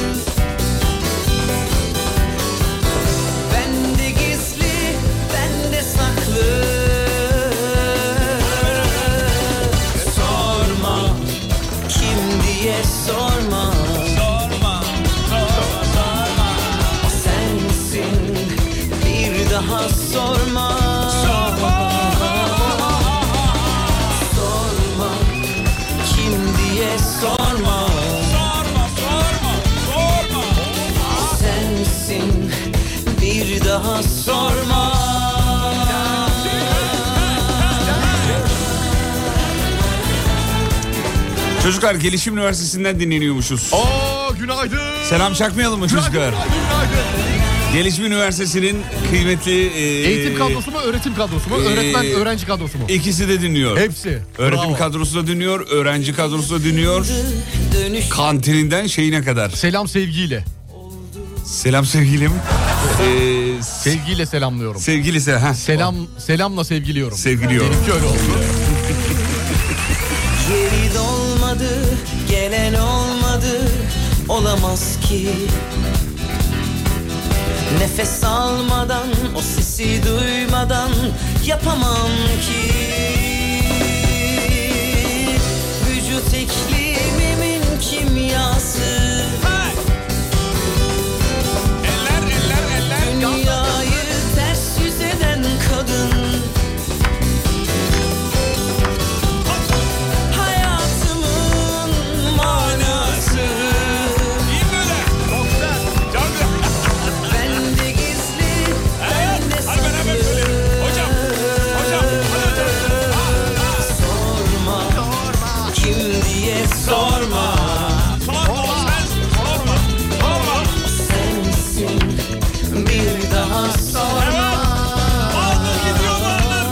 Speaker 5: Çocuklar Gelişim Üniversitesi'nden dinleniyormuşuz.
Speaker 6: Oo günaydın.
Speaker 5: Selam çakmayalım mı çocuklar? Gelişim Üniversitesi'nin kıymetli... e,
Speaker 6: Eğitim kadrosu mu, öğretim kadrosu mu,
Speaker 5: e,
Speaker 6: öğretmen, öğrenci kadrosu mu?
Speaker 5: İkisi de dinliyor.
Speaker 6: Hepsi.
Speaker 5: Öğretim
Speaker 6: Bravo.
Speaker 5: kadrosu da dinliyor, öğrenci kadrosu da dinliyor. Kantininden şeyine kadar.
Speaker 6: Selam sevgiyle.
Speaker 5: Selam sevgilim. Ee,
Speaker 6: sevgiyle selamlıyorum.
Speaker 5: Sevgili se- ha.
Speaker 6: Selam selamla sevgiliyorum.
Speaker 5: Sevgiliyorum.
Speaker 6: Benimki öyle oldu.
Speaker 2: Geri dolmadı, gelen olmadı, olamaz ki. Nefes almadan, o sesi duymadan yapamam ki. Vücut iklimimin kimyası. Eller, eller, eller. Dünyayı ters yüz eden kadın. Hayatımın manası. İyi böyle. Çok güzel. Çok güzel. Bende gizli, bende saklı. Hocam, hocam, hocam. Sorma, kim diye sorma. Sorma, sorma, sorma. Sensin, bir daha sorma. Aldı gidiyorlar.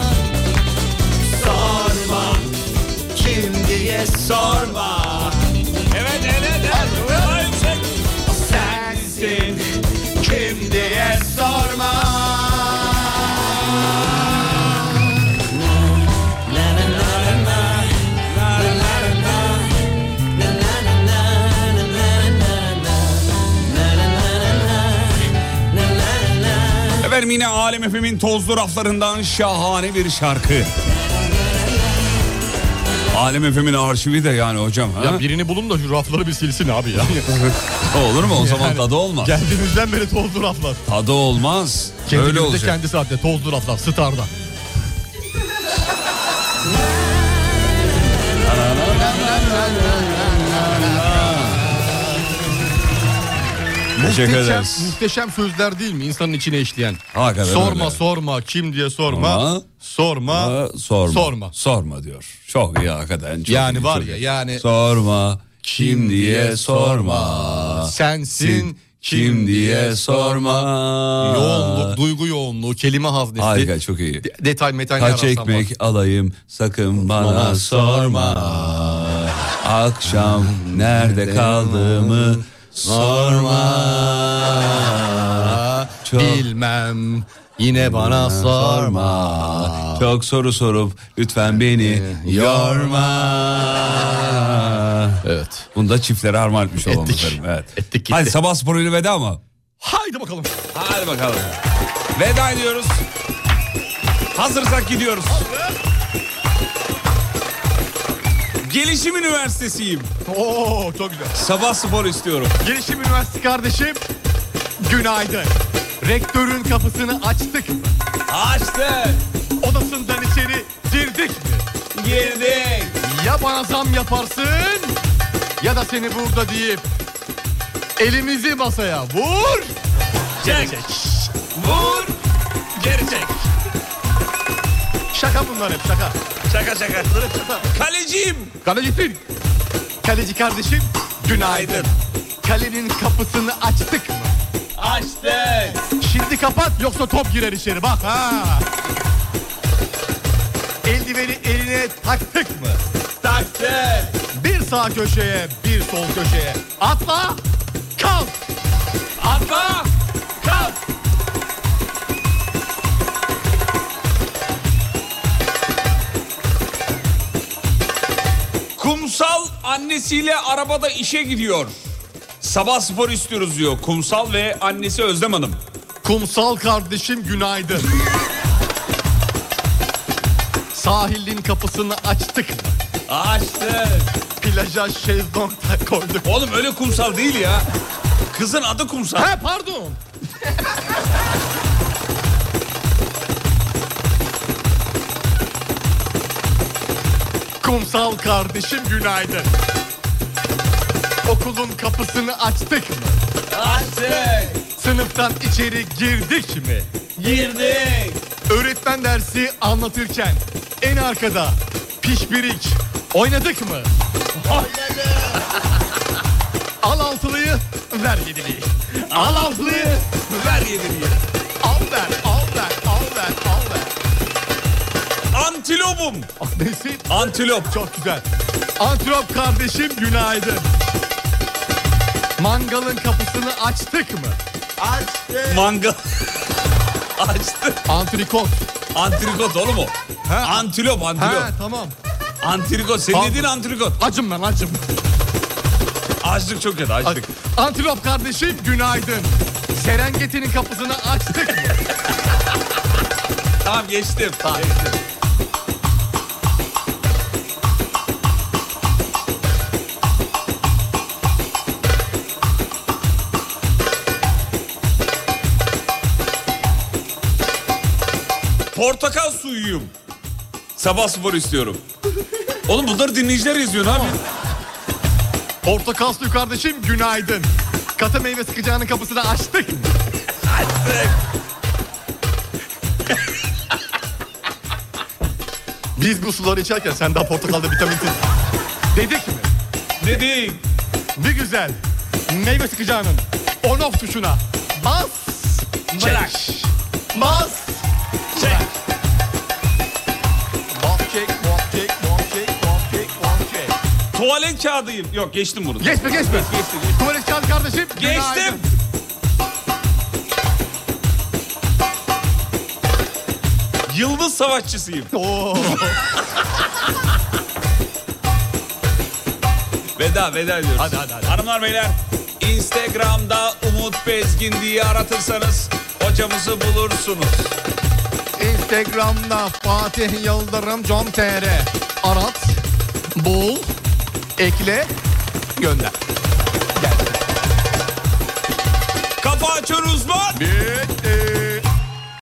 Speaker 2: Sorma kim diye sorma. Evet evet evet. Daha yüksek. Sensin kim diye sorma.
Speaker 5: Efendim yine Alem Efem'in tozlu raflarından şahane bir şarkı. Alem Efem'in arşivi de yani hocam. Ha?
Speaker 6: Ya birini bulun da şu rafları bir silsin
Speaker 5: *laughs*
Speaker 6: abi ya.
Speaker 5: Olur mu? O zaman
Speaker 6: Yani
Speaker 5: tadı olmaz.
Speaker 6: Geldiğimizden beri tozlu raflar.
Speaker 5: Tadı olmaz. Öyle
Speaker 6: Kendimizde
Speaker 5: olacak.
Speaker 6: kendi saatte tozlu raflar Star'da.
Speaker 5: Teşekkür
Speaker 6: Muhteşem,
Speaker 5: ederiz.
Speaker 6: muhteşem sözler değil mi insanın içine işleyen?
Speaker 5: Hakikaten
Speaker 6: sorma
Speaker 5: öyle.
Speaker 6: sorma kim diye sorma.
Speaker 5: Ama-
Speaker 6: sorma.
Speaker 5: Ha, sorma.
Speaker 6: Sorma.
Speaker 5: Sorma diyor. Çok iyi hakikaten. çok
Speaker 6: Yani
Speaker 5: iyi,
Speaker 6: var
Speaker 5: çok
Speaker 6: ya,
Speaker 5: iyi.
Speaker 6: yani-
Speaker 5: Sorma kim diye
Speaker 6: diye
Speaker 5: sorma.
Speaker 6: Sensin kim diye sorma. Yoğunluk, duygu yoğunluğu, kelime haznesi.
Speaker 5: Harika çok iyi.
Speaker 6: de- detay metal
Speaker 5: Kaç ekmek alayım sakın bana
Speaker 6: Bana
Speaker 5: sorma. Akşam nerede kaldığımı sorma. Çok-
Speaker 6: Bilmem yine bana sorma.
Speaker 5: Çok soru sorup lütfen beni yorma. Evet. Bunda çiftlere armağan etmiş olalım efendim. Evet. Ettik gitti. Hadi sabah sporuyla veda mı?
Speaker 6: Haydi bakalım.
Speaker 5: Hadi bakalım. Veda ediyoruz. Hazırsak gidiyoruz. Gelişim Üniversitesi'yim.
Speaker 6: Oo çok güzel.
Speaker 5: Sabah spor istiyorum.
Speaker 6: Gelişim Üniversitesi kardeşim günaydın. Rektörün kapısını açtık mı?
Speaker 5: Açtık.
Speaker 6: Odasından içeri girdik mi?
Speaker 5: Girdik.
Speaker 6: Ya bana zam yaparsın ya da seni burada deyip elimizi masaya vur. Geri çek. Vur. Geri çek. Şaka bunlar hep şaka. Şaka şaka.
Speaker 5: Kaleciyim.
Speaker 6: Kalecisin. Kaleci kardeşim günaydın. Kalenin kapısını açtık mı?
Speaker 5: Açtık.
Speaker 6: Şimdi kapat yoksa top girer içeri bak ha. Eldiveni eline taktık mı? Taktık. Bir sağ köşeye bir sol köşeye. Atla kalk. Atla kalk.
Speaker 5: Kumsal annesiyle arabada işe gidiyor. Sabah spor istiyoruz diyor. Kumsal ve annesi Özlem Hanım.
Speaker 6: Kumsal kardeşim günaydın. Sahilin kapısını açtık mı?
Speaker 5: Açtık.
Speaker 6: Plaja şezlong da koyduk.
Speaker 5: Oğlum öyle kumsal değil ya. Kızın adı kumsal. *laughs*
Speaker 6: He pardon. *laughs* Kumsal kardeşim günaydın. Okulun kapısını açtık mı?
Speaker 5: Açtık.
Speaker 6: Sınıftan içeri girdik mi? Girdik. Öğretmen dersi anlatırken en arkada pişbirik oynadık mı? *laughs* Al altılıyı, ver yediliyi. Al altılıyı, ver yediliyi. Al ver, al ver, al ver, al ver.
Speaker 5: Antilopum.
Speaker 6: Nesin?
Speaker 5: Antilop.
Speaker 6: Ah, Çok güzel. Antilop kardeşim günaydın. Mangalın kapısını açtık mı? Açtık.
Speaker 5: Mangal. Açtık.
Speaker 6: Antrikot.
Speaker 5: Antrikot oğlum o. Antilop, antilop.
Speaker 6: He tamam.
Speaker 5: Antrikot. Senin
Speaker 6: Pardon.
Speaker 5: dediğin antrikot.
Speaker 6: Acım ben acım.
Speaker 5: Açlık çok kötü açlık.
Speaker 6: Antilop kardeşim günaydın. Serengeti'nin kapısını açtık mı?
Speaker 5: Tamam geçtim. Geçtim. Portakal suyuyum. Sabah spor istiyorum. Oğlum bunları dinleyiciler izliyor ne yapayım?
Speaker 6: Portakal suyu kardeşim günaydın. Katı meyve sıkacağının kapısını açtık mı?
Speaker 5: Açtık.
Speaker 6: Biz bu suları içerken sen daha portakalda vitamin tut. Dedik mi?
Speaker 5: Dedik.
Speaker 6: Bir güzel. Meyve sıkacağının on off tuşuna bas. Çelak. Bas. Çek. Bas çek, bas çek, bas çek, bas çek, bas çek.
Speaker 5: Tuvalet kağıdıyım. Yok geçtim bunu.
Speaker 6: Geçme geçme. Tuvalet kağıdı kardeşim.
Speaker 5: Geçtim. Yıldız savaşçısıyım. *laughs* veda veda ediyoruz. Hadi hadi hadi. Hanımlar beyler Instagram'da Umut Bezgin diye aratırsanız hocamızı bulursunuz.
Speaker 6: Instagram'da Fatih Yıldırım Con.tr Arat, bul, ekle, gönder.
Speaker 5: Kafa açıyoruz lan.
Speaker 6: Bir.